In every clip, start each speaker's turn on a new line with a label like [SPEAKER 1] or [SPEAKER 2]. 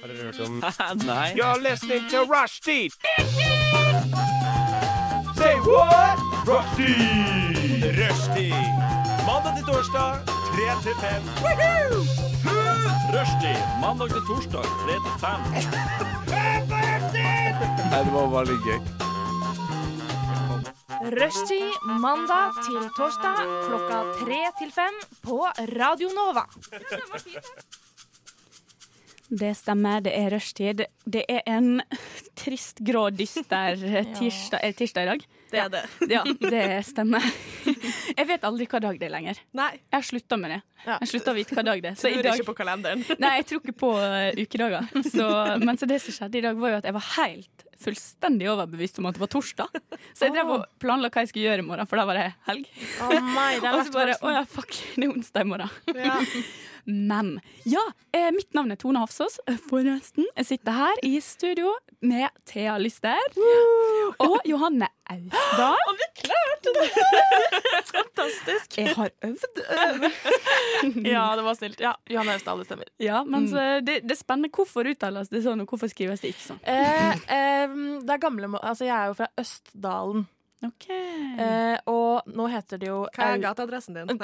[SPEAKER 1] Har dere hørt om
[SPEAKER 2] Nei.
[SPEAKER 1] You're listening to Rushdie! Say what? Rushdie! Rushdie! Mandag til torsdag, 3 til 5. Rushdie! Mandag til torsdag, 3 til 5.
[SPEAKER 2] Nei, det var bare litt gøy.
[SPEAKER 3] Rushtid mandag til torsdag klokka tre til fem på Radio Nova.
[SPEAKER 4] Det stemmer, det er rushtid. Det er en trist, grå, dyster eh, tirsdag, er det tirsdag i dag.
[SPEAKER 5] Det er det.
[SPEAKER 4] Ja, det stemmer. Jeg vet aldri hva dag det er lenger.
[SPEAKER 5] Nei.
[SPEAKER 4] Jeg har slutta med det.
[SPEAKER 5] Ja.
[SPEAKER 4] Jeg slutta å vite hva dag det er. Så i
[SPEAKER 5] Lurer
[SPEAKER 4] dag
[SPEAKER 5] ikke på kalenderen.
[SPEAKER 4] Nei, jeg tror ikke på eh, ukedager. Så, men så det som skjedde i dag, var jo at jeg var helt fullstendig overbevist om at det var torsdag. Så jeg drev og planla hva jeg skulle gjøre i morgen, for da var det helg.
[SPEAKER 5] Å nei, det
[SPEAKER 4] Og så bare Å ja, fuck, det er onsdag i morgen.
[SPEAKER 5] Ja.
[SPEAKER 4] Men ja, eh, mitt navn er Tone Hafsås, eh, forresten. Jeg sitter her i studio med Thea Lyster og Johanne Austdal. Og vi klarte det! Fantastisk. Jeg har øvd.
[SPEAKER 5] ja, det var snilt. Ja, Johanne Østdal, det stemmer.
[SPEAKER 4] Ja, men så, det, det er spennende. Hvorfor uttales det sånn, og hvorfor skrives det ikke sånn?
[SPEAKER 5] Eh, ehm, det er gamle må- Altså, jeg er jo fra Østdalen,
[SPEAKER 4] Ok.
[SPEAKER 5] eh, og nå heter det jo
[SPEAKER 6] Hva
[SPEAKER 5] Au-
[SPEAKER 6] er gateadressen din?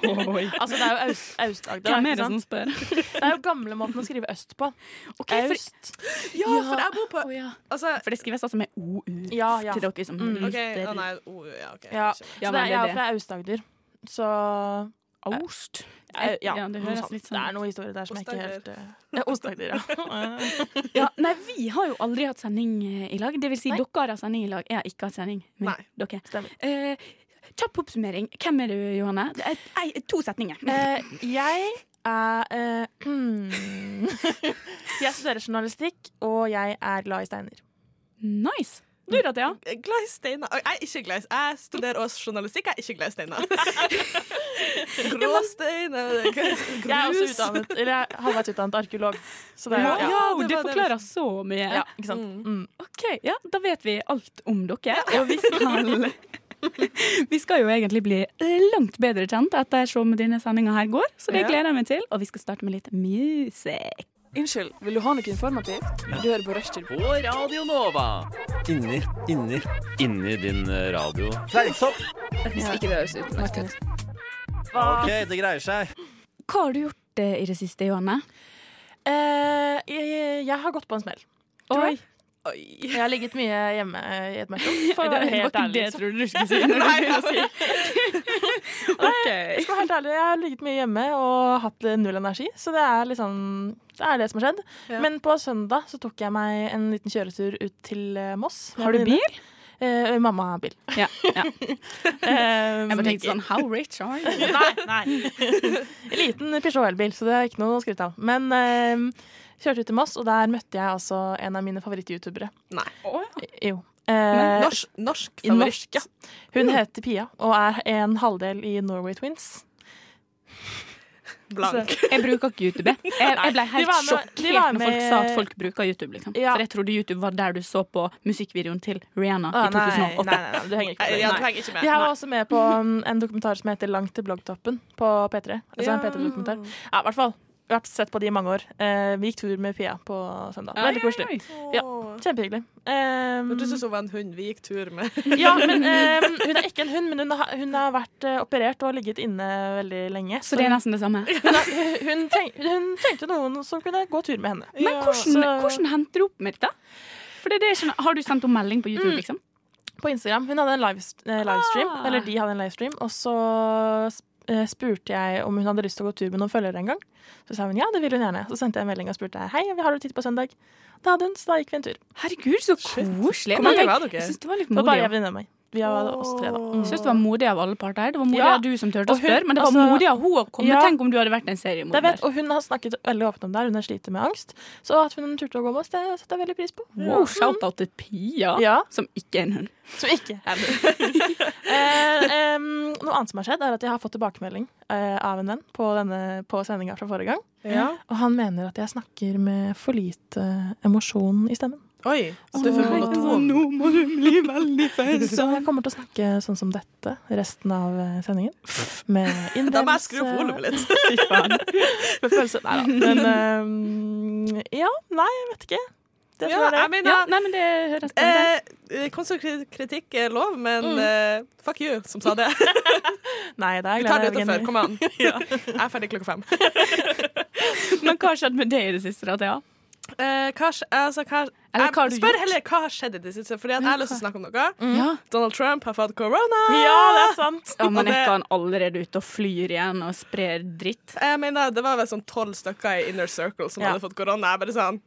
[SPEAKER 5] Altså, det er jo Aust- Aust-Agder.
[SPEAKER 4] Hvem
[SPEAKER 5] ikke
[SPEAKER 4] er det
[SPEAKER 5] sant?
[SPEAKER 4] som spør?
[SPEAKER 5] Det er jo gamle måten å skrive øst på.
[SPEAKER 4] for-
[SPEAKER 5] Øst.
[SPEAKER 6] Ja, for jeg bor på
[SPEAKER 4] Å, ja.
[SPEAKER 6] Altså
[SPEAKER 4] For det skrives altså med OU
[SPEAKER 5] Ja, ja.
[SPEAKER 4] til dere som
[SPEAKER 5] Mm.
[SPEAKER 6] OK,
[SPEAKER 4] lytter.
[SPEAKER 6] å nei. Oh, ja, OK.
[SPEAKER 5] Ja.
[SPEAKER 6] skjønner.
[SPEAKER 4] Ja,
[SPEAKER 5] så det
[SPEAKER 4] men
[SPEAKER 5] er,
[SPEAKER 4] det er
[SPEAKER 5] jeg er jo fra Aust-Agder. Så
[SPEAKER 4] Ost.
[SPEAKER 5] eh, ja,
[SPEAKER 4] Ja, det
[SPEAKER 5] noe
[SPEAKER 4] høres
[SPEAKER 5] sånt.
[SPEAKER 4] litt
[SPEAKER 5] det
[SPEAKER 4] sånn
[SPEAKER 5] er noen historier der som jeg ikke helt
[SPEAKER 6] Ost-Agder.
[SPEAKER 5] eh, Ost-Agder, ja.
[SPEAKER 4] Ja, nei, vi har jo aldri hatt sending eh, i lag. Det vil si,
[SPEAKER 5] Nei.
[SPEAKER 4] dere har hatt sending i lag. Jeg har ikke hatt sending med
[SPEAKER 6] Nei.
[SPEAKER 4] dere.
[SPEAKER 5] Stemmer.
[SPEAKER 4] Eh, kjapp oppsummering. Hvem er du, Johanne? Det er- Nei, to setninger.
[SPEAKER 5] Eh, jeg er eh, Jeg studerer journalistikk, og jeg er glad i steiner.
[SPEAKER 4] Nice. Du da, Thea?
[SPEAKER 6] Glad i steiner. Å, Jeg er ikke glad i Jeg studerer også journalistikk, jeg er ikke glad i steiner. Gråsteiner grus.
[SPEAKER 5] Jeg er også utdannet, eller jeg er halvveis utdannet arkeolog. Så det er,
[SPEAKER 4] Wow, det,
[SPEAKER 5] ja.
[SPEAKER 6] det var det vi-
[SPEAKER 4] forklarer så mye.
[SPEAKER 5] Ja, ikke sant? Mm.
[SPEAKER 4] Ok, ja, Da vet vi alt om dere, og vi skal Vi skal jo egentlig bli langt bedre kjent ettersom denne sendinga her går, så det gleder jeg meg til. Og vi skal starte med litt musikk.
[SPEAKER 7] Unnskyld, vil du ha noe informativt? Du hører på Rushtid.
[SPEAKER 2] På Radio Nova. Inni, inni, inni din eh, radio.
[SPEAKER 7] Hvis ikke det høres ut Martin.
[SPEAKER 2] OK, det greier seg.
[SPEAKER 4] Hva har du gjort eh, i det siste, Johanne?
[SPEAKER 5] Eh, jeg, jeg har gått på en smell. Tror jeg.
[SPEAKER 6] Oi.
[SPEAKER 5] Jeg har ligget mye hjemme eh, i et mørkt rom. For å
[SPEAKER 4] Det
[SPEAKER 5] være helt
[SPEAKER 4] var ikke
[SPEAKER 5] ærlig.
[SPEAKER 4] det jeg
[SPEAKER 5] liksom.
[SPEAKER 4] trodde du skulle si. Når du skulle si.
[SPEAKER 5] Jeg skal være helt ærlig, jeg har ligget mye hjemme og hatt eh, null energi, så det er liksom det er det som har skjedd. Men på søndag så tok jeg meg en liten kjøretur ut til eh, Moss. med
[SPEAKER 4] Har du
[SPEAKER 5] en venninne.
[SPEAKER 4] bil?
[SPEAKER 5] Eh, mamma har bil.
[SPEAKER 4] Ja, ja.
[SPEAKER 5] Eh,
[SPEAKER 4] Jeg bare tenkte sånn How rich are you?
[SPEAKER 5] Nei, nei. En liten Peugeot elbil, så det er ikke noe å skryte av. Men eh, kjørte ut til Moss, og der møtte jeg altså en av mine favoritt-youtubere.
[SPEAKER 6] Nei.
[SPEAKER 5] Jo. Eh,
[SPEAKER 6] Norsk, norsk
[SPEAKER 5] i
[SPEAKER 6] favoritt.
[SPEAKER 5] norsk, ja. Hun heter Pia, og er en halvdel i Norway Twins.
[SPEAKER 6] Blank.
[SPEAKER 4] Altså, Jeg bruker ikke YouTube. Jeg, jeg ble
[SPEAKER 5] de
[SPEAKER 4] helt
[SPEAKER 5] var med- de var
[SPEAKER 4] sjokkert når folk
[SPEAKER 5] med-
[SPEAKER 4] sa at folk bruker YouTube. Liksom.
[SPEAKER 5] Ja.
[SPEAKER 4] For jeg trodde YouTube var der du så på musikkvideoen til Rihanna
[SPEAKER 5] Ah,
[SPEAKER 4] i
[SPEAKER 5] nei,
[SPEAKER 4] 2008.
[SPEAKER 5] Nei, nei, nei, du henger ikke på
[SPEAKER 6] Jeg, jeg
[SPEAKER 5] det. Nei.
[SPEAKER 6] trenger
[SPEAKER 5] De
[SPEAKER 6] ikke
[SPEAKER 5] her
[SPEAKER 6] med.
[SPEAKER 5] var også med på um, en dokumentar som heter 'Langt til bloggtoppen' på P3. Altså en P3-dokumentar. Ja, i hvert fall. Vi har sett på de i mange år. Eh, vi gikk tur med Pia på søndag. Veldig koselig. Ja.
[SPEAKER 6] Åh.
[SPEAKER 5] Kjempehyggelig. Eh,
[SPEAKER 6] Du syntes hun var en hund vi gikk tur med.
[SPEAKER 5] Ja, men eh, hun er ikke en hund, men hun har, hun har vært eh, operert og har ligget inne veldig lenge.
[SPEAKER 4] Så det er nesten det samme.
[SPEAKER 5] hun, er- hun, tenk, hun tenkte noen som kunne gå tur med henne.
[SPEAKER 4] Men hvordan, hvordan henter du opp med dette? For det er det jeg skjønner- har du sendt henne melding på YouTube, liksom?
[SPEAKER 5] På Instagram. Hun hadde en lives, eh, livestream,
[SPEAKER 4] Ah.
[SPEAKER 5] eller de hadde en livestream, og så eh, spurte jeg om hun hadde lyst til å gå tur med noen følgere en gang. Så sa hun ja, det vil hun gjerne. Så sendte jeg en melding og spurte hei, har du tid på søndag? Da hadde hun, så da gikk vi en tur.
[SPEAKER 4] Herregud, så koselig. Men
[SPEAKER 6] Hvor mange
[SPEAKER 4] tenk-
[SPEAKER 6] var dere?
[SPEAKER 4] Jeg syns det var litt
[SPEAKER 5] Det var bare
[SPEAKER 4] modig.
[SPEAKER 5] jeg og venninna mi. Vi var oss tre, da. Mm.
[SPEAKER 4] Jeg synes det var modig av alle parter. her. Det var modig
[SPEAKER 5] Ja.
[SPEAKER 4] av du som turte å
[SPEAKER 5] Og hun-
[SPEAKER 4] spørre, men det var
[SPEAKER 5] altså-
[SPEAKER 4] modig av hun å komme.
[SPEAKER 5] Ja.
[SPEAKER 4] Tenk om du hadde vært en
[SPEAKER 5] Det vet,
[SPEAKER 4] seriemorder.
[SPEAKER 5] og hun har snakket veldig åpent om det. her. Hun sliter med angst. Så at hun turte å gå med oss, det setter jeg veldig pris på.
[SPEAKER 4] Wow, shout-out til Pia,
[SPEAKER 5] Ja.
[SPEAKER 4] som ikke er en hund.
[SPEAKER 5] Som ikke er med. eh, em, noe annet som har skjedd, er at jeg har fått tilbakemelding eh, av en venn på, denne- på sendinga fra forrige gang.
[SPEAKER 6] Ja.
[SPEAKER 5] Og han mener at jeg snakker med for lite eh, emosjon i stemmen.
[SPEAKER 6] Oi, så du
[SPEAKER 5] Åh.
[SPEAKER 6] får holde to om.
[SPEAKER 4] må du bli veldig
[SPEAKER 5] Så jeg kommer til å snakke sånn som dette resten av eh, sendingen. Med innlevelse
[SPEAKER 6] Da må jeg
[SPEAKER 5] eh,
[SPEAKER 6] skru opp volumet litt.
[SPEAKER 5] Fy faen. Med følelse Nei da. Men ehm, ja, nei, jeg vet ikke. Det
[SPEAKER 6] Ja,
[SPEAKER 5] tror jeg
[SPEAKER 6] jeg
[SPEAKER 5] det.
[SPEAKER 6] mener,
[SPEAKER 4] Ja, nei, men det høres bra ut.
[SPEAKER 6] eh, konstruktiv kritikk er lov, men
[SPEAKER 5] Mm.
[SPEAKER 6] eh, fuck you, som sa det.
[SPEAKER 5] Nei, det er jeg
[SPEAKER 6] Vi tar
[SPEAKER 5] glad
[SPEAKER 6] det
[SPEAKER 5] jeg er enig
[SPEAKER 6] utenfor.
[SPEAKER 5] i.
[SPEAKER 6] Kom an. Jeg er ferdig klokka fem.
[SPEAKER 4] Men hva har skjedd med deg i det siste, da, Thea?
[SPEAKER 6] Eh, hva, sk- altså, hva,
[SPEAKER 4] Eller hva har du
[SPEAKER 6] jeg spør
[SPEAKER 4] gjort?
[SPEAKER 6] heller hva har skjedd i det siste, Fordi at jeg har lyst til å snakke om noe.
[SPEAKER 4] Ja.
[SPEAKER 6] Donald Trump har fått korona!
[SPEAKER 5] Ja, det er sant.
[SPEAKER 4] Ja, men
[SPEAKER 6] Og det-
[SPEAKER 4] er ikke han allerede ute og flyr igjen og sprer dritt?
[SPEAKER 6] Jeg mener, Det var vel sånn tolv stykker i Inner Circle som
[SPEAKER 5] Ja.
[SPEAKER 6] hadde fått korona. Jeg bare sånn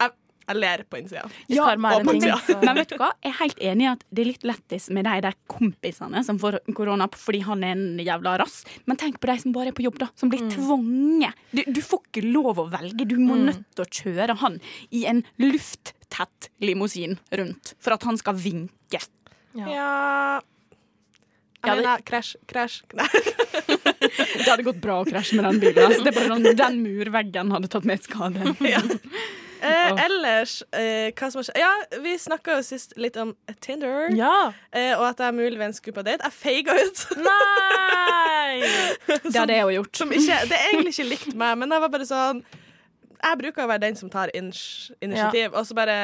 [SPEAKER 6] Jeg, jeg ler på innsida.
[SPEAKER 5] Ja,
[SPEAKER 6] og på
[SPEAKER 5] ja.
[SPEAKER 6] tida.
[SPEAKER 4] Men vet du hva? Jeg er helt enig i at det er litt lettis med de der kompisene som får korona fordi han er en jævla rass, men tenk på de som bare er på jobb, da. Som blir tvunget. Du, du får ikke lov å velge. Du må nødt til å kjøre han i en lufttett limousin rundt for at han skal vinke.
[SPEAKER 6] Ja Jeg
[SPEAKER 4] Ja, det-
[SPEAKER 6] mener krasj, krasj Nei.
[SPEAKER 4] Det hadde gått bra å krasje med den bilen. Altså. Det er bare sånn, Den murveggen hadde tatt med skade.
[SPEAKER 6] Eh, ellers, eh, hva som har skjedd Ja, vi snakka jo sist litt om Tinder,
[SPEAKER 5] ja.
[SPEAKER 6] eh, og at jeg muligens skulle på date. Jeg feiga ut.
[SPEAKER 5] Nei!
[SPEAKER 4] Det hadde jeg òg gjort.
[SPEAKER 6] Som ikke, det er egentlig ikke likt meg, men jeg var bare sånn Jeg bruker å være den som tar inch, initiativ, og så bare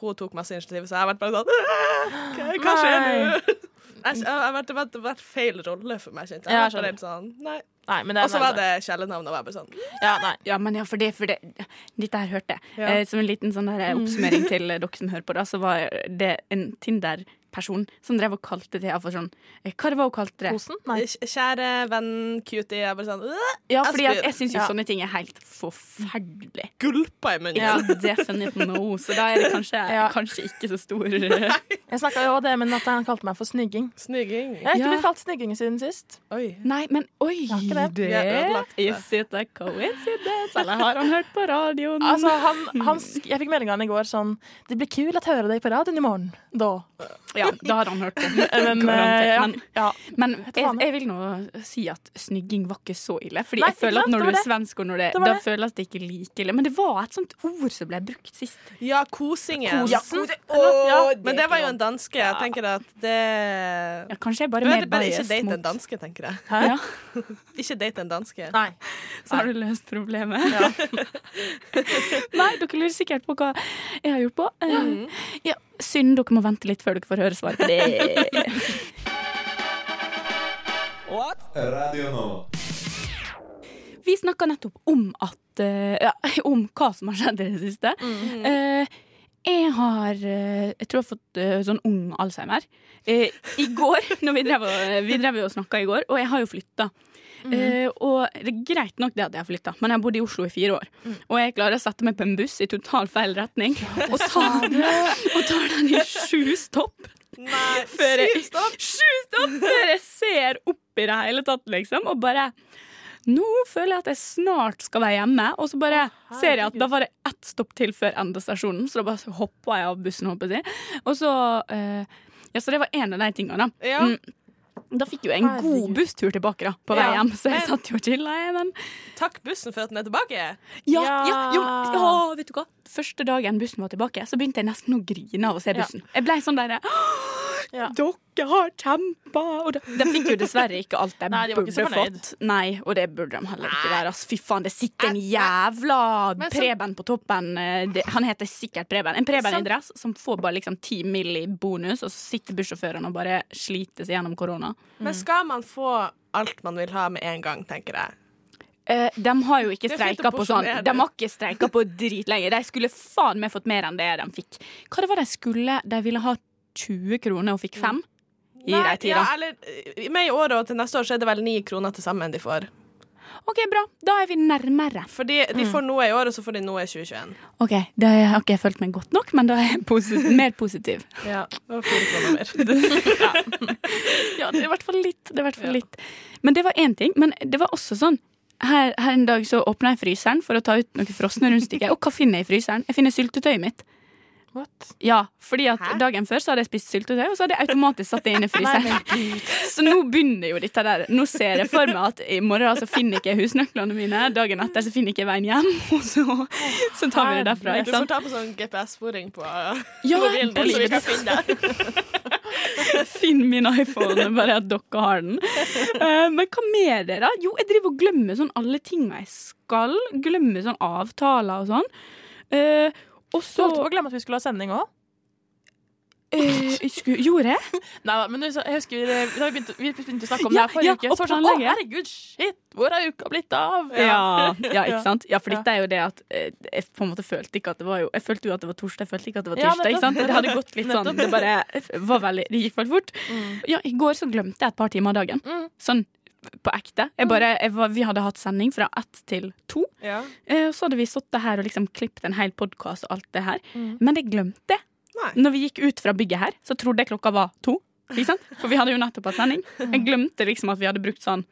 [SPEAKER 6] Hun tok masse initiativ, så jeg har vært bare sånn «Åh, Hva hva skjer nå? Jeg, jeg, jeg, vet- det var- det var et feil rolle for meg, kjente jeg.
[SPEAKER 5] Ja, jeg
[SPEAKER 6] jeg. var bare
[SPEAKER 5] skjønner.
[SPEAKER 6] helt sånn, nei.
[SPEAKER 5] Nei, men det er
[SPEAKER 6] Og så var
[SPEAKER 5] nei,
[SPEAKER 6] det kjælenavn, og jeg bare sånn
[SPEAKER 5] nei. Ja, nei.
[SPEAKER 4] Ja, men ja, for det, for det Dette her hørte jeg.
[SPEAKER 6] Ja.
[SPEAKER 4] Eh, som en liten sånn der
[SPEAKER 5] Mm.
[SPEAKER 4] oppsummering til dere som hører på, da, så var det en Tinder-person som drev og kalte Thea for sånn eh, Hva det var hun kalte det?
[SPEAKER 5] Posen? Nei.
[SPEAKER 6] «Kj- Kjære venn, cutie. Jeg bare sånn «Åh!»
[SPEAKER 4] Ja, fordi at
[SPEAKER 6] Espen.
[SPEAKER 4] jeg syns jo
[SPEAKER 5] Ja.
[SPEAKER 4] sånne ting er helt forferdelig.
[SPEAKER 6] Gulpa i munnen.
[SPEAKER 5] Ja.
[SPEAKER 4] Definitely no. Så da er det kanskje,
[SPEAKER 5] Ja.
[SPEAKER 4] kanskje ikke så stor eh,
[SPEAKER 5] Jeg snakka jo om det, men at han kalte meg for snygging.
[SPEAKER 6] Snygging.
[SPEAKER 5] Jeg har ikke
[SPEAKER 4] Ja.
[SPEAKER 5] blitt kalt snygging siden sist.
[SPEAKER 6] Oi.
[SPEAKER 4] Nei, men oi!
[SPEAKER 5] har ikke det.
[SPEAKER 6] Vi har ødelagt det.
[SPEAKER 4] Is it a coincidence? Eller har han hørt på radioen?
[SPEAKER 5] Altså, han, han, sk- jeg fikk meldinga i går sånn Det blir kul å høre deg på radioen i morgen. Da.
[SPEAKER 4] ja, da har han hørt det.
[SPEAKER 5] Men,
[SPEAKER 4] Garantert,
[SPEAKER 5] eh, ja.
[SPEAKER 4] men-
[SPEAKER 5] ja.
[SPEAKER 4] Men
[SPEAKER 5] du
[SPEAKER 4] jeg,
[SPEAKER 5] hva,
[SPEAKER 4] jeg vil nå si at snygging var ikke så ille. Fordi
[SPEAKER 5] Nei,
[SPEAKER 4] jeg føler
[SPEAKER 5] ikke
[SPEAKER 4] at
[SPEAKER 5] sant,
[SPEAKER 4] når
[SPEAKER 5] det
[SPEAKER 4] du
[SPEAKER 5] var
[SPEAKER 4] er
[SPEAKER 5] det.
[SPEAKER 4] svensk og når det,
[SPEAKER 5] Det var
[SPEAKER 4] da
[SPEAKER 5] det.
[SPEAKER 4] føles det ikke like ille. Men det var et sånt ord som ble brukt sist.
[SPEAKER 6] Ja, kosingen.
[SPEAKER 5] Kosen.
[SPEAKER 6] Ja,
[SPEAKER 5] Eller- ja.
[SPEAKER 6] Men det var jo en danske. Jeg tenker at det
[SPEAKER 4] Ja, kanskje jeg bare
[SPEAKER 6] Du
[SPEAKER 4] er
[SPEAKER 6] vet,
[SPEAKER 4] mer
[SPEAKER 6] bare ikke
[SPEAKER 4] biased
[SPEAKER 6] date en
[SPEAKER 4] mot
[SPEAKER 6] danske, tenker jeg.
[SPEAKER 5] Hæ?
[SPEAKER 4] Ja.
[SPEAKER 6] Ikke date en danske.
[SPEAKER 5] Nei.
[SPEAKER 4] Så har du løst problemet. Nei, dere lurer sikkert på hva jeg har gjort på. Eh, Ja, synd dere må vente litt før dere får høre svaret på det.
[SPEAKER 1] Radio nå.
[SPEAKER 4] Vi snakka nettopp om at eh, ja, Om hva som har skjedd i det siste. Eh, jeg har eh, Jeg tror jeg har fått eh, sånn ung alzheimer. Eh, I går, når vi drev og, vi drev jo og snakka i går, og jeg har jo flytta. Eh, og det er greit nok det at jeg har flytta, men jeg har bodd i Oslo i fire år. Og jeg klarer å sette meg på en buss i total feil retning, og tar, og tar den i sju stopp
[SPEAKER 6] Nei,
[SPEAKER 4] før jeg,
[SPEAKER 6] syv stopp.
[SPEAKER 4] Sju stopp før jeg ser opp i det hele tatt, liksom. Og bare Nå føler jeg at jeg snart skal være hjemme, og så bare ser jeg at da var det ett stopp til før endestasjonen, så da bare hoppa jeg av bussen, håper jeg. Og så eh, Ja, så det var en av de tingene, da.
[SPEAKER 6] Ja.
[SPEAKER 4] Mm. Da fikk jo jeg en god
[SPEAKER 5] Herregud.
[SPEAKER 4] busstur tilbake da, på vei
[SPEAKER 6] Ja.
[SPEAKER 4] hjem, så jeg satt jo og chilla, jeg, men
[SPEAKER 6] Takk bussen for at den er tilbake.
[SPEAKER 4] ja,
[SPEAKER 5] Ja.
[SPEAKER 4] ja, jo, ja, vet du hva? Første dagen bussen var tilbake, så begynte jeg nesten å grine av å se
[SPEAKER 5] Ja.
[SPEAKER 4] bussen. Jeg ble sånn derre
[SPEAKER 5] Ja.
[SPEAKER 4] Dere har kjempa! Og da- de fikk jo dessverre ikke alt de,
[SPEAKER 5] Nei, de var ikke
[SPEAKER 4] burde
[SPEAKER 5] så fornøyd.
[SPEAKER 4] fått. Nei, og det burde de heller ikke være. Altså, fy faen, det sitter en jævla
[SPEAKER 6] Men så-
[SPEAKER 4] Preben på toppen. eh, Det, han heter sikkert Preben. En Preben
[SPEAKER 6] Sant.
[SPEAKER 4] i dress som får bare liksom ti mill. i bonus, og så sitter bussjåføren og bare sliter seg gjennom korona.
[SPEAKER 6] Men skal man få alt man vil ha med en gang, tenker jeg.
[SPEAKER 4] Eh, de har jo ikke
[SPEAKER 6] Det er fint å
[SPEAKER 4] streika på sånn
[SPEAKER 6] porsjonere.
[SPEAKER 4] De har ikke streika på dritlenge. De skulle faen meg fått mer enn det de fikk. Hva det var de skulle? De ville ha 20 kroner og fikk 5 i de
[SPEAKER 6] Nei,
[SPEAKER 4] tida.
[SPEAKER 6] Ja, eller, eh, med i år og til neste år så er det vel ni kroner til sammen de får.
[SPEAKER 4] OK, bra. Da er vi nærmere.
[SPEAKER 6] Fordi de
[SPEAKER 4] Mm.
[SPEAKER 6] får noe i år, og så får de noe i 2021.
[SPEAKER 4] OK, da har ikke jeg følt meg godt nok, men da er jeg posi- mer positiv.
[SPEAKER 6] Ja, og fire kroner mer.
[SPEAKER 4] Ja, det er i hvert fall litt. Det er i hvert fall litt. Men det var én ting. Men det var også sånn her, her en dag så åpna jeg fryseren for å ta ut noen frosne rundstykker. Og hva finner jeg i fryseren? Jeg finner syltetøyet mitt.
[SPEAKER 5] What?
[SPEAKER 4] Ja, fordi at
[SPEAKER 6] Hæ?
[SPEAKER 4] dagen før så hadde jeg spist syltetøy, og så hadde jeg automatisk satt det inn i fryseren. så nå begynner jo dette der. Nå ser jeg for meg at i morgen så finner ikke jeg husnøklene mine, dagen etter så finner ikke jeg veien hjem, og så, så tar vi det derfra.
[SPEAKER 6] Du
[SPEAKER 4] ikke
[SPEAKER 6] får
[SPEAKER 4] sant?
[SPEAKER 6] ta på sånn GPS-sporing på
[SPEAKER 4] Ja,
[SPEAKER 6] mobilen
[SPEAKER 4] på
[SPEAKER 6] din, så vi kan
[SPEAKER 4] livet.
[SPEAKER 6] finne deg.
[SPEAKER 4] Finn min iPhone, bare at dere har den. Eh, men hva mer dere? Jo, jeg driver og glemmer sånn alle tinga jeg skal. Glemmer sånn avtaler og sånn. Eh, og
[SPEAKER 5] Du
[SPEAKER 4] så
[SPEAKER 5] holdt på å glemme at vi skulle ha sending òg.
[SPEAKER 4] eh, skulle- Gjorde jeg?
[SPEAKER 5] Nei da, men du sa- jeg husker eh, da vi begynte, vi begynte å snakke om
[SPEAKER 4] Ja,
[SPEAKER 5] det her forrige
[SPEAKER 4] ja,
[SPEAKER 5] uke. Så var det sånn,
[SPEAKER 4] og
[SPEAKER 5] å herregud, shit, hvor er uka blitt av?
[SPEAKER 4] Ja, ja,
[SPEAKER 5] Ja.
[SPEAKER 4] ikke sant? Ja, for
[SPEAKER 5] Ja.
[SPEAKER 4] dette er jo det at eh, jeg på en måte følte ikke at det var jo Jeg følte jo at det var torsdag, jeg følte ikke at det var
[SPEAKER 5] Ja,
[SPEAKER 4] tirsdag. ikke sant? Det hadde gått litt sånn. Det bare var veldig Det gikk veldig fort. Ja, i går så glemte jeg et par timer av dagen.
[SPEAKER 5] Mm.
[SPEAKER 4] Sånn på ekte. Jeg bare, jeg var, vi hadde hatt sending fra ett til to.
[SPEAKER 6] Ja.
[SPEAKER 4] Eh, og Så hadde vi sittet her og liksom klippet en hel podkast og alt det her.
[SPEAKER 5] Mm.
[SPEAKER 4] Men det glemte jeg.
[SPEAKER 6] Nei.
[SPEAKER 4] Når vi gikk ut fra bygget her, så trodde jeg klokka var to. Ikke sant? For vi hadde jo nettopp hatt sending. Jeg glemte liksom at vi hadde brukt sånn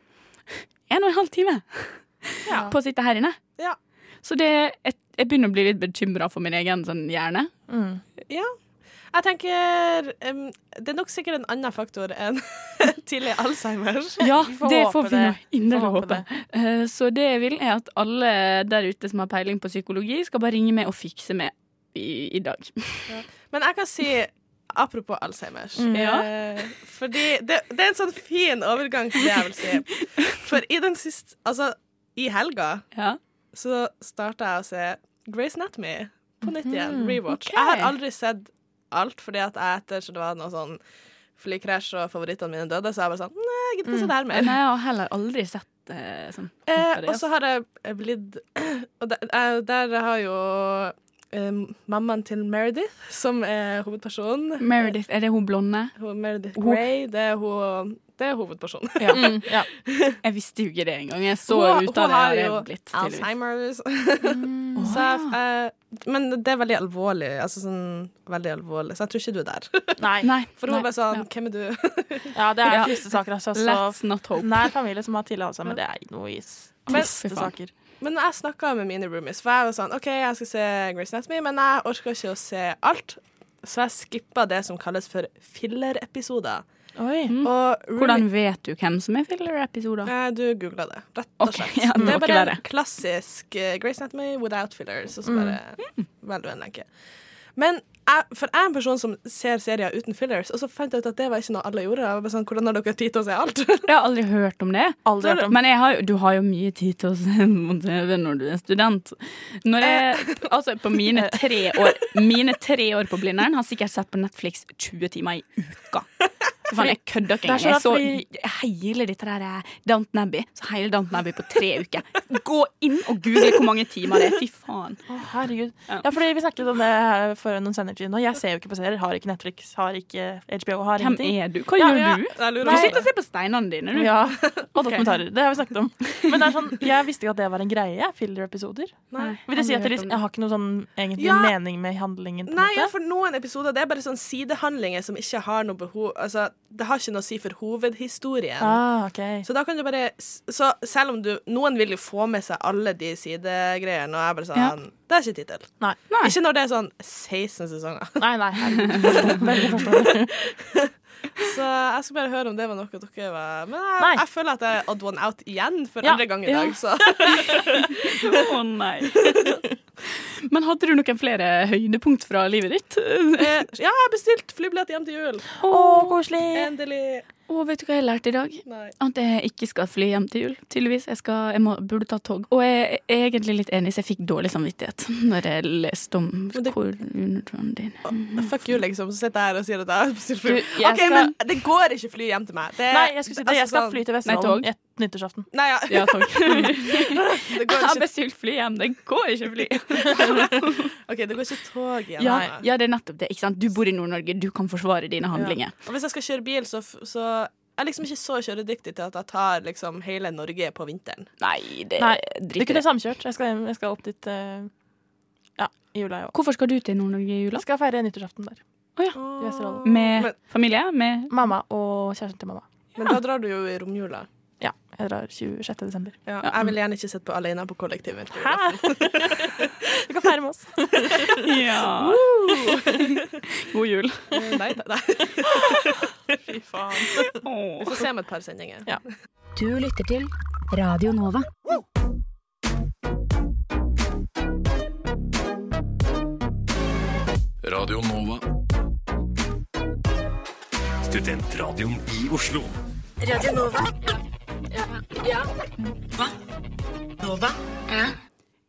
[SPEAKER 4] en og en halv time
[SPEAKER 5] Ja.
[SPEAKER 4] på å sitte her inne.
[SPEAKER 6] Ja.
[SPEAKER 4] Så det, jeg, jeg begynner å bli litt bekymra for min egen sånn hjerne.
[SPEAKER 5] Mm.
[SPEAKER 6] Jeg tenker em, Det er nok sikkert en annen faktor enn tidlig Alzheimer.
[SPEAKER 4] Ja,
[SPEAKER 5] vi får
[SPEAKER 4] det
[SPEAKER 5] håpe
[SPEAKER 4] får vi nå
[SPEAKER 5] det.
[SPEAKER 4] inderlig
[SPEAKER 5] Får håpe
[SPEAKER 4] håpe. Eh, Så det jeg vil, er at alle der ute som har peiling på psykologi, skal bare ringe meg og fikse meg i, i dag.
[SPEAKER 6] Men jeg kan si apropos Alzheimers
[SPEAKER 4] Mm. Ja.
[SPEAKER 6] eh, Fordi det, det er en sånn fin overgang til det jeg vil si. For i den siste Altså, i helga
[SPEAKER 4] Ja.
[SPEAKER 6] så starta jeg å se Grace Anatomy på nytt igjen.
[SPEAKER 5] Mhm.
[SPEAKER 6] Rewatch.
[SPEAKER 4] Ok.
[SPEAKER 6] Jeg har aldri sett alt, fordi at jeg etter så det var noe sånn flykrasj og favorittene mine døde, så jeg bare sånn Nei, jeg gidder ikke se det her mer.
[SPEAKER 4] Mm. Nei, jeg har heller aldri sett eh, sånn.
[SPEAKER 6] Eh,
[SPEAKER 4] Ferdig,
[SPEAKER 6] og så har jeg blitt Og der, eh, der har jo eh, mammaen til Meredith, som er hovedpersonen
[SPEAKER 4] Meredith, er det hun blonde?
[SPEAKER 6] Hun, Meredith
[SPEAKER 4] Hun-
[SPEAKER 6] Grey, det er, hun, det er hovedpersonen.
[SPEAKER 5] Ja. Ja.
[SPEAKER 4] Jeg visste jo ikke det engang. Jeg så
[SPEAKER 6] Mm, Hun-
[SPEAKER 4] ut av
[SPEAKER 6] hun
[SPEAKER 4] det.
[SPEAKER 6] har
[SPEAKER 4] og det
[SPEAKER 6] jo
[SPEAKER 4] er blitt, tydeligvis.
[SPEAKER 6] Alzheimers.
[SPEAKER 5] Mm.
[SPEAKER 6] Så jeg, eh, men det er veldig alvorlig, altså sånn veldig alvorlig, så jeg tror ikke du er der.
[SPEAKER 5] Nei.
[SPEAKER 4] Nei,
[SPEAKER 6] For
[SPEAKER 4] nei,
[SPEAKER 6] hun bare sånn
[SPEAKER 4] ja.
[SPEAKER 6] Hvem er du?
[SPEAKER 5] Ja, det er
[SPEAKER 4] Ja.
[SPEAKER 5] triste saker, altså.
[SPEAKER 4] Let's
[SPEAKER 5] Så
[SPEAKER 4] not hope.
[SPEAKER 5] nær familie som har tidlig Alzheimer, det er noe i
[SPEAKER 4] Men-
[SPEAKER 5] triste saker.
[SPEAKER 6] Men jeg snakka med mine roomies, for jeg var sånn OK, jeg skal se Grace Anatomy, men jeg orka ikke å se alt. Så jeg skippa det som kalles for filler-episoder.
[SPEAKER 5] Oi.
[SPEAKER 6] Og
[SPEAKER 4] Mm. Hvordan vet du hvem som er filler-episoder?
[SPEAKER 6] Eh, Du googla det, rett og
[SPEAKER 4] Ok,
[SPEAKER 6] slett.
[SPEAKER 4] ja, det Mm.
[SPEAKER 6] det
[SPEAKER 4] må
[SPEAKER 6] er
[SPEAKER 4] ikke
[SPEAKER 6] bare
[SPEAKER 4] være.
[SPEAKER 6] en klassisk eh, Grace Anatomy without fillers. Og så bare velger du en lenke. Men jeg, for jeg er en person som ser serier uten fillers, og så fant jeg ut at det var ikke noe alle gjorde. Jeg var bare sånn, Hvordan har dere tid til å se alt?
[SPEAKER 4] Jeg har aldri hørt om det.
[SPEAKER 5] Aldri hørt om.
[SPEAKER 4] Men jeg har, jo- du har jo mye tid til å se på TV når du er student. Når jeg,
[SPEAKER 5] Eh.
[SPEAKER 4] altså på mine tre år Mine tre år på Blindern har sikkert sett på Netflix 20 timer i uka. Så faen, jeg kødder ikke
[SPEAKER 5] Det er sånn så
[SPEAKER 4] engang.
[SPEAKER 5] rart,
[SPEAKER 4] Jeg så hele dette der eh, Downton Abbey Så hele Downton Abbey på tre uker. Gå inn og google hvor mange timer det er. Fy faen.
[SPEAKER 5] Å, herregud.
[SPEAKER 4] Ja.
[SPEAKER 5] Ja, fordi vi snakket om det her for noen sender siden, og jeg ser jo ikke på serier. Har ikke Netflix, har ikke HBO, har
[SPEAKER 4] Hvem
[SPEAKER 5] ingenting.
[SPEAKER 4] er du? Hva
[SPEAKER 5] Ja,
[SPEAKER 4] gjør
[SPEAKER 5] ja.
[SPEAKER 4] du?
[SPEAKER 6] Jeg lurer
[SPEAKER 4] Du
[SPEAKER 6] også
[SPEAKER 4] sitter
[SPEAKER 6] på
[SPEAKER 4] og ser på steinene dine, du.
[SPEAKER 5] Ja, og dokumentarer. Det har vi snakket om. Men det er sånn, jeg visste ikke at det var en greie, jeg, filler-episoder.
[SPEAKER 4] Nei,
[SPEAKER 5] Vil det si at
[SPEAKER 4] aldri
[SPEAKER 5] dere
[SPEAKER 4] hørt om
[SPEAKER 5] jeg har ikke noe sånn egentlig
[SPEAKER 6] Ja.
[SPEAKER 5] mening med handlingen? På en
[SPEAKER 6] Nei, ja,
[SPEAKER 5] måte?
[SPEAKER 6] for noen episoder det er bare sånn sidehandlinger som ikke har noe behov Altså, det har ikke noe å si for hovedhistorien.
[SPEAKER 5] Ah, ok.
[SPEAKER 6] Så da kan du bare s- Så selv om du Noen vil jo få med seg alle de sidegreiene, og jeg bare sånn
[SPEAKER 4] Ja.
[SPEAKER 6] Det er ikke tid til.
[SPEAKER 5] Nei.
[SPEAKER 6] Ikke når det er sånn 16 sesonger.
[SPEAKER 5] Nei, nei. herregud. Veldig forståelig.
[SPEAKER 6] Så jeg skal bare høre om det var noe dere var Men jeg,
[SPEAKER 5] Nei.
[SPEAKER 6] jeg føler at jeg er odd one out igjen for
[SPEAKER 5] Ja.
[SPEAKER 6] andre gang i
[SPEAKER 4] Ja.
[SPEAKER 6] dag, så
[SPEAKER 4] Å nei. Men hadde du noen flere høydepunkt fra livet ditt?
[SPEAKER 6] eh, Ja, jeg har bestilt flybillett hjem til jul.
[SPEAKER 5] Å, koselig.
[SPEAKER 6] Endelig.
[SPEAKER 4] Å, vet du hva jeg lærte i dag?
[SPEAKER 6] Nei.
[SPEAKER 4] At jeg ikke skal fly hjem til jul. Tydeligvis. Jeg, skal, jeg må, burde ta tog. Og jeg er egentlig litt enig, så jeg fikk dårlig samvittighet når jeg leste om
[SPEAKER 6] Men det-
[SPEAKER 4] koronaen din.
[SPEAKER 6] Fuck you, liksom. Så sitter jeg her og sier at jeg har bestilt
[SPEAKER 5] Du,
[SPEAKER 6] fly.
[SPEAKER 5] jeg
[SPEAKER 6] OK,
[SPEAKER 5] skal-
[SPEAKER 6] men det går ikke fly hjem til meg. Det,
[SPEAKER 5] Nei, jeg skulle si det. Jeg
[SPEAKER 6] altså
[SPEAKER 5] skal
[SPEAKER 6] sånn-
[SPEAKER 5] fly til
[SPEAKER 4] tog.
[SPEAKER 5] Vesterålen et- nyttårsaften.
[SPEAKER 6] Nei, ja.
[SPEAKER 4] Ja, tog.
[SPEAKER 6] Det
[SPEAKER 4] Jeg
[SPEAKER 6] går
[SPEAKER 4] har
[SPEAKER 6] ikke,
[SPEAKER 4] bestilt fly hjem. Det går ikke fly.
[SPEAKER 6] ok, det går ikke tog igjen.
[SPEAKER 4] Ja,
[SPEAKER 6] Anna.
[SPEAKER 4] ja, det er nettopp det. Ikke sant? Du bor i Nord-Norge, du kan forsvare dine handlinger.
[SPEAKER 6] Og hvis jeg skal kjøre bil, så, f- så jeg er liksom ikke så kjøredyktig til at jeg tar liksom hele Norge på vinteren.
[SPEAKER 4] Nei, det
[SPEAKER 5] Nei, Vi
[SPEAKER 4] driter
[SPEAKER 5] kunne
[SPEAKER 4] jeg
[SPEAKER 5] samkjørt. Jeg skal, hjem- jeg skal opp dit eh, ja, i jula i år.
[SPEAKER 4] Hvorfor skal du til Nord-Norge i jula?
[SPEAKER 5] Jeg skal feire nyttårsaften der.
[SPEAKER 6] I
[SPEAKER 5] Vesterålen.
[SPEAKER 4] Med
[SPEAKER 6] Men,
[SPEAKER 4] familie? Med
[SPEAKER 5] Mamma og kjæresten til mamma.
[SPEAKER 6] men da drar du jo i romjula.
[SPEAKER 5] Ja, jeg drar 26. desember.
[SPEAKER 6] Ja, jeg vil gjerne ikke sitte på alene på kollektivet.
[SPEAKER 5] Du kan feire med oss.
[SPEAKER 4] Ja. God jul.
[SPEAKER 6] Nei, nei, nei.
[SPEAKER 5] Fy faen.
[SPEAKER 6] Vi får se om et par sendinger.
[SPEAKER 5] Ja.
[SPEAKER 8] Du lytter til Radio Nova.
[SPEAKER 9] Radio Nova.
[SPEAKER 1] Studentradioen i Oslo.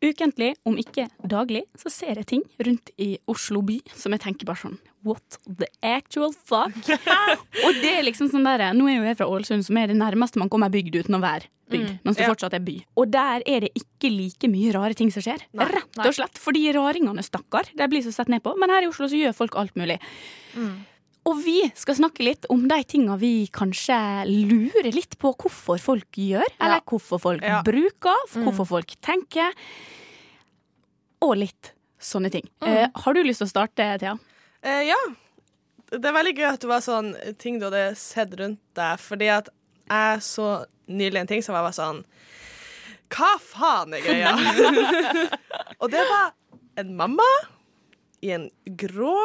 [SPEAKER 4] Ukentlig, om ikke daglig, så ser jeg ting rundt i Oslo by som jeg tenker bare sånn What the actual fuck? og det er liksom sånn der, Nå er jo jeg fra Ålesund, som er det nærmeste man kommer bygd uten å være
[SPEAKER 6] Mm,
[SPEAKER 4] bygd. Men som fortsatt er by. Og der er det ikke like mye rare ting som skjer. Rett og slett. Fordi raringene, stakkar, de blir så sett ned på. Men her i Oslo så gjør folk alt mulig.
[SPEAKER 6] Mm.
[SPEAKER 4] Og vi skal snakke litt om de tinga vi kanskje lurer litt på hvorfor folk gjør, eller hvorfor folk
[SPEAKER 6] Ja. Mm.
[SPEAKER 4] bruker, hvorfor folk tenker, og litt sånne ting. Eh, har du lyst til å starte, Thea?
[SPEAKER 6] Eh, ja. Det er veldig gøy at det var sånn ting du hadde sett rundt deg, fordi at jeg så nylig en ting som jeg var sånn Hva faen er greia? Og det var en mamma i en grå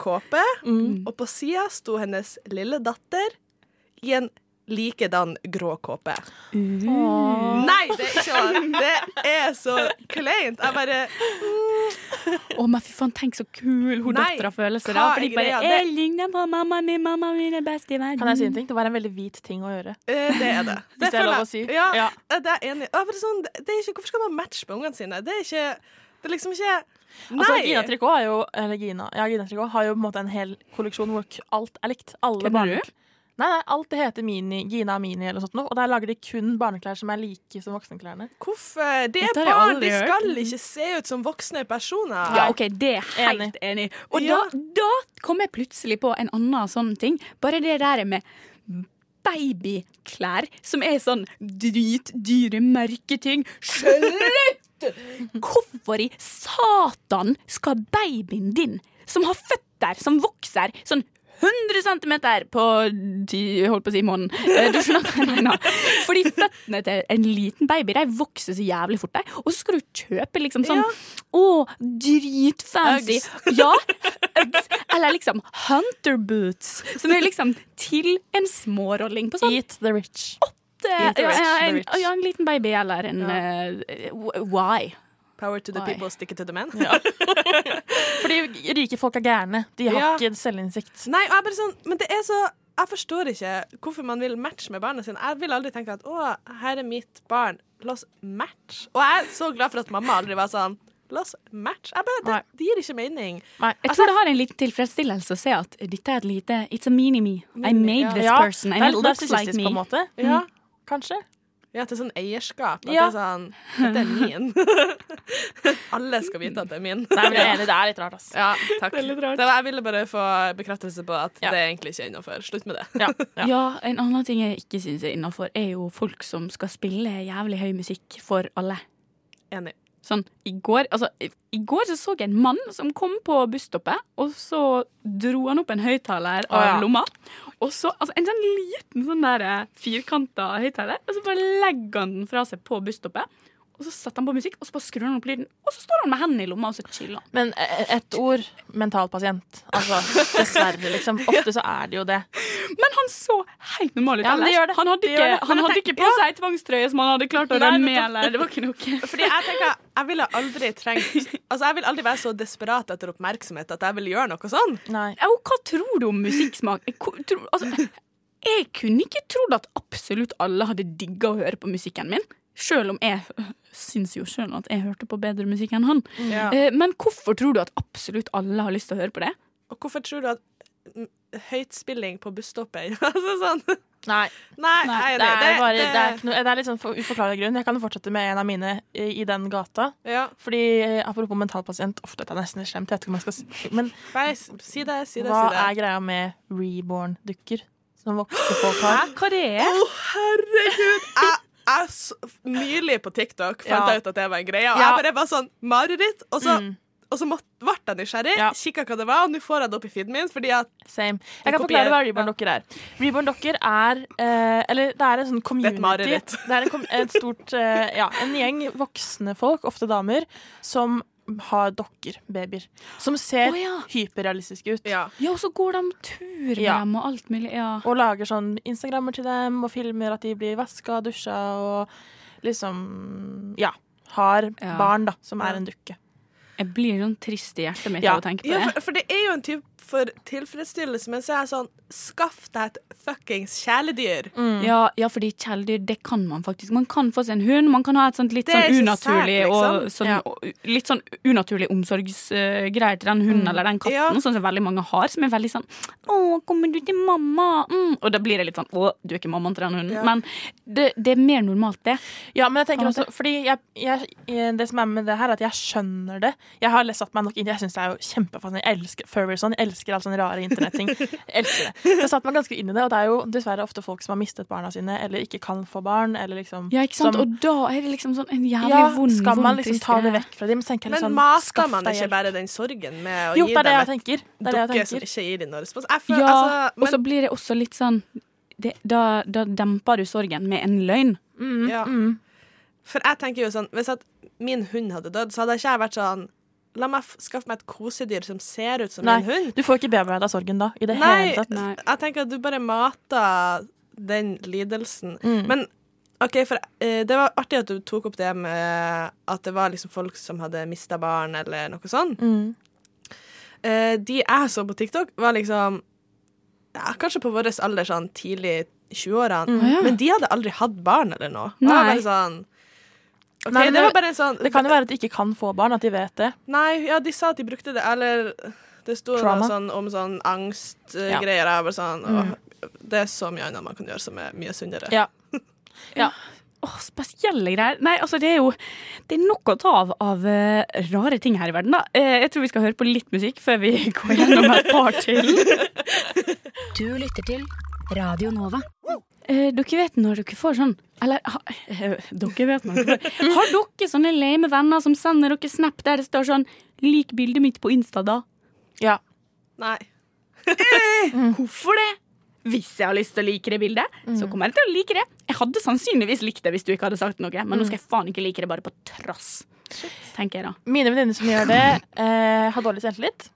[SPEAKER 6] kåpe, og på sida sto hennes lille datter i en likedan grå kåpe. Nei, det er ikke han! Det er så kleint. Jeg bare
[SPEAKER 4] Å, men fy faen, tenk så kul hun
[SPEAKER 6] Nei,
[SPEAKER 4] dattera føler seg da.
[SPEAKER 6] hva
[SPEAKER 4] Fordi
[SPEAKER 6] er
[SPEAKER 4] bare
[SPEAKER 6] greia? Det-
[SPEAKER 4] Jeg ligner på mamma mi, mamma min er best i verden.
[SPEAKER 5] Kan jeg si en ting? Det var en veldig hvit ting å gjøre.
[SPEAKER 6] Eh, Det er det.
[SPEAKER 5] Hvis det er
[SPEAKER 6] føler
[SPEAKER 5] lov å
[SPEAKER 6] jeg.
[SPEAKER 5] si.
[SPEAKER 6] Ja,
[SPEAKER 5] Ja.
[SPEAKER 6] eh, det er jeg enig. i. Ja, for det er sånn, det er ikke, hvorfor skal man matche med ungene sine? Det er ikke Det er liksom ikke Nei!
[SPEAKER 5] Altså, Gina Tricot er jo, eller Gina, ja, Gina Tricot har jo på en måte en hel kolleksjon hvor k- alt er likt. Alle
[SPEAKER 4] Kødder du?
[SPEAKER 5] barneklær. Nei, nei, alt det heter Mini, Gina Mini eller noe sånt, noe, og der lager de kun barneklær som er like som voksenklærne.
[SPEAKER 6] hvorfor Det er
[SPEAKER 4] Dette har jeg
[SPEAKER 6] barn!
[SPEAKER 4] aldri
[SPEAKER 6] De
[SPEAKER 4] hørt.
[SPEAKER 6] skal ikke se ut som voksne personer.
[SPEAKER 4] Ja, ok, det er jeg helt enig. i. Og
[SPEAKER 6] Ja.
[SPEAKER 4] da, da kom jeg plutselig på en annen sånn ting. Bare det der med babyklær som er sånn dritdyre merketing. Slutt! Hvorfor i satan skal babyen din, som har føtter som vokser sånn 100 cm på ti, holdt på å si måneden. Eh, Du skjønner hva jeg mener. Fordi føttene til en liten baby de vokser så jævlig fort. De. Og så skal du kjøpe liksom sånn Å, dritfancy. Ja, Uggs. Eller liksom Hunter boots, som er liksom til en smårolling på sånn
[SPEAKER 5] Eat the rich.
[SPEAKER 4] ja,
[SPEAKER 5] Eat the rich,
[SPEAKER 4] ja,
[SPEAKER 5] the
[SPEAKER 4] en,
[SPEAKER 5] rich.
[SPEAKER 4] ja, en liten baby eller en eh, w- Why?
[SPEAKER 6] Power to the
[SPEAKER 4] Oi.
[SPEAKER 6] people, stick it to the men.
[SPEAKER 5] Fordi rike folk er gærne. De har
[SPEAKER 6] Ja.
[SPEAKER 5] ikke selvinnsikt.
[SPEAKER 6] Nei, og jeg bare sånn Men det er så Jeg forstår ikke hvorfor man vil matche med barna sine. Jeg vil aldri tenke at å, her er mitt barn. La oss matche. Og jeg er så glad for at mamma aldri var sånn La oss matche. Jeg bare, det, det gir ikke mening.
[SPEAKER 5] Nei.
[SPEAKER 4] Jeg tror det har en liten tilfredsstillelse å se at dette er et lite It's a mini-me. I made
[SPEAKER 6] ja.
[SPEAKER 4] this
[SPEAKER 5] Ja,
[SPEAKER 4] person, and it
[SPEAKER 5] det er- det er
[SPEAKER 4] looks like
[SPEAKER 5] statistisk
[SPEAKER 4] me.
[SPEAKER 5] på en måte.
[SPEAKER 6] Ja.
[SPEAKER 5] Kanskje.
[SPEAKER 6] Ja, til sånn eierskap. At
[SPEAKER 5] Ja.
[SPEAKER 6] det er sånn Dette er min. Alle skal vite at det er min.
[SPEAKER 5] Nei, men jeg er enig, det er litt rart, ass.
[SPEAKER 6] Ja, takk. Det var, jeg ville bare få bekreftelse på at det egentlig ikke er innafor. Slutt med det.
[SPEAKER 5] Ja.
[SPEAKER 4] Ja.
[SPEAKER 5] Ja.
[SPEAKER 4] En annen ting jeg ikke syns er innafor, er jo folk som skal spille jævlig høy musikk for alle.
[SPEAKER 6] Enig.
[SPEAKER 4] Sånn, i går, altså, i- I går så, så jeg en mann som kom på busstoppet, og så dro han opp en høyttaler av
[SPEAKER 5] Å, ja.
[SPEAKER 4] lomma. Og så, altså, En sånn liten sånn der, eh, firkanta høyttaler, og så bare legger han den fra seg på busstoppet. Og så setter han på musikk, og så bare skrur han opp lyden, og så står han med hendene i lomma og så chiller. han.
[SPEAKER 5] Men eh, ett ord mentalpasient. Altså, dessverre, liksom. Ofte så er det jo det.
[SPEAKER 4] Men han så helt normal ut
[SPEAKER 5] Ja, men det
[SPEAKER 4] ellers.
[SPEAKER 5] gjør det.
[SPEAKER 4] Han hadde
[SPEAKER 5] Det
[SPEAKER 4] ikke,
[SPEAKER 5] gjør det. Men
[SPEAKER 4] han
[SPEAKER 5] jeg
[SPEAKER 4] hadde
[SPEAKER 5] tenker-
[SPEAKER 4] ikke på seg ei tvangstrøye som han hadde klart å
[SPEAKER 5] Nei,
[SPEAKER 4] rømme
[SPEAKER 5] nettopp.
[SPEAKER 4] eller Det var ikke noe.
[SPEAKER 6] Fordi jeg tenker, jeg ville aldri trengt Altså, jeg vil aldri være så desperat etter oppmerksomhet at jeg vil gjøre noe sånn.
[SPEAKER 5] Nei.
[SPEAKER 4] Ja, og hva tror du om musikksmak? Ko- tro- altså, jeg kunne ikke trodd at absolutt alle hadde digga å høre på musikken min. Selv om jeg øh, syns jo sjøl at jeg hørte på bedre musikk enn han.
[SPEAKER 5] Mm.
[SPEAKER 4] Eh, Men hvorfor tror du at absolutt alle har lyst til å høre på det?
[SPEAKER 6] Og hvorfor tror du at mm, høytspilling på busstoppet Altså sånn
[SPEAKER 5] Nei.
[SPEAKER 6] Nei, jeg er
[SPEAKER 5] Det
[SPEAKER 6] enig.
[SPEAKER 5] er, bare, det, er ikke noe, det er litt sånn for- uforklarlig grunn. Jeg kan jo fortsette med en av mine i, i den gata.
[SPEAKER 6] Ja.
[SPEAKER 5] Fordi eh, Apropos mentalpasient, uff, dette er nesten slemt. Jeg vet ikke om jeg skal si Men
[SPEAKER 6] Bare si det, si det, si
[SPEAKER 5] hva
[SPEAKER 6] det.
[SPEAKER 5] er greia med reborn-dukker? Som voksne folk har.
[SPEAKER 4] Hva det er?
[SPEAKER 6] Herregud! Jeg, jeg, s- nylig på TikTok fant
[SPEAKER 5] Ja.
[SPEAKER 6] jeg ut at det var en greie. Og
[SPEAKER 5] Ja. Mm.
[SPEAKER 6] jeg bare var sånn mareritt. Og så, og så måtte, ble jeg nysgjerrig,
[SPEAKER 5] Ja.
[SPEAKER 6] kikka hva det var, og nå får jeg det opp i feeden min. Fordi at
[SPEAKER 5] Same.
[SPEAKER 6] Vi
[SPEAKER 5] Jeg kan
[SPEAKER 6] kopierer.
[SPEAKER 5] forklare hva reborn-dokker er. Reborn-dokker er eh, Eller det er en sånn
[SPEAKER 6] er et
[SPEAKER 5] community.
[SPEAKER 6] mareritt.
[SPEAKER 5] Det er en, kom- et stort eh, Ja, en gjeng voksne folk, ofte damer, som har dokker, babyer, som ser
[SPEAKER 4] Å ja.
[SPEAKER 5] hyperrealistiske ut.
[SPEAKER 6] Ja.
[SPEAKER 4] ja, og så går de tur med
[SPEAKER 5] Ja.
[SPEAKER 4] dem og alt mulig. Ja.
[SPEAKER 5] Og lager sånn Instagrammer til dem, og filmer at de blir vaska og dusja, og liksom Ja. Har
[SPEAKER 4] Ja.
[SPEAKER 5] barn, da, som
[SPEAKER 6] Ja.
[SPEAKER 5] er en dukke.
[SPEAKER 4] Jeg blir sånn trist i hjertet mitt
[SPEAKER 5] Ja.
[SPEAKER 4] av å tenke på
[SPEAKER 6] Ja,
[SPEAKER 4] det.
[SPEAKER 6] for, for det er jo en type for tilfredsstillelse, men så er jeg sånn Skaff deg et fuckings kjæledyr.
[SPEAKER 5] Mm,
[SPEAKER 4] Ja, ja, fordi kjæledyr, det kan man faktisk. Man kan få seg en hund, man kan ha et sånt litt
[SPEAKER 6] Det er
[SPEAKER 4] sånn
[SPEAKER 6] ikke sært,
[SPEAKER 4] unaturlig
[SPEAKER 6] liksom.
[SPEAKER 4] og sånn, og litt sånn unaturlig omsorgsgreier til den hunden eller den katten,
[SPEAKER 6] Mm. Ja.
[SPEAKER 4] sånn som veldig mange har, som er veldig sånn Å, kommer du til mamma? Mm. Og da blir det litt sånn Å, du er ikke mammaen til den hunden.
[SPEAKER 6] Ja.
[SPEAKER 4] Men det, det er mer normalt, det.
[SPEAKER 5] Ja, men jeg tenker
[SPEAKER 4] På en
[SPEAKER 5] også Fordi jeg, jeg, eh, det som er med det her, er at jeg skjønner det. Jeg har lest satt meg nok inn Jeg syns det er jo kjempefascinerende. Jeg elsker furry og sånn. Jeg elsker alle sånne rare internetting. Jeg elsker det. Så jeg satte meg ganske inn i det, og det er jo dessverre ofte folk som har mistet barna sine, eller ikke kan få barn, eller liksom
[SPEAKER 4] Ja, ikke sant?
[SPEAKER 5] som-
[SPEAKER 4] og da er det liksom sånn en jævlig
[SPEAKER 5] ja,
[SPEAKER 4] vond,
[SPEAKER 5] skal man
[SPEAKER 4] vond,
[SPEAKER 5] liksom
[SPEAKER 4] trist
[SPEAKER 5] ta det
[SPEAKER 4] greie.
[SPEAKER 5] vekk fra dem? Men, så tenker jeg
[SPEAKER 6] Men
[SPEAKER 5] litt sånn,
[SPEAKER 6] masker
[SPEAKER 5] skaff
[SPEAKER 6] man
[SPEAKER 5] deg
[SPEAKER 6] ikke
[SPEAKER 5] hjelp.
[SPEAKER 6] bare den sorgen med å
[SPEAKER 5] Jo,
[SPEAKER 6] gi
[SPEAKER 5] det er det jeg
[SPEAKER 6] dem et
[SPEAKER 5] tenker. Det er det jeg
[SPEAKER 6] dukke som
[SPEAKER 5] tenker.
[SPEAKER 6] ikke gir dem noen respons? Jeg føler,
[SPEAKER 4] Ja,
[SPEAKER 6] altså,
[SPEAKER 4] og så
[SPEAKER 6] men,
[SPEAKER 4] blir det også litt sånn det, da, da demper du sorgen med en løgn.
[SPEAKER 5] Mm,
[SPEAKER 6] ja. For jeg tenker jo sånn Hvis at min hund hadde dødd, så hadde ikke jeg vært sånn La meg f- skaffe meg et kosedyr som ser ut som
[SPEAKER 5] Nei,
[SPEAKER 6] en hund.
[SPEAKER 5] du får ikke bearbeidet sorgen da, i det
[SPEAKER 6] Nei,
[SPEAKER 5] hele tatt.
[SPEAKER 4] Nei.
[SPEAKER 6] jeg tenker at du bare mater den lidelsen.
[SPEAKER 5] Mm.
[SPEAKER 6] Men OK, for eh, det var artig at du tok opp det med at det var liksom folk som hadde mista barn, eller noe sånt.
[SPEAKER 5] Mm.
[SPEAKER 6] Eh, de jeg så på TikTok, var liksom ja, Kanskje på vår alder, sånn tidlig
[SPEAKER 5] Mm.
[SPEAKER 6] 20-årene.
[SPEAKER 4] Å, ja.
[SPEAKER 6] Men de hadde aldri hatt barn eller noe. Og jeg
[SPEAKER 4] Nei.
[SPEAKER 6] bare sånn OK,
[SPEAKER 5] Nei, men
[SPEAKER 6] det
[SPEAKER 5] det-
[SPEAKER 6] var bare en sånn
[SPEAKER 5] Det kan jo være at de ikke kan få barn, at de vet det.
[SPEAKER 6] Nei, ja, de sa at de brukte det, eller det sto noe
[SPEAKER 5] Trauma.
[SPEAKER 6] sånn om sånn
[SPEAKER 5] Ja.
[SPEAKER 6] angstgreier. Jeg var bare sånn,
[SPEAKER 4] Mm.
[SPEAKER 6] «Åh, Det er så mye annet man kan gjøre som er mye sunnere.
[SPEAKER 5] Ja.
[SPEAKER 4] Åh, spesielle greier. Nei, altså det er jo Det er nok å ta av av eh, rare ting her i verden, da. Eh, jeg tror vi skal høre på litt musikk før vi går gjennom et par til.
[SPEAKER 8] Du lytter til Radio Nova.
[SPEAKER 4] Eh, dere vet når dere får sånn Eller ha, eh, dere vet når dere får Har dere sånne lame venner som sender dere snap der det står sånn 'Lik bildet mitt på Insta', da?
[SPEAKER 5] Ja.
[SPEAKER 6] Nei.
[SPEAKER 4] Hvorfor det? Hvis jeg har lyst til å like det bildet,
[SPEAKER 5] Mm.
[SPEAKER 4] så kommer jeg til å like det. Jeg hadde sannsynligvis likt det hvis du ikke hadde sagt noe, men nå
[SPEAKER 5] Mm.
[SPEAKER 4] skal jeg faen ikke like det bare på trass. Tenker jeg da.
[SPEAKER 5] Mine venninner som gjør det, eh, har dårlig selvtillit.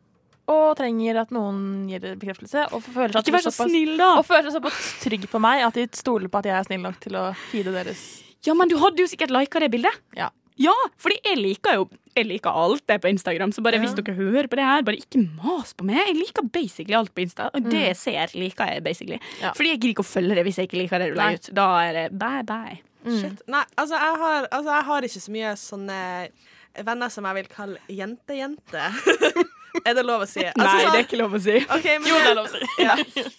[SPEAKER 5] Og trenger at noen gir det bekreftelse. Og føler seg, at
[SPEAKER 4] Ikke
[SPEAKER 5] de
[SPEAKER 4] vær så
[SPEAKER 5] såpass-
[SPEAKER 4] snill, da!
[SPEAKER 5] og føler seg såpass trygg på meg at de stoler på at jeg er snill nok til å feede deres
[SPEAKER 4] Ja, men du hadde jo sikkert lika det bildet.
[SPEAKER 5] Ja.
[SPEAKER 4] Ja, fordi jeg liker jo jeg liker alt det på Instagram, så bare hvis dere hører på det her, bare ikke mas på meg. Jeg liker basically alt på Insta, og det jeg ser, liker jeg basically.
[SPEAKER 5] Mm. Ja.
[SPEAKER 4] Fordi jeg gidder ikke å følge det hvis jeg ikke liker det du
[SPEAKER 5] Nei.
[SPEAKER 4] legger ut. Da er det bye bye.
[SPEAKER 6] Shit. Nei, altså jeg, har, altså jeg har ikke så mye sånne venner som jeg vil kalle jente-jente. er det lov å si? Altså, sånn-
[SPEAKER 4] ikke lov å si.
[SPEAKER 6] OK, men jo, det er lov å si.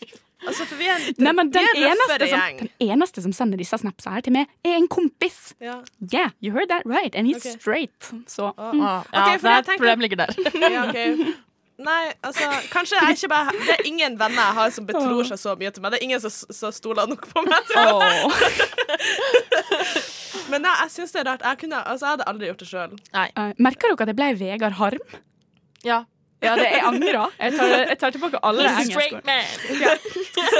[SPEAKER 6] Ja. Altså, for vi er en,
[SPEAKER 4] Nei, men den
[SPEAKER 6] vi er en
[SPEAKER 4] eneste,
[SPEAKER 6] røffere
[SPEAKER 4] som,
[SPEAKER 6] gjeng.
[SPEAKER 4] den eneste som sender disse snapsa her til meg, er en kompis.
[SPEAKER 6] Ja.
[SPEAKER 4] Yeah, you heard that right, and he's
[SPEAKER 6] Ok.
[SPEAKER 4] straight. Så
[SPEAKER 5] Ah, Ja,
[SPEAKER 6] Ok, for
[SPEAKER 5] det er
[SPEAKER 6] jeg
[SPEAKER 5] et
[SPEAKER 6] tenker-
[SPEAKER 5] problem ligger der.
[SPEAKER 6] Ja, ok. Nei, altså Kanskje jeg ikke bare Det er ingen venner jeg har som betror seg så mye til meg. Det er ingen som, som stoler nok på meg. Til. Men nei, jeg syns det er rart. Jeg, kunne, altså, jeg hadde aldri gjort det sjøl.
[SPEAKER 4] Eh, Merker dere at jeg ble Vegard Harm?
[SPEAKER 5] Ja.
[SPEAKER 4] Ja, det, jeg angrer. Jeg tar, jeg tar tilbake alle engelskord.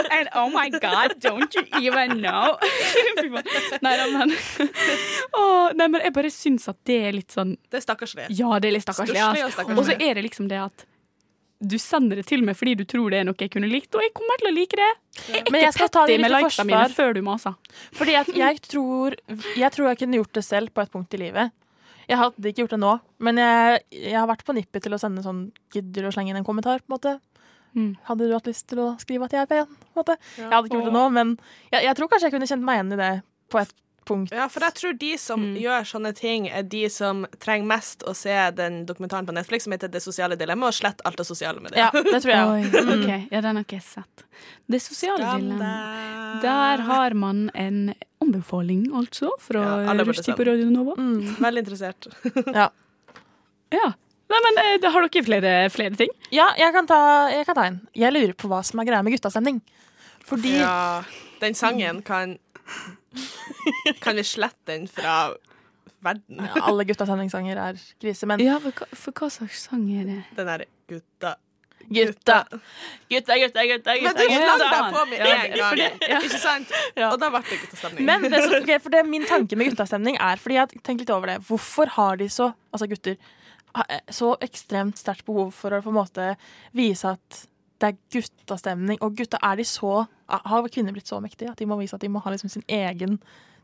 [SPEAKER 4] And oh my god, don't you even know? Fy faen. nei da, men Åh, Nei, men jeg bare syns at det er litt sånn
[SPEAKER 6] Det er stakkarslig.
[SPEAKER 4] Ja, det er litt stakkarslig.
[SPEAKER 6] Stusslig og
[SPEAKER 4] ass.
[SPEAKER 6] stakkarslig.
[SPEAKER 4] Og så er det liksom det at du sender det til meg fordi du tror det er noe jeg kunne likt, og jeg kommer til å like det.
[SPEAKER 5] Men jeg skal ta det
[SPEAKER 4] Det
[SPEAKER 5] litt
[SPEAKER 4] med
[SPEAKER 5] i
[SPEAKER 4] likesa mine
[SPEAKER 5] forsvar.
[SPEAKER 4] før du maser.
[SPEAKER 5] Fordi jeg, jeg, tror, jeg tror jeg kunne gjort det selv på et punkt i livet. Jeg hadde ikke gjort det nå, men jeg, jeg har vært på nippet til å sende sånn Gidder du å slenge inn en kommentar? på en måte.
[SPEAKER 4] Mm.
[SPEAKER 5] Hadde du hatt lyst til å skrive at jeg er pen? på en måte. Jeg hadde ikke gjort det nå, men jeg, jeg tror kanskje jeg kunne kjent meg igjen i det på et punkt.
[SPEAKER 6] Ja, for jeg tror de som
[SPEAKER 5] Mm.
[SPEAKER 6] gjør sånne ting, er de som trenger mest å se den dokumentaren på Netflix som heter 'Det sosiale dilemmaet', og slett alt det sosiale med det.
[SPEAKER 5] Ja, det tror jeg.
[SPEAKER 4] Oi, ok, Ja, den har ikke jeg sett. Det sosiale
[SPEAKER 6] Mm. Skam
[SPEAKER 4] dilemmaet.
[SPEAKER 6] deg.
[SPEAKER 4] Der har man en anbefaling, altså, fra
[SPEAKER 6] Ja,
[SPEAKER 4] ja,
[SPEAKER 6] alle burde
[SPEAKER 4] Rushdie
[SPEAKER 6] se Mm.
[SPEAKER 4] på Radio Nova.
[SPEAKER 6] Veldig interessert.
[SPEAKER 4] Ja. Nei, men eh, da Har dere flere, flere ting?
[SPEAKER 5] Ja, jeg kan ta, jeg kan ta en. Jeg lurer på hva som er greia med guttastemning. Fordi
[SPEAKER 6] Ja, den sangen kan Kan vi slette den fra verden?
[SPEAKER 5] Ja, alle guttastemningssanger er krise, men
[SPEAKER 4] Ja, for, hva- for hva slags sang er det?
[SPEAKER 6] Den der gutta
[SPEAKER 5] gutta, gutta, gutta, gutta,
[SPEAKER 6] Men
[SPEAKER 5] gutta,
[SPEAKER 6] du
[SPEAKER 5] gutta.
[SPEAKER 6] slapp deg på med en
[SPEAKER 4] det- for
[SPEAKER 6] gang,
[SPEAKER 4] det- ja.
[SPEAKER 6] ikke sant?
[SPEAKER 5] Ja.
[SPEAKER 6] Og da ble det guttastemning.
[SPEAKER 5] Men det som, ok, for det, min tanke med guttastemning er Fordi jeg har tenkt litt over det Hvorfor har de så, altså gutter ha- eh, så ekstremt sterkt behov for å på en måte vise at det er guttastemning. Og gutta er de så Har kvinner blitt så mektige at de må vise at de må ha liksom sin egen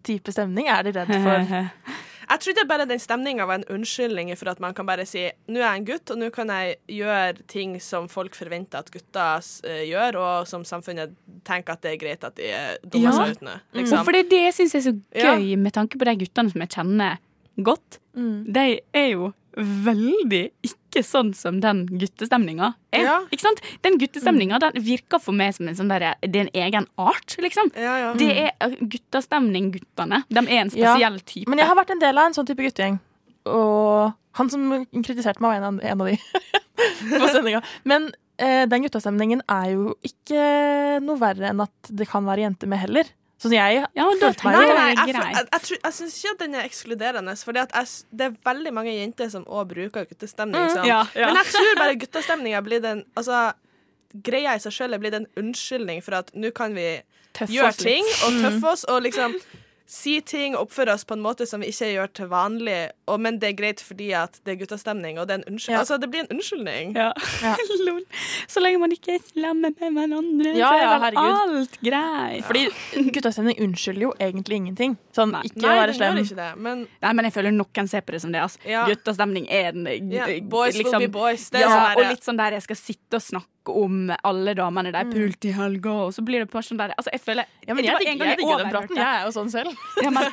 [SPEAKER 5] type stemning? Er de redd
[SPEAKER 4] Eh,
[SPEAKER 5] for
[SPEAKER 6] Jeg trodde bare den stemninga var en unnskyldning for at man kan bare si nå er jeg en gutt, og nå kan jeg gjøre ting som folk forventer at gutter eh, gjør, og som samfunnet tenker at det er greit at de eh, dummer
[SPEAKER 4] Ja. Mm.
[SPEAKER 6] seg ut nå. Liksom.
[SPEAKER 4] For det er det jeg syns er så
[SPEAKER 6] Ja.
[SPEAKER 4] gøy, med tanke på de guttene som jeg kjenner godt.
[SPEAKER 5] Mm.
[SPEAKER 4] De er jo veldig ikke sånn som den guttestemninga er.
[SPEAKER 6] Ja.
[SPEAKER 4] Ikke sant? Den guttestemninga den virker for meg som en sånn derre Det er en egen art, liksom.
[SPEAKER 6] Ja, ja.
[SPEAKER 4] Det er eh, guttastemning, guttene. De er en
[SPEAKER 5] Mm. Ja.
[SPEAKER 4] spesiell type.
[SPEAKER 5] Men jeg har vært en del av en sånn type guttegjeng. Og han som kritiserte meg, var en av, en av de. på sendinga. Men eh, den guttastemningen er jo ikke noe verre enn at det kan være jenter med heller. Sånn jeg
[SPEAKER 4] Ja, da
[SPEAKER 5] Følte
[SPEAKER 4] tenker
[SPEAKER 5] meg
[SPEAKER 6] Nei,
[SPEAKER 4] jeg
[SPEAKER 6] nei,
[SPEAKER 4] det er
[SPEAKER 6] jeg, jeg,
[SPEAKER 4] greit.
[SPEAKER 6] jeg, tror- jeg syns ikke at den er ekskluderende. For det er veldig mange jenter som òg bruker guttestemning. sånn.
[SPEAKER 4] Mm. ja, ja.
[SPEAKER 6] Men jeg tror bare guttestemninga blir den altså, Greia i seg sjøl er blitt en unnskyldning for at nå kan vi gjøre ting og
[SPEAKER 4] Mm.
[SPEAKER 6] tøffe oss. Og liksom si ting og oppføre oss på en måte som vi ikke gjør til vanlig. Og, men det er greit fordi at det er guttastemning, og det, er en unnskyld,
[SPEAKER 5] Ja.
[SPEAKER 6] altså, det blir en unnskyldning.
[SPEAKER 4] Ja. Lol. Så lenge man ikke er slemme med hverandre,
[SPEAKER 5] Ja,
[SPEAKER 4] så er
[SPEAKER 5] ja,
[SPEAKER 4] vel
[SPEAKER 5] herregud.
[SPEAKER 4] alt greit.
[SPEAKER 5] Fordi guttastemning unnskylder jo egentlig ingenting. Sånn
[SPEAKER 4] Nei.
[SPEAKER 5] ikke
[SPEAKER 6] Nei,
[SPEAKER 5] være
[SPEAKER 6] den gjør
[SPEAKER 5] slem.
[SPEAKER 6] ikke det. Men
[SPEAKER 4] Nei, men jeg føler noen ser på det som det. Altså.
[SPEAKER 6] Ja.
[SPEAKER 4] Guttastemning er en
[SPEAKER 6] ja,
[SPEAKER 4] eh,
[SPEAKER 6] boys
[SPEAKER 4] liksom-
[SPEAKER 6] will be boys. Det er
[SPEAKER 4] Ja,
[SPEAKER 6] sånn
[SPEAKER 4] og
[SPEAKER 6] der-
[SPEAKER 4] litt sånn der jeg skal sitte og snakke om alle damene der pult i helga, og så blir det bare sånn der Altså, jeg føler
[SPEAKER 5] Mm. Ja, men
[SPEAKER 4] Det
[SPEAKER 5] jeg,
[SPEAKER 4] var
[SPEAKER 5] digger-
[SPEAKER 4] en gang
[SPEAKER 5] jeg digger den
[SPEAKER 4] overhørte
[SPEAKER 5] praten.
[SPEAKER 4] det.
[SPEAKER 5] Jeg er jo sånn selv.
[SPEAKER 4] Ja, men,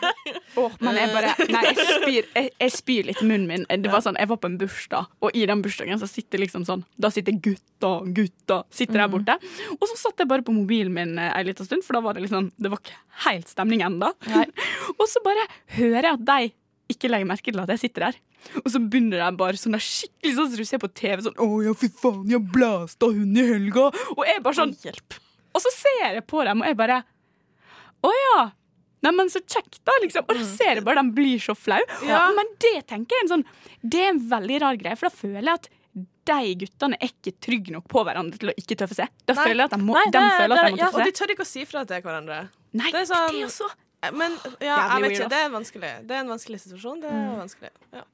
[SPEAKER 4] åh, men jeg bare Nei, jeg spyr, jeg, jeg spyr litt i munnen min. Det var sånn, Jeg var på en bursdag, og i den bursdagen så sitter liksom sånn Da sitter gutta, gutta sitter der borte. Og så satt jeg bare på mobilen min eh, ei lita stund, for da var det liksom Det var ikke helt stemning ennå. Og så bare hører jeg at de ikke legger merke til at jeg sitter der. Og så begynner de bare sånn der skikkelig sånn som du ser på TV sånn 'Å ja, fy faen, jeg blasta hun i helga'. Og jeg bare sånn Og så ser jeg på dem, og jeg bare Å ja. Nei, men så kjekt, da, liksom. Og da
[SPEAKER 6] Mm.
[SPEAKER 4] ser jeg bare de blir så flau. Men det tenker jeg er en sånn Det er en veldig rar greie, for da føler jeg at de guttene er ikke trygge nok på hverandre til å ikke tøffe seg. Da
[SPEAKER 6] Nei.
[SPEAKER 4] føler jeg at de må,
[SPEAKER 5] Nei,
[SPEAKER 4] de
[SPEAKER 5] det-
[SPEAKER 4] føler at
[SPEAKER 5] det-
[SPEAKER 4] de må
[SPEAKER 5] ja,
[SPEAKER 4] tøffe
[SPEAKER 6] Og de
[SPEAKER 4] seg.
[SPEAKER 6] tør ikke å si fra til hverandre.
[SPEAKER 4] Nei,
[SPEAKER 6] det er sånn-
[SPEAKER 4] det er jo så
[SPEAKER 6] Men ja, jeg
[SPEAKER 4] Jævlig
[SPEAKER 6] vet
[SPEAKER 4] weird,
[SPEAKER 6] ikke.
[SPEAKER 4] ass. Mm.
[SPEAKER 6] Det er vanskelig. Det er en vanskelig situasjon. Det er vanskelig. Ja.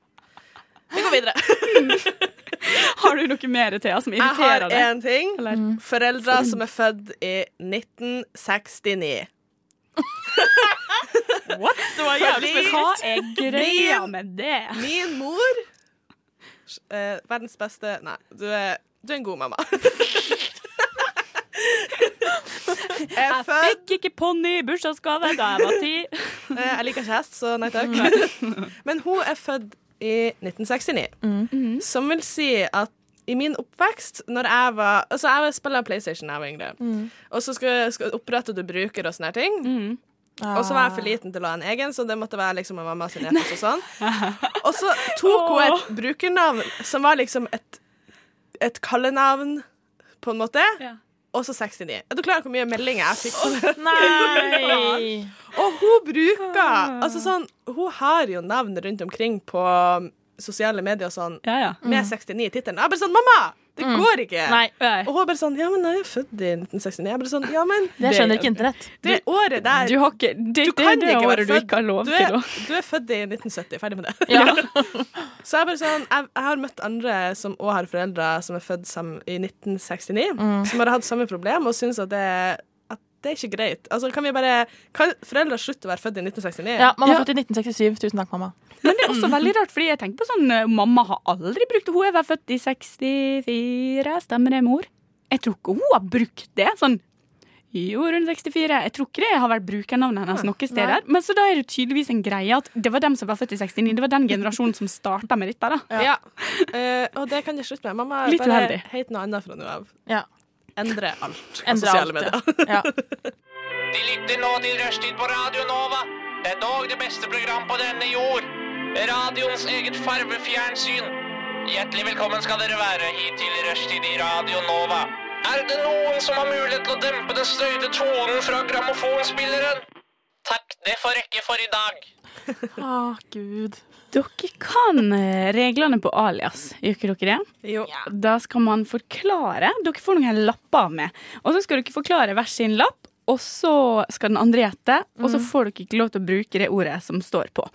[SPEAKER 6] Vi går videre.
[SPEAKER 4] Har du noe mer, Thea, som
[SPEAKER 6] Jeg har
[SPEAKER 4] irriterer deg?
[SPEAKER 6] én ting.
[SPEAKER 4] Eller?
[SPEAKER 6] Foreldre som er født i 1969. What? Det var jævlig
[SPEAKER 4] Hva
[SPEAKER 6] spesielt.
[SPEAKER 4] er greia med det?
[SPEAKER 6] Min mor eh, Verdens beste Nei, du er, du er en god mamma. er
[SPEAKER 4] Jeg
[SPEAKER 6] født
[SPEAKER 4] fikk ikke ponni i bursdagsgave da jeg var ti.
[SPEAKER 6] Eh, Jeg liker ikke hest, så nei takk. Men hun er født i 1969, som vil si at i min oppvekst, når jeg var Altså, jeg var- spiller PlayStation da jeg var yngre, og så skal, skal opprette du bruker og sånne her ting. Og så var jeg for liten til å ha en egen, så det måtte være liksom en mamma sin etos og sånn. Og så tok hun et brukernavn som var liksom et, et kallenavn, på en måte,
[SPEAKER 4] Ja.
[SPEAKER 6] og så 69. Er du klar over hvor mye meldinger jeg fikk på det?
[SPEAKER 5] Nei!
[SPEAKER 6] Og hun bruker Altså sånn, hun har jo navn rundt omkring på um, sosiale medier og sånn,
[SPEAKER 4] Ja, ja.
[SPEAKER 6] med 69 i tittelen. Jeg er bare sånn Mamma! Det går ikke!
[SPEAKER 5] Mm. Nei.
[SPEAKER 6] Og hun er bare sånn Ja, men jeg er født i 1969. Jeg er bare sånn Ja, men
[SPEAKER 5] Det skjønner ikke internett.
[SPEAKER 6] det året der
[SPEAKER 4] Du har ikke Det, det er
[SPEAKER 6] kan
[SPEAKER 4] det
[SPEAKER 6] ikke være
[SPEAKER 4] året du
[SPEAKER 6] født.
[SPEAKER 4] ikke har lov
[SPEAKER 6] du
[SPEAKER 4] til
[SPEAKER 6] er,
[SPEAKER 4] å
[SPEAKER 6] du er født i 1970. Ferdig med det. Så jeg er bare sånn Jeg, jeg har møtt andre som òg har foreldre som er født sam- i 1969,
[SPEAKER 4] Mm.
[SPEAKER 6] som har hatt samme problem, og syns at det at det er ikke greit. Altså, kan vi bare Kan foreldre slutte å være født i 1969?
[SPEAKER 5] Ja, Mamma er født i 1967. Tusen takk, mamma.
[SPEAKER 4] Men det er også veldig rart, fordi jeg tenker på sånn eh, Mamma har aldri brukt Hun er vel født i 64, stemmer det, mor? Jeg tror ikke hun har brukt det. Sånn jo, rundt 64. Jeg tror ikke det har vært brukernavnet hennes noen steder. Men så da er det tydeligvis en greie at det var dem som var født i 69. Det var den generasjonen som starta med dette, da.
[SPEAKER 6] Ja. Eh, og det kan jeg slutte med. Mamma
[SPEAKER 4] Litt
[SPEAKER 6] bare
[SPEAKER 4] uheldig.
[SPEAKER 6] het noe annet fra nå av.
[SPEAKER 5] Ja.
[SPEAKER 6] Endre alt på
[SPEAKER 5] Endre
[SPEAKER 6] sosiale
[SPEAKER 5] alt,
[SPEAKER 6] medier.
[SPEAKER 5] Ja.
[SPEAKER 9] De lytter nå til Rushtid på Radio Nova. Det er dog det beste program på denne jord. Radioens eget farvefjernsyn. Hjertelig velkommen skal dere være hit til Rushtid i Radio Nova. Er det noen som har mulighet til å dempe den støyte tonen fra grammofonspilleren? Takk, det får rekke for i dag.
[SPEAKER 5] Å, Ah, gud.
[SPEAKER 4] Dere kan eh, reglene på alias, gjør ikke dere det?
[SPEAKER 6] Jo.
[SPEAKER 4] Da skal man forklare. Dere får noen lapper med. Og så skal dere forklare hver sin lapp, og så skal den andre gjette. Og så får dere ikke lov til å bruke det ordet som står på.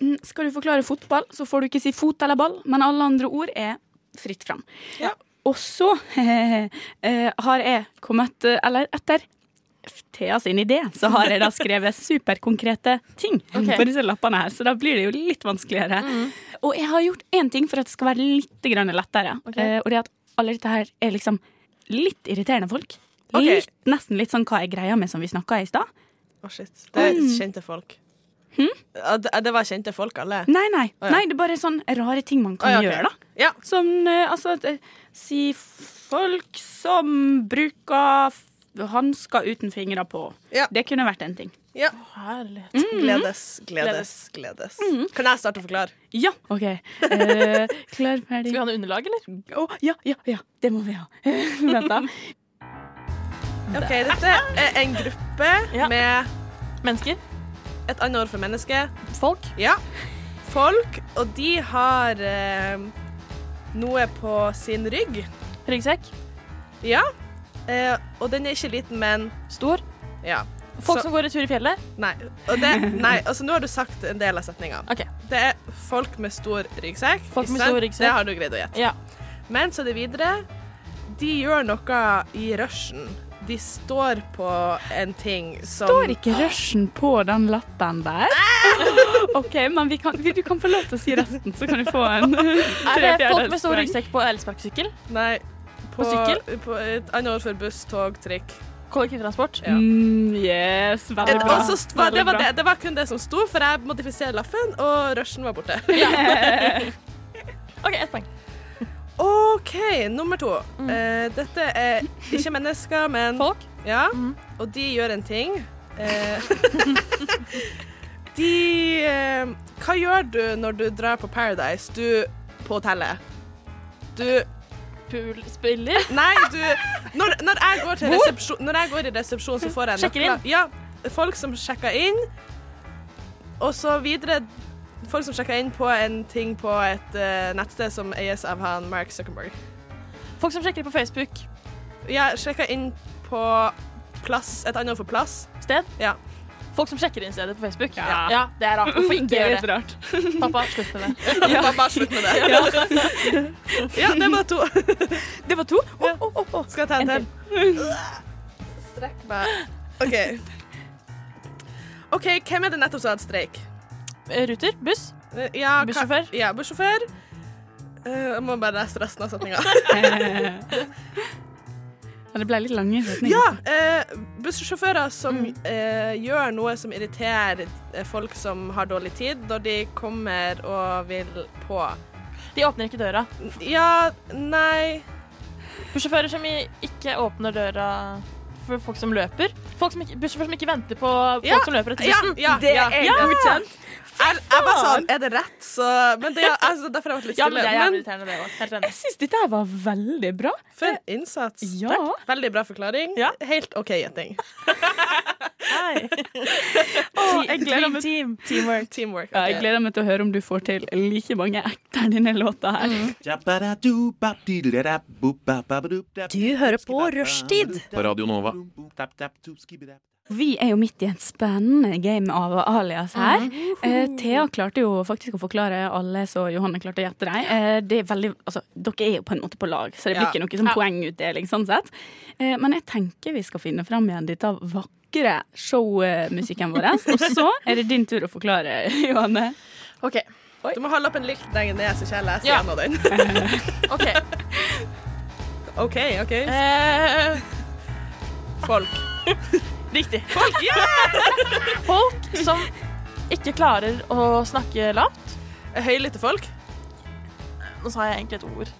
[SPEAKER 4] mm, skal du forklare fotball, så får du ikke si fot eller ball, men alle andre ord er fritt fram.
[SPEAKER 6] Ja.
[SPEAKER 4] Og så eh, har jeg kommet, eh, eller etter Thea sin idé, så har jeg da skrevet superkonkrete ting på disse lappene her, så da blir det jo litt vanskeligere.
[SPEAKER 6] Mm.
[SPEAKER 4] Og jeg har gjort én ting for at det skal være litt grann lettere, eh, og det er at alle dette her er liksom litt irriterende folk.
[SPEAKER 6] Ok.
[SPEAKER 4] Litt, nesten litt sånn hva er greia med som vi snakka i stad.
[SPEAKER 6] Å, shit. Det er
[SPEAKER 4] Mm.
[SPEAKER 6] kjente folk.
[SPEAKER 4] Hm?
[SPEAKER 6] Ja, det, det var kjente folk, alle.
[SPEAKER 4] Nei, nei.
[SPEAKER 6] Å, ja.
[SPEAKER 4] nei. Det er bare sånn rare ting man kan
[SPEAKER 6] Å, ja, ok.
[SPEAKER 4] gjøre, da.
[SPEAKER 6] Ja.
[SPEAKER 4] Som eh, altså at, eh, Si folk som bruker f- hansker uten fingre på.
[SPEAKER 6] Ja.
[SPEAKER 4] Det kunne vært en ting.
[SPEAKER 6] ja.
[SPEAKER 5] Herlighet.
[SPEAKER 6] Gledes, gledes, Mm. gledes. Kan jeg starte å forklare?
[SPEAKER 4] Ja, OK. Eh, klar, ferdig
[SPEAKER 5] Skal vi ha noe underlag, eller?
[SPEAKER 4] Å, ja, ja, ja. Det må vi ha. Vent, da.
[SPEAKER 6] Ok, Dette er en gruppe
[SPEAKER 5] Ja.
[SPEAKER 6] med
[SPEAKER 5] Mennesker?
[SPEAKER 6] et annet ord for menneske.
[SPEAKER 5] Folk?
[SPEAKER 6] Ja. Folk, og de har eh, noe på sin rygg.
[SPEAKER 5] Ryggsekk?
[SPEAKER 6] Ja. Eh, og den er ikke liten, men
[SPEAKER 5] Stor?
[SPEAKER 6] ja.
[SPEAKER 5] Folk
[SPEAKER 6] Så-
[SPEAKER 5] som går i tur i fjellet?
[SPEAKER 6] Nei. Og det, nei, altså nå har du sagt en del av setninga.
[SPEAKER 5] Ok.
[SPEAKER 6] Det er folk med stor ryggsekk.
[SPEAKER 5] Folk med
[SPEAKER 6] ikke sant?
[SPEAKER 5] stor ryggsekk.
[SPEAKER 6] Det har du greid å gjette.
[SPEAKER 5] Ja.
[SPEAKER 6] Men så er det videre. De gjør noe i rushen. De står på en ting som
[SPEAKER 4] Står ikke rushen på den lappen der? OK, men vi kan, vi, du kan få lov til å si resten, så kan du få en
[SPEAKER 5] Er det folk med stor
[SPEAKER 4] trefjerdespoeng.
[SPEAKER 5] ryggsekk på elsparkesykkel?
[SPEAKER 6] Nei. På,
[SPEAKER 5] sykkel?
[SPEAKER 6] På et annet ord for buss, tog, trikk.
[SPEAKER 5] Kollektivtransport?
[SPEAKER 6] Ja.
[SPEAKER 4] Mm, yes, veldig
[SPEAKER 6] Et,
[SPEAKER 4] bra.
[SPEAKER 6] og så st- var, det,
[SPEAKER 4] Veldig
[SPEAKER 6] var
[SPEAKER 4] bra.
[SPEAKER 6] det, det var kun det som sto, for jeg modifiserte lappen, og rushen var borte.
[SPEAKER 5] OK, ett poeng.
[SPEAKER 6] OK, nummer to. Eh, dette er ikke mennesker, men
[SPEAKER 5] Mm. Folk? Mm.
[SPEAKER 6] Ja, og de gjør en ting. Eh, de eh, Hva gjør du når du drar på Paradise? Du på hotellet. Du
[SPEAKER 5] Poolspiller?
[SPEAKER 6] Nei, du Når, når, jeg, går til resepsjon, når jeg går i resepsjon, så får jeg
[SPEAKER 5] Sjekker inn.
[SPEAKER 6] nøkler. Ja, folk som sjekker inn, og så videre Folk som sjekker inn på en ting på et eh, nettsted som eies av han Mark Zuckerberg.
[SPEAKER 5] Folk som sjekker på Facebook?
[SPEAKER 6] Jeg sjekker inn på plass, et annet ord for plass.
[SPEAKER 5] Sted?
[SPEAKER 6] Ja.
[SPEAKER 5] Folk som sjekker inn stedet på Facebook? Ja, det er rart. Hvorfor ikke
[SPEAKER 4] Det er
[SPEAKER 5] gjøre
[SPEAKER 4] litt
[SPEAKER 5] det?
[SPEAKER 4] rart.
[SPEAKER 5] Pappa, slutt med det.
[SPEAKER 6] Bare, bare slutt med det. Ja, det var to.
[SPEAKER 4] Det var to.
[SPEAKER 6] Ja. Skal jeg ta oh, en til? Strekk meg. OK. OK, hvem er det nettopp som hadde streik?
[SPEAKER 5] Ruter? Buss?
[SPEAKER 6] Eh, Ja, hva-
[SPEAKER 5] Bussjåfør?
[SPEAKER 6] Ja, bussjåfør. Eh, Jeg må bare lese resten av setninga.
[SPEAKER 4] Men det ble litt lange setninger.
[SPEAKER 6] Ja, eh, bussjåfører som eh, gjør noe som irriterer eh, folk som har dårlig tid, når de kommer og vil på.
[SPEAKER 5] De åpner ikke døra.
[SPEAKER 6] Ja, nei
[SPEAKER 5] Bussjåfører som i- ikke åpner døra for folk som løper. Folk som ikke, bussjåfører som ikke venter på folk
[SPEAKER 6] Ja.
[SPEAKER 5] som løper etter
[SPEAKER 6] Ja,
[SPEAKER 5] bussen.
[SPEAKER 6] ja, ja.
[SPEAKER 5] ja.
[SPEAKER 6] Jeg, jeg var sånn, er det rett? Så, men det, altså, derfor har jeg vært litt
[SPEAKER 5] Ja, men
[SPEAKER 6] stille.
[SPEAKER 5] det er jævlig
[SPEAKER 6] men
[SPEAKER 5] irriterende, det òg. Helt enig.
[SPEAKER 4] Jeg syns dette her var veldig bra.
[SPEAKER 6] for en innsats.
[SPEAKER 4] Ja.
[SPEAKER 6] Takk. Veldig bra forklaring.
[SPEAKER 5] Ja.
[SPEAKER 6] Helt OK gjetting.
[SPEAKER 4] jeg, gleder meg,
[SPEAKER 6] Teamwork. Teamwork.
[SPEAKER 4] ja, jeg
[SPEAKER 6] ok.
[SPEAKER 4] gleder meg til å høre om du får til like mange etter denne låta her.
[SPEAKER 8] Du hører på Rushtid.
[SPEAKER 2] På Radio Nova.
[SPEAKER 4] Vi er jo midt i et spennende game av alias her. Eh, Thea klarte jo faktisk å forklare alle, så Johanne klarte å gjette deg. Eh, det er veldig, altså, dere er jo på en måte på lag, så det blir
[SPEAKER 6] Ja.
[SPEAKER 4] ikke noe sånn poengutdeling sånn sett. Eh, men jeg tenker vi skal finne fram igjen dette vakre showmusikken vår. Og så er det din tur å forklare, Johanne.
[SPEAKER 5] OK.
[SPEAKER 6] Du må holde opp en lykt lenger ned, så ikke jeg leser
[SPEAKER 5] Ja.
[SPEAKER 6] gjennom den.
[SPEAKER 5] ok.
[SPEAKER 6] OK, OK.
[SPEAKER 5] Eh,
[SPEAKER 6] Folk.
[SPEAKER 5] riktig.
[SPEAKER 6] Folk, ja!
[SPEAKER 5] Folk som ikke klarer å snakke lavt.
[SPEAKER 6] Høylytte folk.
[SPEAKER 5] Nå sa jeg egentlig et ord.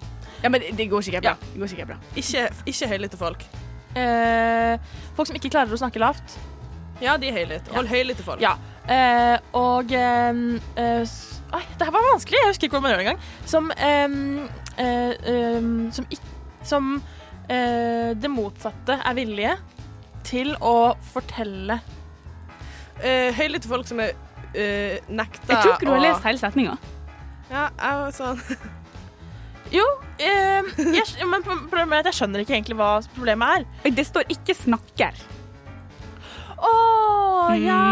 [SPEAKER 4] Ja, men det går sikkert
[SPEAKER 5] bra.
[SPEAKER 4] Det går sikkert bra.
[SPEAKER 6] Ikke, ikke høylytte folk.
[SPEAKER 5] Eh, folk som ikke klarer å snakke lavt.
[SPEAKER 6] Ja, de er høylytte. Hold høylytte folk.
[SPEAKER 5] Ja. Eh, og eh, eh, s- Ai, det her var vanskelig. Jeg husker ikke hvordan man gjør det engang. Som eh, eh, eh, Som, ikk- som eh, det motsatte er villige til å fortelle
[SPEAKER 6] Eh, høylytte folk som er eh, nekta
[SPEAKER 4] Jeg tror ikke du har
[SPEAKER 6] å-
[SPEAKER 4] lest hele setninga.
[SPEAKER 6] Ja, jeg var sånn
[SPEAKER 5] Jo, eh, jeg, skj- men pro- problemet er at jeg skjønner ikke egentlig hva problemet er.
[SPEAKER 4] Det står ikke 'snakker'.
[SPEAKER 5] Åh, ja!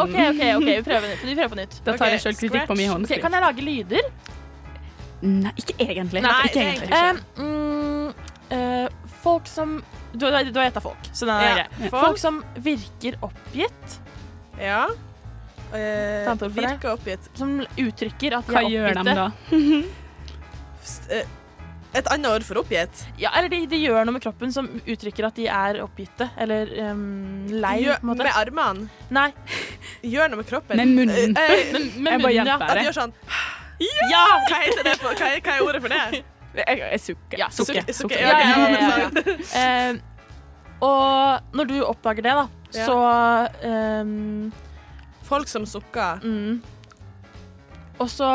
[SPEAKER 5] OK, OK, ok, vi prøver nytt. Vi prøver på nytt.
[SPEAKER 4] Mm. Da tar jeg
[SPEAKER 6] Ok,
[SPEAKER 4] sjøl kritikk på min hånd.
[SPEAKER 5] Ok, kan jeg lage lyder?
[SPEAKER 4] Nei, ikke egentlig.
[SPEAKER 6] Nei,
[SPEAKER 4] ikke
[SPEAKER 6] egentlig
[SPEAKER 4] Eh,
[SPEAKER 5] Eh, mm, eh, folk som Du, du, du har gjetta folk, så den er
[SPEAKER 6] Ja,
[SPEAKER 5] grei.
[SPEAKER 6] folk.
[SPEAKER 5] Folk som virker oppgitt.
[SPEAKER 6] Ja. Eh,
[SPEAKER 5] Ta et ord for det.
[SPEAKER 6] virker oppgitt.
[SPEAKER 5] Som uttrykker at de
[SPEAKER 4] Hva
[SPEAKER 5] er
[SPEAKER 4] gjør
[SPEAKER 5] oppgitte.
[SPEAKER 4] de da?
[SPEAKER 6] St- eh, Et annet ord for oppgitt.
[SPEAKER 5] Ja, eller de, de gjør noe med kroppen som uttrykker at de er oppgitte. Eller ehm, lei,
[SPEAKER 6] Gjør-
[SPEAKER 5] på en måte.
[SPEAKER 6] med armene.
[SPEAKER 5] Nei,
[SPEAKER 6] Gjør noe med kroppen.
[SPEAKER 4] Med munnen.
[SPEAKER 6] Eh, eh,
[SPEAKER 5] med
[SPEAKER 4] Jeg bare
[SPEAKER 5] munnen, ja.
[SPEAKER 4] hjelper
[SPEAKER 6] at de
[SPEAKER 4] deg.
[SPEAKER 6] gjør sånn
[SPEAKER 5] Ja!
[SPEAKER 6] Hva heter det for, hva, er- hva er ordet for det?
[SPEAKER 4] Jeg, jeg sukker.
[SPEAKER 5] Ja,
[SPEAKER 4] sukker.
[SPEAKER 6] Sukke- sukke-
[SPEAKER 5] Ja, ja, ja, ja,
[SPEAKER 6] ok,
[SPEAKER 5] Eh, og når du oppdager det, da,
[SPEAKER 6] Ja.
[SPEAKER 5] så ehm,
[SPEAKER 6] Folk som sukker.
[SPEAKER 5] mm, Og så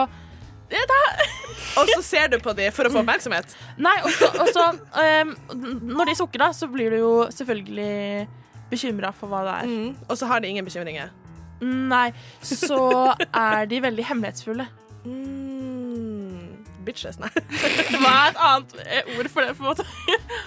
[SPEAKER 6] Og så ser du på dem for å få oppmerksomhet.
[SPEAKER 5] Nei, og så- og så ehm, n- Når de sukker, da, så blir du jo selvfølgelig bekymra for hva det er.
[SPEAKER 6] Mm. Og så har de ingen bekymringer.
[SPEAKER 5] Nei, så er de veldig hemmelighetsfulle.
[SPEAKER 6] Mm. Bitches, nei.
[SPEAKER 5] Hva er et annet eh, ord for det, på en måte?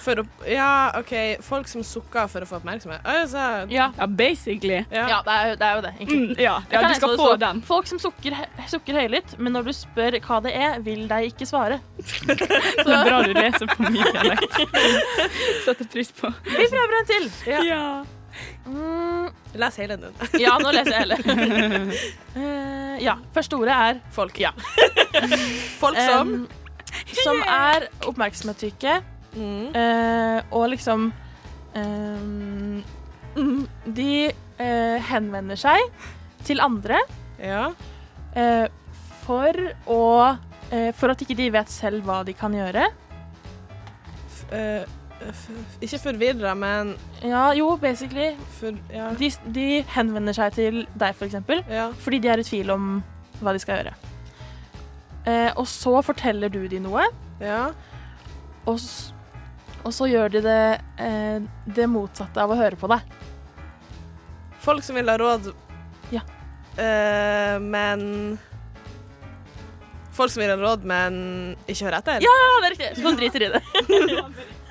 [SPEAKER 6] For å, ja, OK. Folk som sukker for å få oppmerksomhet. Altså,
[SPEAKER 5] Ja,
[SPEAKER 4] Ja, basically.
[SPEAKER 5] ja det, er jo, det er jo det, egentlig.
[SPEAKER 4] Mm, ja, ja,
[SPEAKER 5] Jeg
[SPEAKER 4] du
[SPEAKER 5] kan lese
[SPEAKER 4] skal
[SPEAKER 5] hva det
[SPEAKER 4] få
[SPEAKER 5] står.
[SPEAKER 4] den.
[SPEAKER 5] Folk som sukker, sukker høylytt, men når du spør hva det er, vil de ikke svare.
[SPEAKER 4] Så det er bra du leser på min dialekt. Setter pris på.
[SPEAKER 5] Vi prøver en til.
[SPEAKER 4] Ja.
[SPEAKER 5] Mm,
[SPEAKER 6] les hele den.
[SPEAKER 5] ja, nå leser jeg hele. Eh, ja. Første ordet er folk. Ja.
[SPEAKER 6] Folk som
[SPEAKER 5] Em, som er oppmerksomhetssyke
[SPEAKER 6] mm.
[SPEAKER 5] eh, og liksom em, mm, De eh, henvender seg til andre
[SPEAKER 6] Ja.
[SPEAKER 5] eh, for å eh, For at ikke de vet selv hva de kan gjøre.
[SPEAKER 6] F, eh, f, ikke forvirra, men
[SPEAKER 5] Ja, jo, basically.
[SPEAKER 6] for, ja.
[SPEAKER 5] De, de henvender seg til deg, for eksempel,
[SPEAKER 6] ja.
[SPEAKER 5] fordi de er i tvil om hva de skal gjøre. Eh, og så forteller du dem noe,
[SPEAKER 6] Ja.
[SPEAKER 5] og, s- og så gjør de det, eh, det motsatte av å høre på deg.
[SPEAKER 6] Folk som vil ha råd
[SPEAKER 5] Ja.
[SPEAKER 6] Eh, men Folk som vil ha råd, men ikke hører etter?
[SPEAKER 5] Ja, det er riktig! Så de driter i det.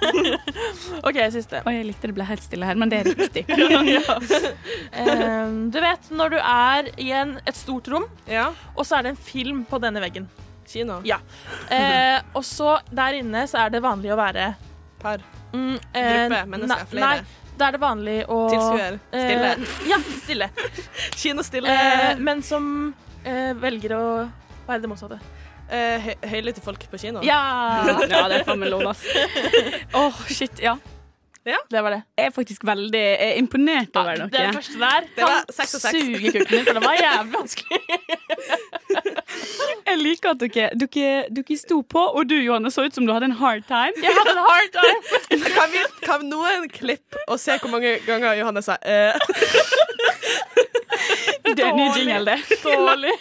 [SPEAKER 5] OK, siste.
[SPEAKER 4] Og jeg likte det ble helt stille her, men det er riktig.
[SPEAKER 5] Eh, du vet når du er i en, et stort rom,
[SPEAKER 6] Ja.
[SPEAKER 5] og så er det en film på denne veggen.
[SPEAKER 6] Kino.
[SPEAKER 5] Ja. Eh, og så der inne så er det vanlig å være
[SPEAKER 6] Par.
[SPEAKER 5] mm,
[SPEAKER 6] Gruppe, mennesker,
[SPEAKER 5] nei-
[SPEAKER 6] flere.
[SPEAKER 5] Nei, da er det vanlig å
[SPEAKER 6] Tilskuer. Stille.
[SPEAKER 5] Eh, ja, stille.
[SPEAKER 6] Kino stille.
[SPEAKER 5] Eh, men som eh, velger å være det motsatte.
[SPEAKER 6] Eh, hø høylytte folk på kino.
[SPEAKER 5] Ja!
[SPEAKER 4] Ja, det er faen meg lov, ass. Åh, shit, ja.
[SPEAKER 5] Det var det.
[SPEAKER 4] Jeg er faktisk veldig jeg er imponert over
[SPEAKER 5] det
[SPEAKER 4] dere.
[SPEAKER 5] første der
[SPEAKER 6] Det var
[SPEAKER 5] kan
[SPEAKER 6] seks og seks.
[SPEAKER 5] suge kukken min, for det var jævlig vanskelig.
[SPEAKER 4] Jeg liker at dere, dere, dere sto på, og du, Johanne, så ut som du hadde en hard time.
[SPEAKER 5] Jeg hadde en hard time.
[SPEAKER 6] Kan, vi, kan noen klippe og se hvor mange ganger Johanne sa eh,
[SPEAKER 4] Det er ny jingle, det.
[SPEAKER 5] Dårlig.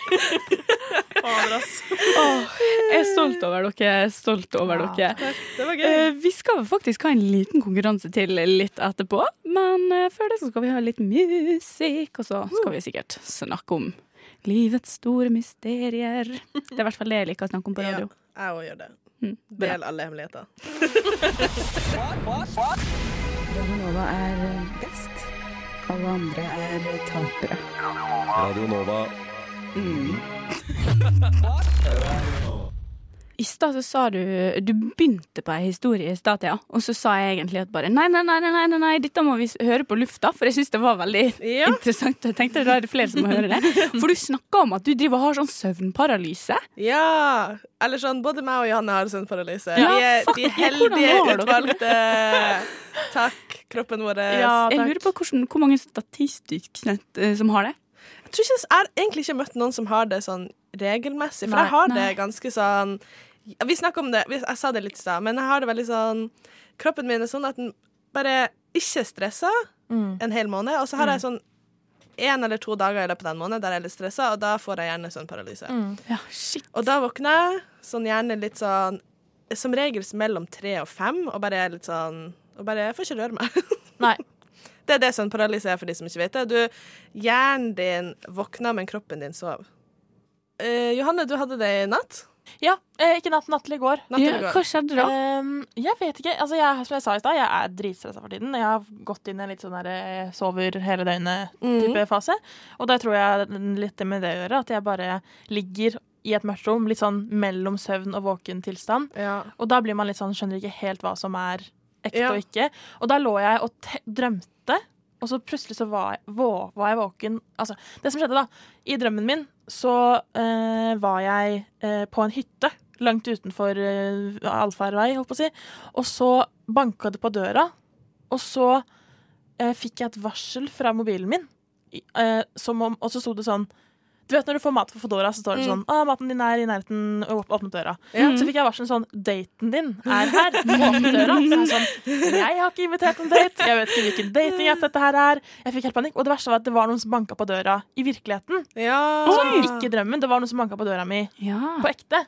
[SPEAKER 4] Jeg er stolt over dere. jeg er Stolt over dere.
[SPEAKER 6] Det var gøy.
[SPEAKER 4] Eh, vi skal faktisk ha en liten konkurranse til litt etterpå, men eh, før det så skal vi ha litt musikk, og så skal vi sikkert snakke om livets store mysterier. Det er i hvert fall det jeg liker å snakke om på radio.
[SPEAKER 6] Ja, jeg òg gjør det.
[SPEAKER 4] Mm, bra.
[SPEAKER 6] Del alle hemmeligheter.
[SPEAKER 8] Radionova er best. Alle andre er tapere.
[SPEAKER 1] Radio Nova.
[SPEAKER 4] I stad så sa du Du begynte på ei historie i stad, Thea, og så sa jeg egentlig at bare nei, nei, nei, nei, nei, nei, nei dette må vi s- høre på lufta, for jeg syns det var veldig
[SPEAKER 6] Ja.
[SPEAKER 4] interessant. Jeg tenkte da er det flere som må høre det. For du snakka om at du driver og har sånn søvnparalyse.
[SPEAKER 6] Ja! Eller sånn, både meg og Johanne har søvnparalyse.
[SPEAKER 4] Ja,
[SPEAKER 6] vi er
[SPEAKER 4] fuck,
[SPEAKER 6] de
[SPEAKER 4] ja, hvordan
[SPEAKER 6] heldige
[SPEAKER 4] har dere
[SPEAKER 6] utvalgte. Takk, kroppen vår.
[SPEAKER 5] Ja,
[SPEAKER 4] jeg
[SPEAKER 5] takk.
[SPEAKER 4] lurer på hvordan, hvor mange statistisk sett eh, som har det.
[SPEAKER 6] Jeg tror ikke, jeg har egentlig ikke møtt noen som har det sånn regelmessig, for
[SPEAKER 5] Nei,
[SPEAKER 6] jeg har det
[SPEAKER 4] nei.
[SPEAKER 6] ganske sånn Vi snakket om det, vi- jeg sa det litt i stad, men jeg har det veldig sånn Kroppen min er sånn at den bare ikke stresser en hel måned, og så har jeg sånn én eller to dager i løpet av en måned der jeg er litt stressa, og da får jeg gjerne sånn paralyse.
[SPEAKER 4] Ja, shit.
[SPEAKER 6] Og da våkner jeg sånn gjerne litt sånn Som regel mellom tre og fem, og bare er litt sånn Og bare jeg får ikke røre meg.
[SPEAKER 5] Nei.
[SPEAKER 6] Det er det som paralyse er for de som ikke vet det. Du, hjernen din våkner, men kroppen din sover. Eh, Johanne, du hadde det i natt.
[SPEAKER 5] Ja, eh, ikke natt, natt til i går.
[SPEAKER 6] Natt til i går.
[SPEAKER 4] hva skjedde da?
[SPEAKER 5] Ehm, jeg vet ikke. Altså, jeg, som jeg sa i stad, jeg er dritstressa for tiden. Jeg har gått inn i en litt sånn der eh, sover hele døgnet-type fase. Og da tror jeg litt det med det å gjøre, at jeg bare ligger i et mørkt rom, litt sånn mellom søvn og våken tilstand.
[SPEAKER 6] Ja.
[SPEAKER 5] Og da blir man litt sånn, skjønner ikke helt hva som er ekte
[SPEAKER 6] Ja.
[SPEAKER 5] og ikke. Og da lå jeg og te drømte, og så plutselig så var jeg, vå var jeg våken. Altså, det som skjedde da, i drømmen min så eh, var jeg eh, på en hytte langt utenfor uh, allfarvei, holdt på å si. Og så banka det på døra, og så eh, fikk jeg et varsel fra mobilen min. I- eh, som om, og så sto det sånn Du vet når du får mat på Fodora, så står det sånn «Å, 'Maten din er i nærheten. å, Åpne døra.'
[SPEAKER 4] Mhm.
[SPEAKER 5] Så fikk jeg varsel sånn 'Daten din er her. Åpne døra.' Så jeg, er sånn, jeg har ikke invitert en date. Jeg vet ikke hvilken datingapp dette her er. Jeg fikk helt panikk. Og det verste var at det var noen som banka på døra i virkeligheten.
[SPEAKER 6] ja.
[SPEAKER 5] Sånn, ikke i drømmen. Det var noen som banka på døra mi
[SPEAKER 4] Ja.
[SPEAKER 5] på ekte.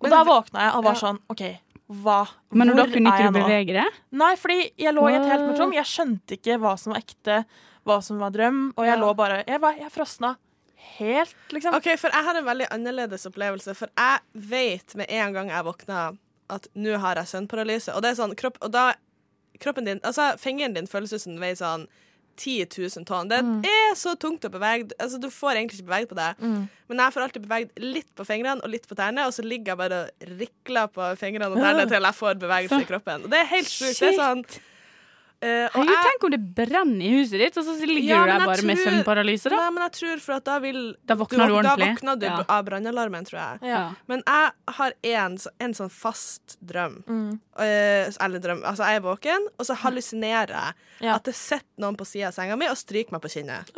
[SPEAKER 5] Og
[SPEAKER 6] Men-
[SPEAKER 5] da våkna jeg og var
[SPEAKER 6] Ja.
[SPEAKER 5] sånn OK, hva?
[SPEAKER 4] Men da
[SPEAKER 5] Hvor
[SPEAKER 4] kunne
[SPEAKER 5] er
[SPEAKER 4] ikke
[SPEAKER 5] jeg
[SPEAKER 4] du
[SPEAKER 5] nå?
[SPEAKER 4] bevege deg?
[SPEAKER 5] Nei, fordi jeg lå i et helt
[SPEAKER 4] What?
[SPEAKER 5] mørkt rom. Jeg skjønte ikke hva som var ekte, hva som var drøm. Og jeg
[SPEAKER 6] Ja.
[SPEAKER 5] lå bare Jeg, var, jeg frosna helt, liksom.
[SPEAKER 6] OK, for jeg har en veldig annerledes opplevelse. For jeg vet med en gang jeg våkner at nå har jeg søvnparalyse. Og det er sånn kropp, Og da kroppen din Altså, fingeren din føles ut som den veier sånn 10 000 tonn. Det
[SPEAKER 4] Mm.
[SPEAKER 6] er så tungt å bevege Altså, du får egentlig ikke beveget på deg.
[SPEAKER 4] Mm.
[SPEAKER 6] Men jeg får alltid beveget litt på fingrene og litt på tærne, og så ligger jeg bare og rikler på fingrene og tærne til jeg får bevegelse i kroppen. Og det er helt sjukt. Det er sånn eh, og
[SPEAKER 4] Herregud,
[SPEAKER 6] jeg-
[SPEAKER 4] tenk om det brenner i huset ditt, og så ligger
[SPEAKER 6] Ja,
[SPEAKER 4] du
[SPEAKER 6] men
[SPEAKER 4] der
[SPEAKER 6] jeg
[SPEAKER 4] bare med
[SPEAKER 6] tror-
[SPEAKER 4] søvnparalyse, da.
[SPEAKER 6] Nei, men jeg tror for at da vil
[SPEAKER 4] Da våkner du
[SPEAKER 6] Da
[SPEAKER 4] ordentlig.
[SPEAKER 6] våkner du
[SPEAKER 4] Ja.
[SPEAKER 6] av brannalarmen, tror jeg.
[SPEAKER 4] Ja.
[SPEAKER 6] Men jeg har en, så- en sånn fast drøm.
[SPEAKER 5] Mm.
[SPEAKER 6] Eh, eller drøm. Altså, jeg er våken, og så hallusinerer jeg
[SPEAKER 5] Ja.
[SPEAKER 6] at det sitter noen på sida av senga mi og stryker meg på kinnet.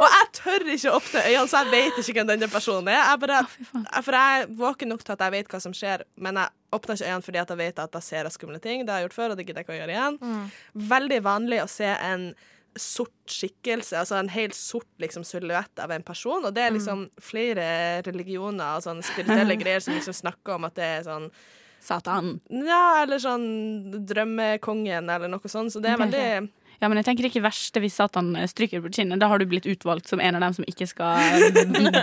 [SPEAKER 6] Og jeg tør ikke å åpne øynene, så jeg vet ikke hvem denne personen er. Jeg bare, jeg- for jeg er våken nok til at jeg vet hva som skjer, men jeg åpner ikke øynene fordi at jeg vet at da ser jeg skumle ting. Det har jeg gjort før, og det gidder jeg ikke å gjøre igjen. Veldig vanlig å se en sort skikkelse, altså en helt sort liksom, silhuett av en person, og det er liksom flere religioner og sånn spirituelle greier som liksom snakker om at det er sånn
[SPEAKER 4] Satan.
[SPEAKER 6] ja, eller sånn drømmekongen eller noe sånt, så det er veldig
[SPEAKER 4] Ja, men jeg tenker ikke verst det hvis Satan eh, stryker på kinnet. Da har du blitt utvalgt som en av dem som ikke skal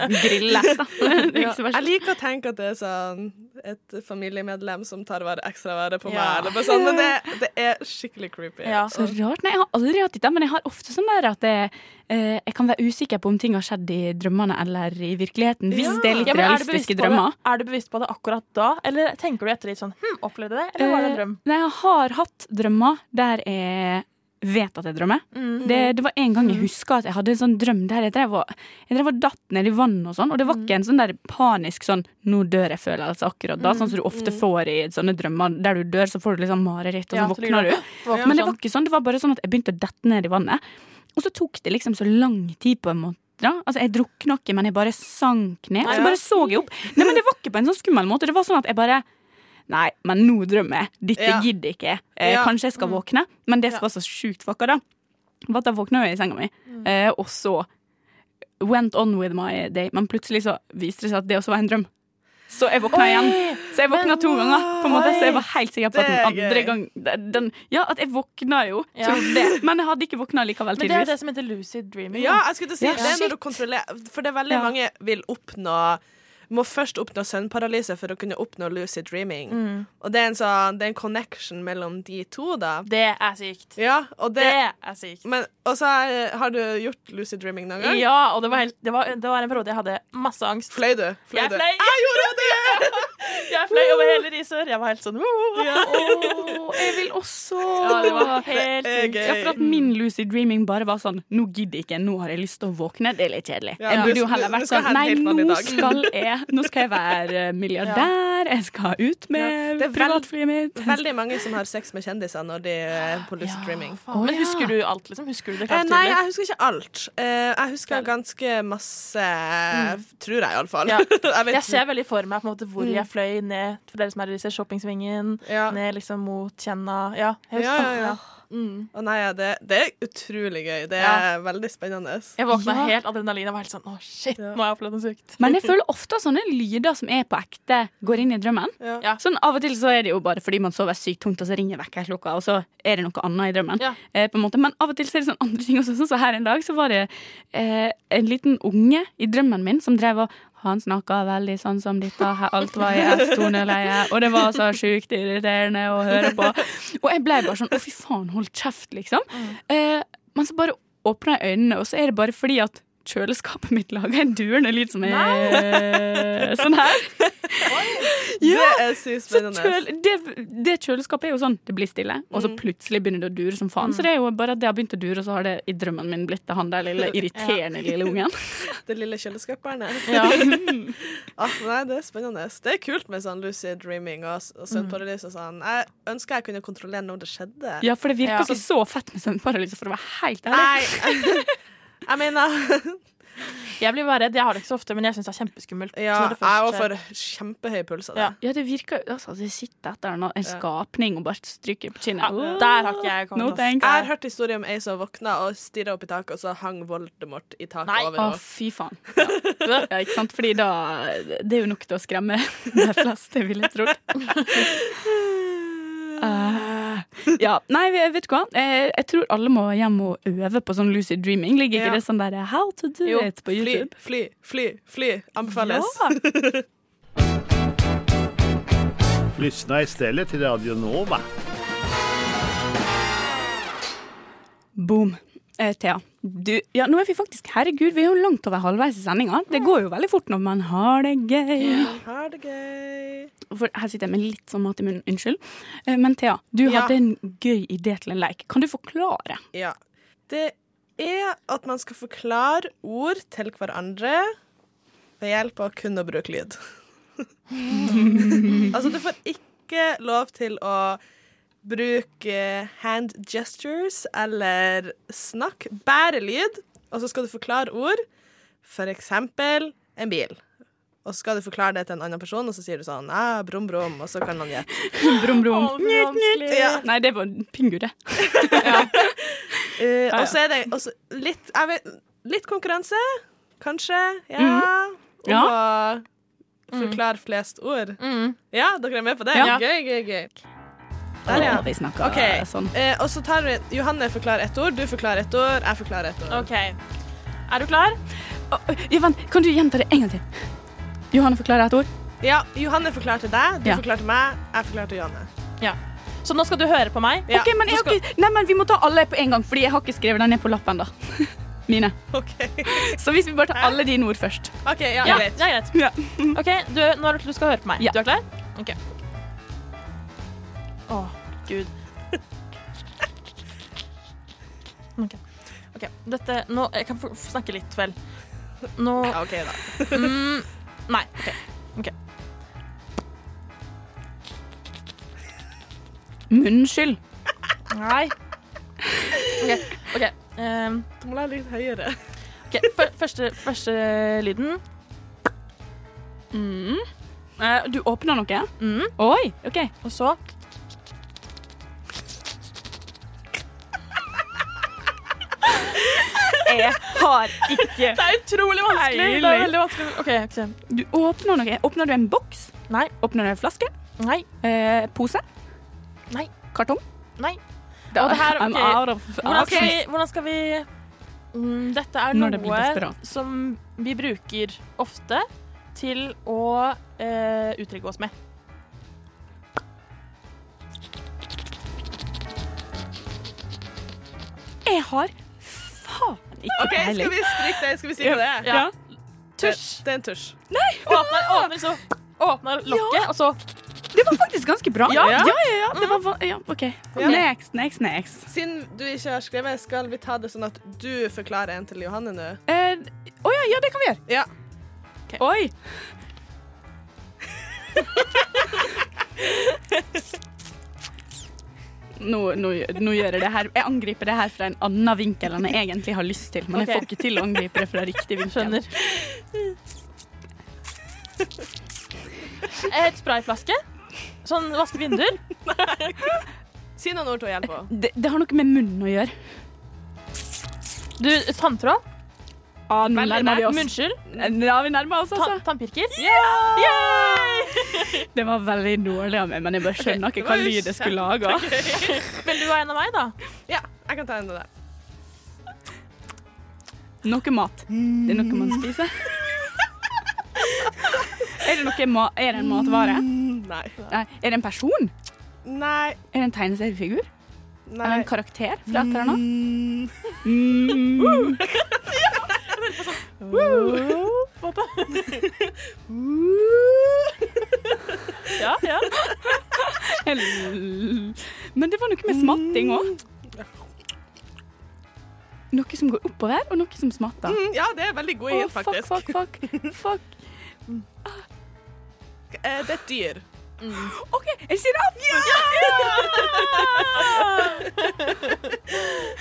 [SPEAKER 4] grilles, da. Det er
[SPEAKER 6] ja.
[SPEAKER 4] ikke så verst.
[SPEAKER 6] Jeg liker å tenke at det er sånn et familiemedlem som tar vare, ekstra vare på meg,
[SPEAKER 4] Ja.
[SPEAKER 6] eller bare sånn, men det, det er skikkelig creepy.
[SPEAKER 5] Ja.
[SPEAKER 4] Så rart. Nei, jeg har aldri hatt dette, men jeg har ofte sånn der at jeg, eh, jeg kan være usikker på om ting har skjedd i drømmene eller i virkeligheten. Hvis det er litt
[SPEAKER 5] Ja, men er du bevisst
[SPEAKER 4] realistiske
[SPEAKER 5] på det-
[SPEAKER 4] drømmer.
[SPEAKER 5] Er du bevisst på det akkurat da, eller tenker du etter litt sånn Hm, opplevde jeg det, eller var det en drøm?
[SPEAKER 4] Eh, Nei, jeg har hatt drømmer der jeg vet at jeg drømmer.
[SPEAKER 5] Mm.
[SPEAKER 4] Det, det var en gang jeg husker at jeg hadde en sånn drøm der jeg drev og, jeg drev og datt ned i vann og sånn. Og
[SPEAKER 5] Mm.
[SPEAKER 4] det var ikke en sånn der panisk sånn 'nå dør jeg'-følelse akkurat da, sånn som du ofte får i sånne drømmer. Der du dør, så får du liksom mareritt, og så
[SPEAKER 5] Mm. Ja, så ligger
[SPEAKER 4] våkner
[SPEAKER 5] du-
[SPEAKER 4] du.
[SPEAKER 5] Våkner
[SPEAKER 4] Men det
[SPEAKER 5] sånn.
[SPEAKER 4] var ikke sånn, det var bare sånn at jeg begynte å dette ned i vannet. Og så tok det liksom så lang tid på en måte. da. Altså Jeg drukna ikke, men jeg bare sank ned. Og så bare så jeg opp. Nei, men Det var ikke på en sånn skummel måte. Det var sånn at jeg bare Nei, men nå drømmer jeg. Dette
[SPEAKER 6] Ja.
[SPEAKER 4] gidder jeg ikke. Eh,
[SPEAKER 6] Ja. Mm.
[SPEAKER 4] Kanskje jeg skal våkne. Men det som var så sjukt fucka, da, var at jeg våkna jo i senga mi,
[SPEAKER 6] Mm.
[SPEAKER 4] eh, og så Went on with my day. Men plutselig så viste det seg at det også var en drøm. Så jeg våkna igjen. Så jeg våkna to ganger, på en måte, så jeg var helt sikker på at den
[SPEAKER 6] Det er
[SPEAKER 4] andre
[SPEAKER 6] gøy.
[SPEAKER 4] gang den, Ja, at jeg våkna jo,
[SPEAKER 5] Ja.
[SPEAKER 4] til det. men jeg hadde ikke våkna likevel,
[SPEAKER 5] Men det er jo
[SPEAKER 4] tydeligvis.
[SPEAKER 5] det som heter lucid dreaming.
[SPEAKER 6] Ja, jeg skulle til å si
[SPEAKER 4] Ja,
[SPEAKER 6] det er
[SPEAKER 4] shit.
[SPEAKER 6] når du kontrollerer For det er veldig
[SPEAKER 4] Ja.
[SPEAKER 6] mange vil oppnå må først oppnå søvnparalyse for å kunne oppnå lucid dreaming.
[SPEAKER 4] Mm.
[SPEAKER 6] Og det er, en sånn, det er en connection mellom de to, da.
[SPEAKER 5] Det er sykt.
[SPEAKER 6] Ja, og det,
[SPEAKER 5] Det er sykt.
[SPEAKER 6] Men, og så er- har du gjort lucid dreaming noen gang?
[SPEAKER 5] Ja, og det var, helt, det, var, det var en periode jeg hadde masse angst.
[SPEAKER 6] Fløy du? Fløy
[SPEAKER 5] Jeg
[SPEAKER 6] du?
[SPEAKER 5] fløy.
[SPEAKER 6] Jeg gjorde det!
[SPEAKER 5] Jeg fløy over hele Risør. Jeg var helt sånn «Woo!»
[SPEAKER 4] Å, jeg vil også
[SPEAKER 5] Ja, det var helt
[SPEAKER 6] Det er
[SPEAKER 5] sykt.
[SPEAKER 6] gøy.
[SPEAKER 4] Ja, for at min lucid dreaming bare var sånn Nå gidder jeg ikke, nå har jeg lyst til å våkne. Det er litt kjedelig.
[SPEAKER 6] Ja,
[SPEAKER 4] jeg
[SPEAKER 6] du-
[SPEAKER 4] burde jo
[SPEAKER 6] du-
[SPEAKER 4] heller
[SPEAKER 6] du
[SPEAKER 4] vært
[SPEAKER 6] skal
[SPEAKER 4] sånn
[SPEAKER 6] ha en
[SPEAKER 4] Nei,
[SPEAKER 6] helt vanlig
[SPEAKER 4] nå
[SPEAKER 6] dag.»
[SPEAKER 4] skal jeg Nå skal jeg være eh, milliardær, jeg skal ut med
[SPEAKER 6] Det er vel-
[SPEAKER 4] privatflyet mitt.
[SPEAKER 6] Veldig mange som har sex med kjendiser når de eh, er på lucid dreaming.
[SPEAKER 5] Faen, Men husker du alt, liksom? Husker du det
[SPEAKER 6] Eh,
[SPEAKER 5] klart
[SPEAKER 6] nei,
[SPEAKER 5] tydelig?
[SPEAKER 6] jeg husker ikke alt. Eh, jeg husker ganske masse, tror jeg iallfall.
[SPEAKER 5] Ja.
[SPEAKER 6] Mm. jeg vet Mm.
[SPEAKER 5] Jeg ser veldig for meg på en måte, hvor jeg fløy ned for dere som er i disse shoppingsvingen.
[SPEAKER 6] Ja.
[SPEAKER 5] Ned liksom mot Kjenna. Ja, jeg,
[SPEAKER 6] Ja,
[SPEAKER 5] husker-
[SPEAKER 6] ja, ja.
[SPEAKER 5] Mm.
[SPEAKER 6] Å nei, ja, det, det er utrolig gøy. Det er
[SPEAKER 5] Ja.
[SPEAKER 6] veldig spennende.
[SPEAKER 5] jeg våkna
[SPEAKER 4] Ja.
[SPEAKER 5] helt adrenalin. Jeg var helt sånn Å, shit, nå har jeg opplevd noe sykt.
[SPEAKER 4] Men jeg føler ofte at sånne lyder som er på ekte, går inn i drømmen.
[SPEAKER 6] Ja.
[SPEAKER 5] Ja.
[SPEAKER 4] Sånn Av og til så er det jo bare fordi man sover sykt tungt, og så ringer vekkerklokka, og så er det noe annet i drømmen.
[SPEAKER 5] Ja.
[SPEAKER 4] Eh, på en måte. Men av og til så er det sånn andre ting også. Sånn som her en dag, så var det eh, en liten unge i drømmen min som drev og Han snakka veldig sånn som dette, her alt var i ett toneleie, og det var så sjukt irriterende å høre på. Og jeg ble bare sånn å, fy faen, hold kjeft, liksom. Eh, men så bare åpna jeg øynene, og så er det bare fordi at kjøleskapet mitt lager en durende lyd som er sånn her.
[SPEAKER 6] Det er sykt
[SPEAKER 4] Så
[SPEAKER 6] spennende.
[SPEAKER 4] kjøl, det, det kjøleskapet er jo sånn, det blir stille, og så plutselig begynner det å dure som faen. Så det er jo bare at det har begynt å dure, og så har det i drømmen min blitt han der lille irriterende lille ungen.
[SPEAKER 6] Det lille kjøleskapbarnet.
[SPEAKER 5] Ja.
[SPEAKER 6] Ah, nei, det er spennende. Det er kult med sånn lucid dreaming og, s- og søvnparalys og sånn. Jeg ønsker jeg kunne kontrollere når det skjedde.
[SPEAKER 4] Ja, for det virker
[SPEAKER 5] Ja.
[SPEAKER 4] ikke så fett med søvnparalyse, for å være helt ærlig.
[SPEAKER 6] Nei, jeg mener
[SPEAKER 5] Jeg blir bare redd. Jeg har det ikke så ofte, men jeg syns det er kjempeskummelt.
[SPEAKER 6] Ja,
[SPEAKER 5] når det
[SPEAKER 6] jeg
[SPEAKER 5] først
[SPEAKER 6] òg
[SPEAKER 5] skjer.
[SPEAKER 6] får kjempehøy puls av det.
[SPEAKER 5] Ja.
[SPEAKER 4] Ja, det virker altså, Det sitter etter en, en skapning og bare stryker på kinnet.
[SPEAKER 5] Der har ikke jeg kommet.
[SPEAKER 4] No
[SPEAKER 5] ass.
[SPEAKER 4] thanks.
[SPEAKER 6] Jeg har hørt historier om ei som våkna og stirra opp i taket, og så hang Voldemort i taket
[SPEAKER 5] Nei.
[SPEAKER 6] over
[SPEAKER 4] Å,
[SPEAKER 6] henne.
[SPEAKER 4] fy faen. Ja. ja, ikke sant? Fordi da Det er jo nok til å skremme de fleste, vil jeg tro. Eh, ja. Nei, vi- vet du hva? Eh, jeg tror alle må hjem og øve på sånn lucid dreaming. Ligger ikke
[SPEAKER 6] Ja.
[SPEAKER 4] det sånn der How to do
[SPEAKER 5] Jo,
[SPEAKER 4] it på
[SPEAKER 6] Fly,
[SPEAKER 4] YouTube?
[SPEAKER 6] fly, fly. fly Anbefales.
[SPEAKER 10] Lyssna istället till Radio Nova.
[SPEAKER 4] Boom. Eh, Thea, du, ja, nå er vi faktisk Herregud, vi er jo langt over halvveis i sendinga. Det går jo veldig fort når man har det gøy.
[SPEAKER 6] Ha det gøy.
[SPEAKER 4] For her sitter jeg med litt sånn mat i munnen. Unnskyld. Eh, Men Thea, du
[SPEAKER 6] Ja.
[SPEAKER 4] hadde en gøy idé til en leik. Kan du forklare?
[SPEAKER 6] Ja. Det er at man skal forklare ord til hverandre ved hjelp av kun å bruke lyd. altså, du får ikke lov til å bruke hand gestures eller snakk. Bare lyd, og så skal du forklare ord. For eksempel en bil. Og så skal du forklare det til en annen person, og så sier du sånn ah, brum, brum, og så kan han gjette.
[SPEAKER 4] Brum, brum.
[SPEAKER 5] Å, det blir vanskelig.
[SPEAKER 6] Ja.
[SPEAKER 4] Nei, det var pingu, det.
[SPEAKER 6] Eh, Og så er det også litt, jeg vet, litt konkurranse, kanskje. Ja. Om å forklare flest ord.
[SPEAKER 5] Mm.
[SPEAKER 6] Ja, dere er med på det?
[SPEAKER 4] Ja.
[SPEAKER 6] Gøy, gøy, gøy. Der, ja.
[SPEAKER 4] Å, Vi snakker
[SPEAKER 6] OK.
[SPEAKER 4] sånn.
[SPEAKER 6] Eh, og så tar vi Johanne forklarer ett ord, du forklarer ett ord, jeg forklarer ett ord.
[SPEAKER 5] OK. Er du klar?
[SPEAKER 4] Å, å, ja, vent, kan du gjenta det en gang til? Johanne forklarer et ord.
[SPEAKER 6] Ja, Johanne forklarte deg, du
[SPEAKER 4] Ja.
[SPEAKER 6] forklarte meg, jeg forklarte Johanne.
[SPEAKER 5] Så nå skal du høre på meg.
[SPEAKER 6] Ja.
[SPEAKER 4] Ok, men, jeg har ikke, nei, men Vi må ta alle på en gang, Fordi jeg har ikke skrevet dem ned på lappen. da Mine.
[SPEAKER 6] OK,
[SPEAKER 4] Så hvis vi bare tar alle dine ord først.
[SPEAKER 6] Ok, ja,
[SPEAKER 5] Ja,
[SPEAKER 6] greit.
[SPEAKER 5] det er greit.
[SPEAKER 4] Ja.
[SPEAKER 5] OK, du, nå er det til du skal høre på meg.
[SPEAKER 4] Ja.
[SPEAKER 5] Du er klar? OK. Å, gud. OK. Ok, Dette Nå Jeg kan få snakke litt, vel. Nå
[SPEAKER 6] Ja, OK, da.
[SPEAKER 5] mm, Nei. OK.
[SPEAKER 4] Munnskyld.
[SPEAKER 5] Nei. OK. ok, ehm,
[SPEAKER 6] Du må la litt høyere.
[SPEAKER 5] ok, fø- Første, første lyden.
[SPEAKER 4] Mm. Eh, du åpner noe?
[SPEAKER 5] Mm.
[SPEAKER 4] Oi, OK.
[SPEAKER 5] Og så
[SPEAKER 4] Jeg har ikke
[SPEAKER 5] Det er utrolig vanskelig! Det er
[SPEAKER 4] Deilig.
[SPEAKER 5] veldig vanskelig. OK. ok.
[SPEAKER 4] Du åpner noe. Åpner du en boks?
[SPEAKER 5] Nei.
[SPEAKER 4] Åpner du en flaske?
[SPEAKER 5] Nei.
[SPEAKER 4] Eh, pose?
[SPEAKER 5] Nei.
[SPEAKER 4] Kartong?
[SPEAKER 5] Nei.
[SPEAKER 4] Da,
[SPEAKER 5] Og det her,
[SPEAKER 4] I'm
[SPEAKER 5] ok.
[SPEAKER 4] out of
[SPEAKER 5] Hvordan skal vi,
[SPEAKER 4] options.
[SPEAKER 5] hvordan skal vi Mm, Dette er
[SPEAKER 4] Når det blir
[SPEAKER 5] noe
[SPEAKER 4] desperat.
[SPEAKER 5] som vi bruker ofte til å eh, uttrykke oss med.
[SPEAKER 4] Jeg har faen ikke
[SPEAKER 6] OK, skal vi strikke det? Skal vi si på det?
[SPEAKER 5] Ja.
[SPEAKER 6] Tusj. Det er en tusj.
[SPEAKER 5] Åpner, åpner, så åpner lokket, og så
[SPEAKER 4] Det var faktisk ganske bra.
[SPEAKER 5] Ja. Mhm.
[SPEAKER 4] ja, ja. ja. Det var, va- ja OK.
[SPEAKER 6] Ja.
[SPEAKER 4] Next, next, next.
[SPEAKER 6] Siden du ikke har skrevet, skal vi ta det sånn at du forklarer en til Johanne nå?
[SPEAKER 4] Eh, Å ja, ja, det kan vi gjøre.
[SPEAKER 6] Ja.
[SPEAKER 4] Oi. Nå, nå, nå gjør jeg det her. Jeg angriper det her fra en annen vinkel enn jeg egentlig har lyst til. Men jeg får
[SPEAKER 5] Ok.
[SPEAKER 4] ikke til å angripe det fra riktig vinkel.
[SPEAKER 5] Skjønner. Et sprayflaske. Sånn vaske vinduer.
[SPEAKER 6] Si noen ord til å hjelpe henne.
[SPEAKER 4] Det, det har noe med munnen å gjøre.
[SPEAKER 5] Du, tanntråd.
[SPEAKER 4] Ah, nå
[SPEAKER 6] Veldig
[SPEAKER 4] nærmer vi oss. Mm.
[SPEAKER 5] Munnskyld.
[SPEAKER 4] Ja, vi nærmer oss,
[SPEAKER 5] Tan
[SPEAKER 4] altså.
[SPEAKER 5] tannpirker.
[SPEAKER 4] Det var veldig dårlig av meg, men jeg bare skjønner
[SPEAKER 6] det
[SPEAKER 4] ikke hva
[SPEAKER 6] var jo
[SPEAKER 4] lyd jeg skulle lage.
[SPEAKER 5] Vil du ha en av meg, da?
[SPEAKER 6] Ja, jeg kan ta en av deg.
[SPEAKER 4] Noe mat. Det er noe man spiser. Er det, noe, ma- er det en matvare?
[SPEAKER 6] Nei.
[SPEAKER 4] Nei. Er det en person?
[SPEAKER 6] Nei.
[SPEAKER 4] Er det en tegneseriefigur?
[SPEAKER 6] Nei.
[SPEAKER 4] Eller en karakter fra et eller annet?
[SPEAKER 5] Ja, ja.
[SPEAKER 4] Eller- Men det var noe med smatting òg. Noe som går oppover, og noe som smatter.
[SPEAKER 6] Mm, ja, det er veldig god
[SPEAKER 4] Å,
[SPEAKER 6] hint,
[SPEAKER 4] fuck,
[SPEAKER 6] faktisk.
[SPEAKER 4] fuck, fuck. fuck.
[SPEAKER 6] Eh, Det er et dyr.
[SPEAKER 4] OK, jeg sier det! Ja!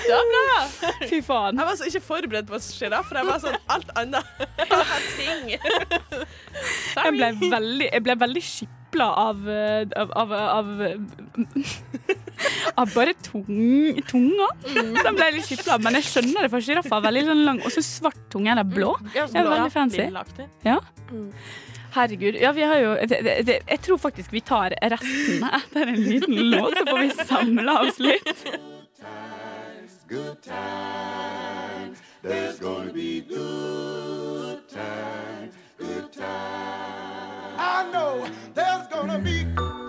[SPEAKER 5] Det var bra.
[SPEAKER 4] Fy faen.
[SPEAKER 6] Jeg var så ikke forberedt på sjiraff, for jeg var sånn alt annet. Alt ting.
[SPEAKER 4] Jeg ble veldig, jeg ble veldig skipla av eh, av, av, av, av bare tung, tunga. Den ble litt skipla, men jeg skjønner det, for sjiraff har veldig sånn lang Og så svart tunge eller blå.
[SPEAKER 5] Ja, så
[SPEAKER 4] Det er
[SPEAKER 5] bra.
[SPEAKER 4] veldig fancy.
[SPEAKER 5] sånn Lillaaktig.
[SPEAKER 4] Mm. Herregud. Ja, vi har jo det, det, det, Jeg tror faktisk vi tar resten etter en liten låt, så får vi samla oss litt.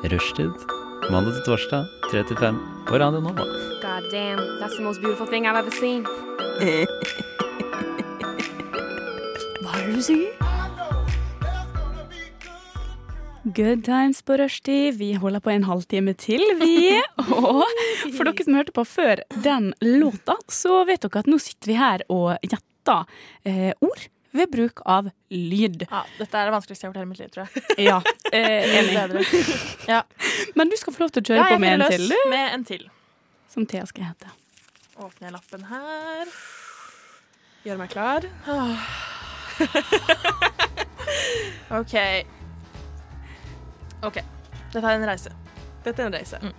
[SPEAKER 2] Rushtid. Mandag til torsdag, 3 til 5 på Radio Nova.
[SPEAKER 7] God damn, that's the most beautiful thing I've ever seen.
[SPEAKER 4] Hva er det du sier? Good times på rushtid. Vi holder på en halvtime til, vi. Og for dere som hørte på før den låta, så vet dere at nå sitter vi her og gjetter eh, ord ved bruk av lyd.
[SPEAKER 5] Ja, dette er det vanskeligste jeg har gjort i hele mitt liv, tror jeg.
[SPEAKER 4] Ja, eh,
[SPEAKER 5] Det
[SPEAKER 4] enig.
[SPEAKER 5] er det.
[SPEAKER 4] Men du skal få lov til å
[SPEAKER 5] Ja,
[SPEAKER 4] kjøre
[SPEAKER 5] jeg
[SPEAKER 4] på med
[SPEAKER 5] fyrer
[SPEAKER 4] en
[SPEAKER 5] løs
[SPEAKER 4] til, du.
[SPEAKER 5] med en til.
[SPEAKER 4] Som Thea skal hete.
[SPEAKER 5] Åpner jeg lappen her.
[SPEAKER 6] Gjør meg klar.
[SPEAKER 5] Ah. OK. OK. Dette er en reise.
[SPEAKER 6] Dette er en reise.
[SPEAKER 4] Mm.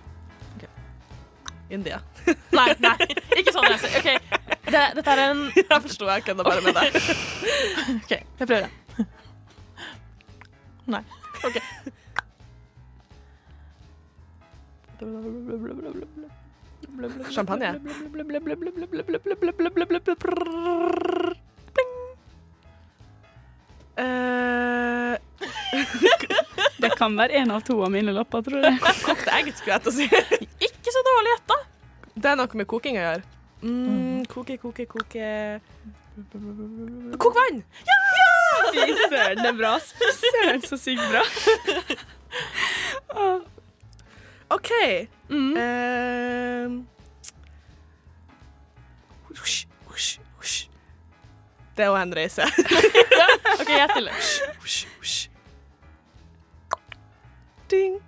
[SPEAKER 6] India.
[SPEAKER 5] Nei, nei. Ikke sånn reise. OK. Det, dette er en
[SPEAKER 6] Jeg forstår jeg kødda bare med deg.
[SPEAKER 5] OK, jeg prøver det. Nei. OK.
[SPEAKER 6] Champagne. Eh,
[SPEAKER 4] Det kan være en av to av mine lapper, tror jeg.
[SPEAKER 6] kokt egg, skulle jeg til å si.
[SPEAKER 5] Ikke så dårlig gjetta.
[SPEAKER 6] Det er noe med koking å gjøre. Mm, koke, koke, koke Kok vann!
[SPEAKER 4] Fy søren, det er bra. Fy søren, så sykt bra.
[SPEAKER 6] OK. Mm. Eh, husj, husj, husj. Det er jo en reise.
[SPEAKER 5] OK, gjett til.
[SPEAKER 6] Husj, husj. Ding.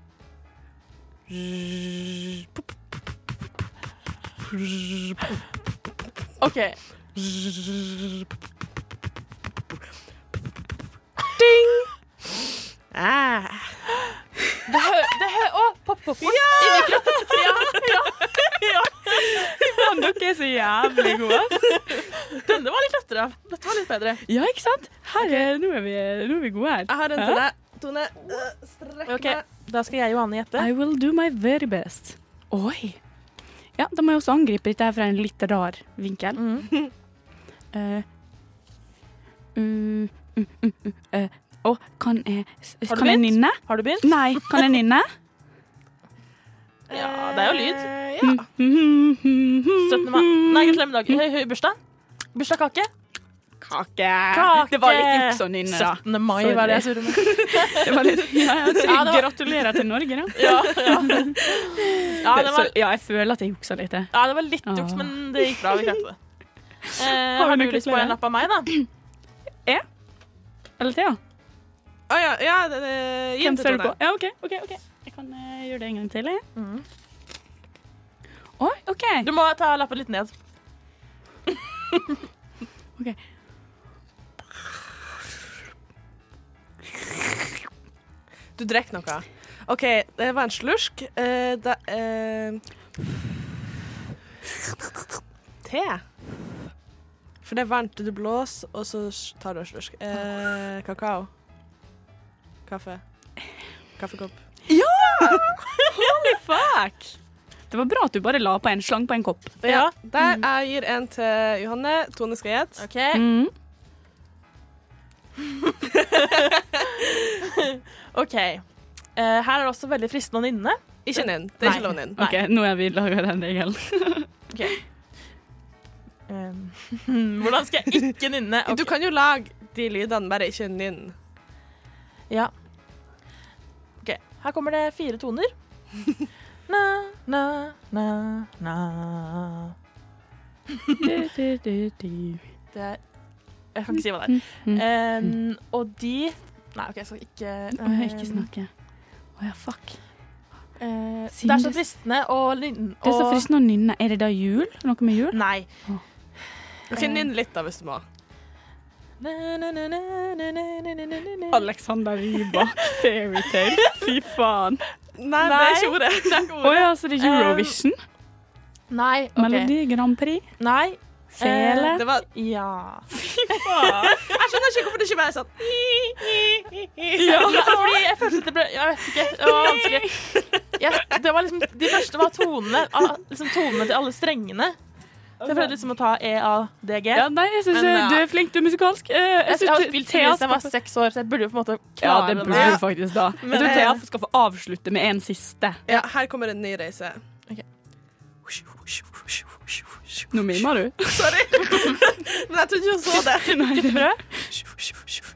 [SPEAKER 5] OK.
[SPEAKER 6] Ah.
[SPEAKER 5] Det hø... Det hø å, pop-pop. Ja! Inni kroppen. Ja, ja, ja.
[SPEAKER 4] Faen, dere er så jævlig gode. ass.
[SPEAKER 5] Denne var litt lettere. Dette var litt bedre.
[SPEAKER 4] Ja, ikke sant? Her er, nå, er vi, nå er vi gode her.
[SPEAKER 5] Ah.
[SPEAKER 6] Jeg har en til deg, Tone. Øh, Strekk
[SPEAKER 5] OK,
[SPEAKER 6] meg.
[SPEAKER 5] da skal jeg og Hanne gjette.
[SPEAKER 4] I will do my very best. Oi. Ja, da må jeg også angripe dette her fra en litt rar vinkel.
[SPEAKER 5] Mm.
[SPEAKER 4] Eh, mm, mm, mm, mm, eh, å, kan jeg s-
[SPEAKER 5] Har du
[SPEAKER 4] Kan jeg
[SPEAKER 5] begynt?
[SPEAKER 4] nynne?
[SPEAKER 5] Har du begynt?
[SPEAKER 4] Nei, kan jeg nynne?
[SPEAKER 5] Ja, det er jo lyd.
[SPEAKER 6] Eh,
[SPEAKER 4] Mm,
[SPEAKER 6] ja.
[SPEAKER 4] mm, mm, mm,
[SPEAKER 5] 17. mai. Nei, gratulerer med dagen. Høy, høy, bursdag. Bursdagskake.
[SPEAKER 4] Kake.
[SPEAKER 5] Kake.
[SPEAKER 4] Det var litt juks å nynne, da.
[SPEAKER 5] 17. mai var det jeg surret med.
[SPEAKER 4] Det var litt, ja, ja, så
[SPEAKER 5] Ja, det var-
[SPEAKER 4] Gratulerer til Norge, da.
[SPEAKER 5] Ja, ja. ja,
[SPEAKER 4] Det-
[SPEAKER 5] det
[SPEAKER 4] så,
[SPEAKER 5] var,
[SPEAKER 4] ja, jeg føler at jeg juksa litt. jeg.
[SPEAKER 5] ja, det var litt juks, men det gikk bra. Vi klarte det. Eh,
[SPEAKER 4] Har
[SPEAKER 5] har
[SPEAKER 4] du
[SPEAKER 5] du
[SPEAKER 4] noe
[SPEAKER 5] lyst på
[SPEAKER 4] flere?
[SPEAKER 5] en lapp av meg, da?
[SPEAKER 4] Eller Thea?
[SPEAKER 6] Å ja, ja det, det, gi
[SPEAKER 4] Hvem
[SPEAKER 6] den
[SPEAKER 4] ser
[SPEAKER 6] til
[SPEAKER 4] du på?
[SPEAKER 6] Tone.
[SPEAKER 4] Ja, OK. ok, ok. Jeg kan eh, gjøre det en gang til, jeg.
[SPEAKER 5] Mhm.
[SPEAKER 4] Oi, OK.
[SPEAKER 5] Du må ta lappen litt ned.
[SPEAKER 6] Du drikker noe. OK, det var en slursk. Eh, da, eh, te. For det er varmt. Du blåser, og så tar du en slursk. Eh, kakao. Kaffe. Kaffekopp.
[SPEAKER 4] Holy fuck! Det var bra at du bare la på en slang på en kopp.
[SPEAKER 5] Ja.
[SPEAKER 4] Mm.
[SPEAKER 5] Eh,
[SPEAKER 6] Der jeg gir en til Johanne. Tone skal gjette.
[SPEAKER 5] OK.
[SPEAKER 4] Mm.
[SPEAKER 5] OK. Eh, her er det også veldig fristende å nynne.
[SPEAKER 6] Ikke nynn. Det er ikke
[SPEAKER 5] Nei.
[SPEAKER 6] lov å nynne.
[SPEAKER 5] Nei.
[SPEAKER 4] Ok, nå har vi laga den regelen.
[SPEAKER 5] Ok. Um, Hvordan skal jeg ikke nynne? Ok.
[SPEAKER 6] Du kan jo lage de lydene, bare ikke nynn.
[SPEAKER 5] Ja. Ok, her kommer det fire toner. Na, na, na, na. Det er Jeg kan ikke si hva det er. Um, og de Nei, OK, jeg skal ikke
[SPEAKER 4] Å, jeg ikke
[SPEAKER 5] um,
[SPEAKER 4] snakke. Å ja, fuck.
[SPEAKER 5] eh,
[SPEAKER 4] Siden
[SPEAKER 5] Det er så
[SPEAKER 4] det-
[SPEAKER 5] fristende å nynne
[SPEAKER 4] Det er så
[SPEAKER 5] og-
[SPEAKER 4] fristende å nynne. Er det da jul? Noe med jul?
[SPEAKER 5] Nei.
[SPEAKER 4] Eh.
[SPEAKER 6] Ok, Nynn litt, da, hvis du må.
[SPEAKER 5] Na, na, na, na, na, na, na, na, na, na.
[SPEAKER 4] Alexander Rybak, fairytale. Fy faen.
[SPEAKER 6] Nei, det er ikke ordet.
[SPEAKER 5] Det er ikke
[SPEAKER 4] Å
[SPEAKER 5] ordet.
[SPEAKER 4] ja, så det er Eurovision?
[SPEAKER 5] Nei. Um, ok. Eh,
[SPEAKER 4] Melodi Grand Prix?
[SPEAKER 5] Nei.
[SPEAKER 4] Fele?
[SPEAKER 6] Det var
[SPEAKER 5] Ja.
[SPEAKER 6] Jeg skjønner ikke hvorfor det ikke bare er sånn
[SPEAKER 5] Ja, fordi jeg følte at det ble Jeg vet ikke. Det var vanskelig. Jeg, det var liksom, de første var tonene ah, liksom tonene til alle strengene. Så jeg prøvde liksom å ta E, A, D, G.
[SPEAKER 4] Ja, nei, jeg synes
[SPEAKER 5] Men,
[SPEAKER 4] eh,
[SPEAKER 5] ja.
[SPEAKER 4] du er flink, du er musikalsk. Eh,
[SPEAKER 5] Jeg,
[SPEAKER 4] Jeg
[SPEAKER 5] jeg har
[SPEAKER 4] synes
[SPEAKER 5] spilt
[SPEAKER 4] Thea
[SPEAKER 5] siden jeg var seks år, så jeg burde jo på en måte
[SPEAKER 4] Ja,
[SPEAKER 5] klare
[SPEAKER 4] det
[SPEAKER 5] det.
[SPEAKER 4] burde du faktisk da. Jeg tror
[SPEAKER 6] eh,
[SPEAKER 4] Thea skal få avslutte med en siste.
[SPEAKER 6] Ja, her kommer en ny reise.
[SPEAKER 4] Nå mimer du.
[SPEAKER 6] Sorry. Men jeg trodde ikke hun så det.
[SPEAKER 4] Guttefrø?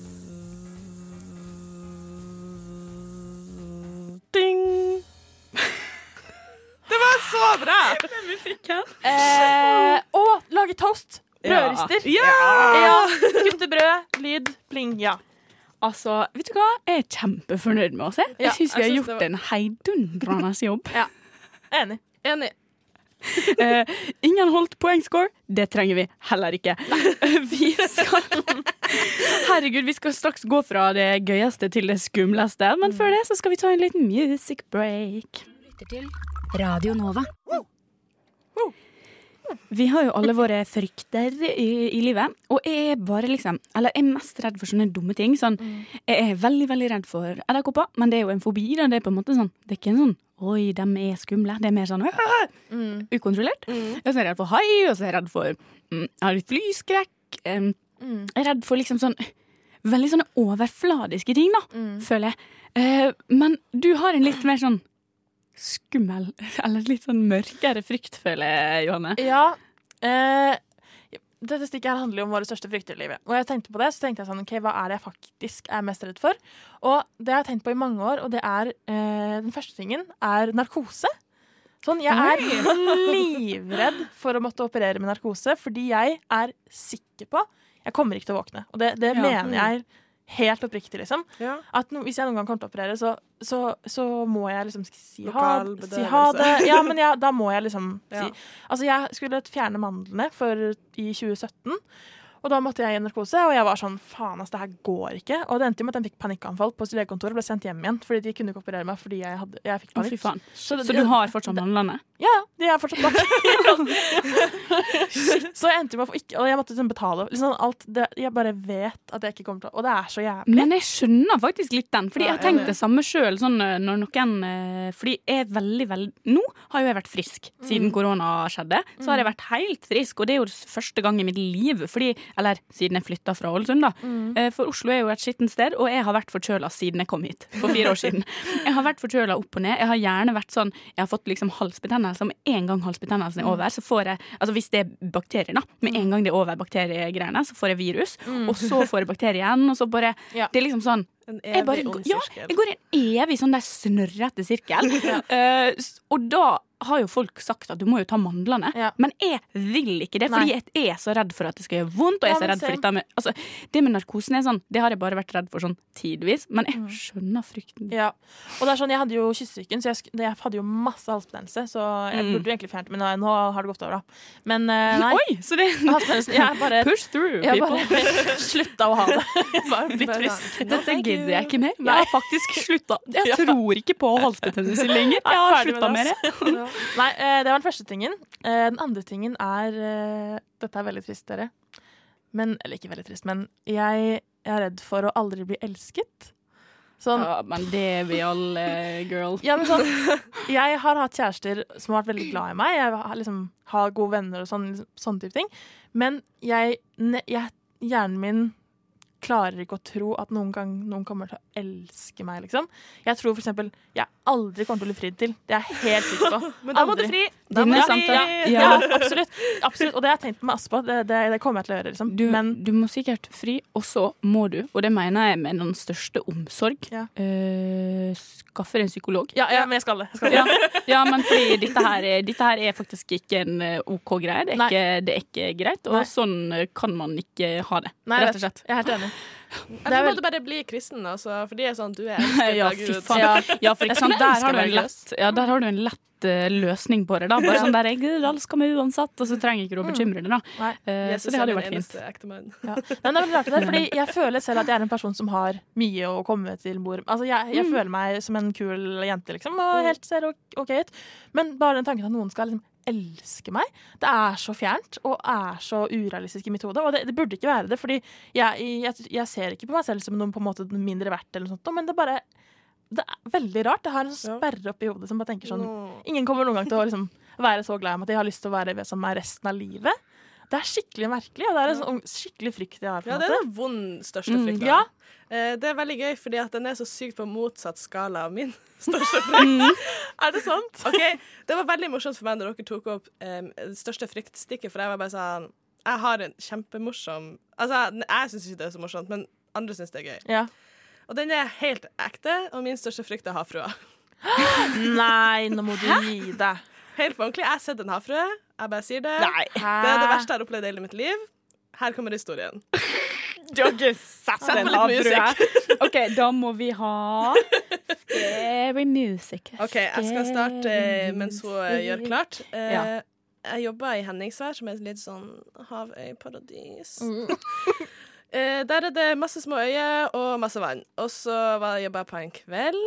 [SPEAKER 6] Det var så bra!
[SPEAKER 5] Eh, og lage toast. Brødrister.
[SPEAKER 6] Ja!
[SPEAKER 5] Ja. Kutte brød. Lyd. Pling. Ja.
[SPEAKER 4] Altså, vet du hva? Jeg er kjempefornøyd med oss. Jeg,
[SPEAKER 5] Ja,
[SPEAKER 4] jeg syns vi har
[SPEAKER 6] jeg synes
[SPEAKER 4] gjort
[SPEAKER 6] det var-
[SPEAKER 4] en heidundrende jobb.
[SPEAKER 5] Enig.
[SPEAKER 6] Enig.
[SPEAKER 4] Eh, ingen holdt poengscore. Det trenger vi heller ikke. vi skal Herregud, vi skal straks gå fra det gøyeste til det skumleste, men før det så skal vi ta en liten music break.
[SPEAKER 8] Lytter til Radio Nova.
[SPEAKER 4] Vi har jo alle våre frykter i, i livet, og jeg er bare liksom Eller jeg er mest redd for sånne dumme ting. Sånn,
[SPEAKER 8] Mm.
[SPEAKER 4] jeg er veldig, veldig redd for edderkopper, men det er jo en fobi. Da. Det er på en måte sånn Det er ikke en sånn Oi, de er skumle. Det er mer sånn «Åh!» ukontrollert. Og så er jeg redd for hai, og så er jeg redd for mm, Jeg har litt flyskrekk. Um, Jeg er redd for liksom sånn Veldig sånne overfladiske ting, da,
[SPEAKER 5] Mm.
[SPEAKER 4] føler jeg. Eh, men du har en litt mer sånn skummel, eller litt sånn mørkere frykt, føler jeg, Johanne.
[SPEAKER 5] Ja. Eh, dette stikket her handler jo om våre største frykter i livet. Og jeg tenkte på det, så tenkte jeg sånn, ok, hva er det jeg faktisk er mest redd for? Og det har jeg tenkt på i mange år, og det er, eh, den første tingen er narkose. Sånn, jeg er livredd for å måtte operere med narkose, fordi jeg er sikker på jeg kommer ikke til å våkne. Og det, det
[SPEAKER 4] Ja.
[SPEAKER 5] mener jeg helt oppriktig, liksom.
[SPEAKER 6] Ja.
[SPEAKER 5] At no, hvis jeg noen gang kommer til å operere, så, så, så må jeg liksom si ha,
[SPEAKER 6] Lokal bedøvelse.
[SPEAKER 5] si ha det. Ja, men jeg, da må jeg liksom si
[SPEAKER 6] Ja.
[SPEAKER 5] Altså, jeg skulle fjerne mandlene for, i 2017. Og da måtte jeg i narkose, og jeg var sånn faen, ass, det her går ikke. Og det endte jo med at jeg fikk panikkanfall på legekontoret og ble sendt hjem igjen. Fordi de kunne ikke operere meg fordi jeg, hadde, jeg
[SPEAKER 4] Å,
[SPEAKER 5] fikk
[SPEAKER 4] fy
[SPEAKER 5] panikk.
[SPEAKER 4] faen.
[SPEAKER 5] Så,
[SPEAKER 4] Så du har fortsatt mandlene?
[SPEAKER 5] Ja, ja. De er fortsatt bak. så jeg endte jo med å få ikke Og jeg måtte liksom betale. Liksom alt det, jeg bare vet at jeg ikke kommer til å Og det er så jævlig.
[SPEAKER 4] Men jeg skjønner faktisk litt den, fordi
[SPEAKER 5] Ja,
[SPEAKER 4] jeg har tenkt
[SPEAKER 5] enig.
[SPEAKER 4] det samme sjøl. Sånn, eh, når noen, eh, fordi jeg er veldig, veldig Nå har jo jeg vært frisk siden korona skjedde. Så har jeg vært helt frisk, og det er jo s- første gang i mitt liv. Fordi, eller siden jeg flytta fra Ålesund, da. Eh, For Oslo er jo et skittent sted, og jeg har vært forkjøla siden jeg kom hit for fire år siden. Jeg har vært forkjøla opp og ned. Jeg har gjerne vært sånn Jeg har fått liksom halsbetennelse, og med en gang halsbetennelsen er over, så får jeg Altså hvis det er bakterier, da. Med en gang det er over bakteriegreiene, så får jeg virus, og så får jeg bakterier igjen, og så bare
[SPEAKER 5] Ja.
[SPEAKER 4] Det er liksom sånn
[SPEAKER 6] En
[SPEAKER 4] jeg, bare,
[SPEAKER 6] evig ond
[SPEAKER 4] går- ja, jeg
[SPEAKER 6] sirkel.
[SPEAKER 4] går i en evig sånn der snørrete sirkel. Eh, s- og da har jo folk sagt at du må jo ta mandlene,
[SPEAKER 5] Ja.
[SPEAKER 4] men jeg vil ikke det. Fordi
[SPEAKER 5] Nei.
[SPEAKER 4] jeg er så redd for at det skal gjøre vondt. Og jeg
[SPEAKER 5] Ja,
[SPEAKER 4] er så
[SPEAKER 5] men
[SPEAKER 4] redd for
[SPEAKER 5] same.
[SPEAKER 4] dette med, altså, Det med narkosen er sånn, det har jeg bare vært redd for sånn tidvis, men jeg skjønner frykten.
[SPEAKER 5] Mm. Ja. Og det er sånn, jeg hadde jo kyssesyken, så jeg, sk- jeg hadde jo masse halsbetennelse. Så jeg
[SPEAKER 4] Mm.
[SPEAKER 5] burde jo egentlig fjernet men nå- nå har det gått over, da. Men eh, nei.
[SPEAKER 4] Oi, så det
[SPEAKER 5] Halsbetennelsen Jeg er bare
[SPEAKER 4] Push through,
[SPEAKER 5] jeg
[SPEAKER 4] people.
[SPEAKER 5] bare slutta å ha det. Jeg bare
[SPEAKER 4] Blitt
[SPEAKER 5] bare-
[SPEAKER 4] frisk. Dette gidder jeg ikke mer. Jeg har faktisk slutta. Jeg tror ikke på halsbetennelse lenger. Jeg har
[SPEAKER 5] ferdig med
[SPEAKER 4] slutta med det. altså?
[SPEAKER 5] det, Nei, eh, det var den første tingen. Eh, Den andre tingen er eh, Dette er veldig trist, dere. Men, eller ikke veldig trist, men jeg er redd for å aldri bli elsket. Sånn,
[SPEAKER 4] Ja, men det er vi alle, eh, girl.
[SPEAKER 5] ja, men sånn, jeg har hatt kjærester som har vært veldig glad i meg. Jeg har, liksom, har gode venner og sånn, liksom, sånne type ting. Men jeg, ne, jeg, hjernen min klarer ikke å tro at noen gang noen kommer til å elske meg, liksom. Jeg tror for eksempel jeg aldri kommer til å bli fridd til. Det er jeg helt sikker på.
[SPEAKER 6] Men da må du
[SPEAKER 5] Aldri.
[SPEAKER 6] fri!
[SPEAKER 4] Da må
[SPEAKER 5] Ja,
[SPEAKER 4] du fri.
[SPEAKER 5] ja, ja,
[SPEAKER 4] Ja.
[SPEAKER 5] absolutt. absolutt. Og det har jeg tenkt med Aspa. Det, det, det kommer jeg til å gjøre. Liksom.
[SPEAKER 4] Du,
[SPEAKER 5] Men
[SPEAKER 4] du må sikkert fri, og så må du, og det mener jeg med den største omsorg,
[SPEAKER 5] Ja.
[SPEAKER 4] eh, skaffe deg en psykolog.
[SPEAKER 5] ja, ja, men jeg skal det. Jeg skal det.
[SPEAKER 4] Ja, ja men fordi dette her, er- dette her er faktisk ikke en eh, OK greie. Det er,
[SPEAKER 5] Nei.
[SPEAKER 4] ikke, det er ikke greit, og
[SPEAKER 5] Nei.
[SPEAKER 4] sånn eh, kan man ikke ha det.
[SPEAKER 5] Nei,
[SPEAKER 4] rett og slett.
[SPEAKER 5] Jeg er helt enig.
[SPEAKER 6] Jeg tror du bare blir kristen, altså, for de er sånn du er elsket
[SPEAKER 4] Ja,
[SPEAKER 6] av
[SPEAKER 4] fy
[SPEAKER 6] Gud.
[SPEAKER 4] faen.
[SPEAKER 5] Ja.
[SPEAKER 4] Ja, for
[SPEAKER 5] Jeg
[SPEAKER 4] eksempel,
[SPEAKER 5] skulle
[SPEAKER 4] der har
[SPEAKER 5] ønske
[SPEAKER 4] du
[SPEAKER 5] jeg
[SPEAKER 4] en
[SPEAKER 5] var
[SPEAKER 4] lett, ja, der har du en lett eh, løsning på det. Da. Bare sånn der Gud, alle skal med uansett, og så trenger ikke du å bekymre deg, da.
[SPEAKER 5] Mm. Nei.
[SPEAKER 4] Eh,
[SPEAKER 6] Jesus
[SPEAKER 4] så det
[SPEAKER 6] er
[SPEAKER 4] hadde jo
[SPEAKER 6] min
[SPEAKER 4] vært fint.
[SPEAKER 6] eneste ekte mann.
[SPEAKER 5] Ja. Nei, det er veldig rart det der, fordi jeg føler selv at jeg er en person som har mye å komme til bord Altså, jeg, jeg føler meg som en kul jente, liksom, og helt ser ok ok ut. Men bare den tanken at noen skal liksom elske meg, det er så fjernt og er så urealistisk i mitt hode. Og det, det burde ikke være det, fordi jeg, jeg, jeg ser ikke på meg selv som noen på en måte mindre verdt, eller noe sånt, men det er bare det er veldig rart. Det har en sånn
[SPEAKER 6] Ja.
[SPEAKER 5] sperre oppi hodet som bare tenker sånn
[SPEAKER 6] Nå.
[SPEAKER 5] Ingen kommer noen gang til å liksom, være så glad i meg at de har lyst til å være sammen med meg resten av livet. Det er skikkelig merkelig, og det er en sånn skikkelig frykt jeg har. på en
[SPEAKER 6] Ja, det er
[SPEAKER 5] måte. Mm,
[SPEAKER 6] den vond største frykten.
[SPEAKER 5] Ja.
[SPEAKER 6] Eh, Det er veldig gøy, fordi at den er så sykt på motsatt skala av min største
[SPEAKER 4] Mm.
[SPEAKER 6] frykt. er det sant? Ok, Det var veldig morsomt for meg når dere tok opp um, største fryktstikket, for jeg var bare sånn Jeg har en kjempemorsom Altså, jeg, jeg syns ikke det er så morsomt, men andre syns det er gøy.
[SPEAKER 5] Ja.
[SPEAKER 6] Og den er helt ekte, og min største frykt er havfrua.
[SPEAKER 5] Nei, nå må du gi deg.
[SPEAKER 6] Helt på ordentlig. Jeg har sett en havfrue. Jeg bare sier det.
[SPEAKER 5] Hæ?
[SPEAKER 6] Det er det verste jeg har opplevd i hele mitt liv. Her kommer historien.
[SPEAKER 4] Du har ikke sett
[SPEAKER 6] Sett på litt
[SPEAKER 4] musikk. OK, da må vi ha Scary music.
[SPEAKER 6] OK, jeg skal starte eh, mens hun eh, gjør klart. Eh,
[SPEAKER 4] Ja.
[SPEAKER 6] Jeg jobber i Henningsvær, som er et litt sånn havøyparadis. Eh, der er det masse små øyer og masse vann. Og så var- jobba jeg på en kveld,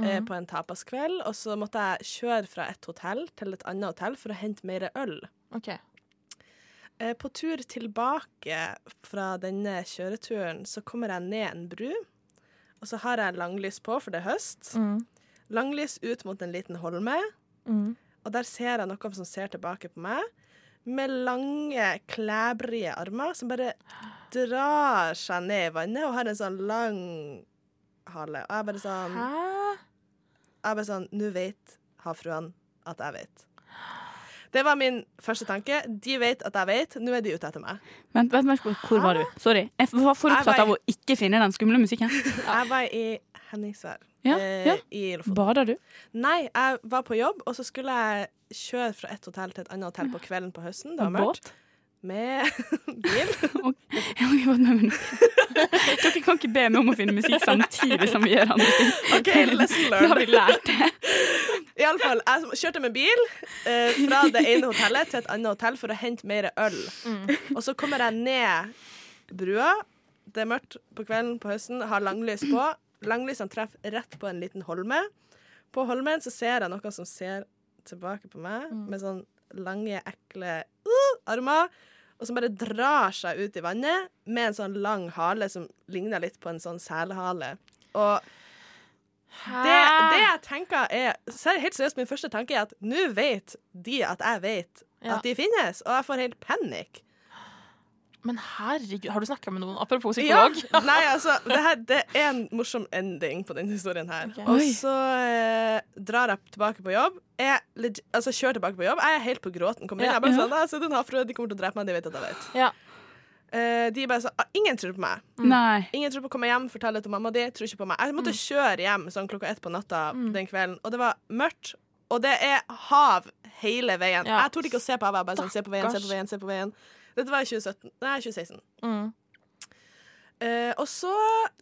[SPEAKER 6] eh, på en tapaskveld, og så måtte jeg kjøre fra et hotell til et annet hotell for å hente mer øl.
[SPEAKER 5] Ok.
[SPEAKER 6] Eh, på tur tilbake fra denne kjøreturen så kommer jeg ned en bru, og så har jeg langlys på, for det er høst.
[SPEAKER 5] Mm.
[SPEAKER 6] Langlys ut mot en liten holme,
[SPEAKER 5] Mm.
[SPEAKER 6] og der ser jeg noen som ser tilbake på meg. Med lange, klæbrige armer som bare drar seg ned i vannet og har en sånn lang hale. Og jeg bare sånn
[SPEAKER 5] Hæ?
[SPEAKER 6] jeg bare sånn, Nå vet havfruen at jeg vet. Det var min første tanke. De vet at jeg vet. Nå er de ute etter meg.
[SPEAKER 4] Vent, vent, vent, hvor var du? Sorry. Jeg var for
[SPEAKER 6] Ah. Jeg
[SPEAKER 4] opptatt
[SPEAKER 6] var-
[SPEAKER 4] av å ikke finne den skumle musikken.
[SPEAKER 6] Jeg var i Henningsvær
[SPEAKER 4] Ja,
[SPEAKER 6] eh,
[SPEAKER 4] ja.
[SPEAKER 6] i Lofoten.
[SPEAKER 4] Bader du?
[SPEAKER 6] Nei, jeg var på jobb, og så skulle jeg kjøre fra et hotell til et annet hotell på kvelden på høsten. Det var mørkt.
[SPEAKER 4] Båt?
[SPEAKER 6] Med bil.
[SPEAKER 4] Jeg har ikke fått med meg noe. Dere kan ikke be meg om å finne musikk samtidig som vi gjør andre ting.
[SPEAKER 6] OK, lesson
[SPEAKER 4] Da har vi
[SPEAKER 6] learned.
[SPEAKER 4] lært det.
[SPEAKER 6] Iallfall, jeg som- kjørte med bil eh, fra det ene hotellet til et annet hotell for å hente mer øl. Og så kommer jeg ned brua. Det er mørkt på kvelden på høsten, har langlys på. Langlysene treffer rett på en liten holme. På holmen så ser jeg noen som ser tilbake på meg med sånn lange, ekle uh, armer. Og som bare drar seg ut i vannet med en sånn lang hale som ligner litt på en sånn selhale. Og det,
[SPEAKER 5] Ah.
[SPEAKER 6] det jeg tenker er ser- Helt seriøst, min første tanke er at nå vet de at jeg vet
[SPEAKER 5] Ja.
[SPEAKER 6] at de finnes, og jeg får helt panikk.
[SPEAKER 5] Men herregud, har du snakka med noen? Apropos psykolog.
[SPEAKER 6] Ja. Nei, altså, det, her, det er en morsom ending på denne historien her.
[SPEAKER 5] Ok.
[SPEAKER 6] Og
[SPEAKER 4] Oi.
[SPEAKER 6] så eh, drar jeg tilbake på jobb. Jeg leg- altså, kjører tilbake på jobb. Jeg er helt på gråten. Kommer inn.
[SPEAKER 5] Ja. Mhm.
[SPEAKER 6] Jeg bare sånn, «Nei, se, den havfruen, De kommer til å drepe meg, de vet at jeg vet.
[SPEAKER 5] Ja.
[SPEAKER 6] Eh, de er bare sånn «Ah, Ingen tror på meg.
[SPEAKER 4] Nei.
[SPEAKER 6] Ingen tror på å komme hjem, fortelle det til mamma di. Tror ikke på meg. Jeg
[SPEAKER 4] Mm.
[SPEAKER 6] måtte kjøre hjem sånn klokka ett på natta den kvelden, og det var mørkt. Og det er hav hele veien.
[SPEAKER 5] Ja.
[SPEAKER 6] Jeg torde ikke å se på havet. Jeg bare sånn, se på veien, se på
[SPEAKER 5] Stakkars.
[SPEAKER 6] veien, se på veien. Dette var i 2017. Nei, 2016.
[SPEAKER 5] Mm.
[SPEAKER 6] Eh, og så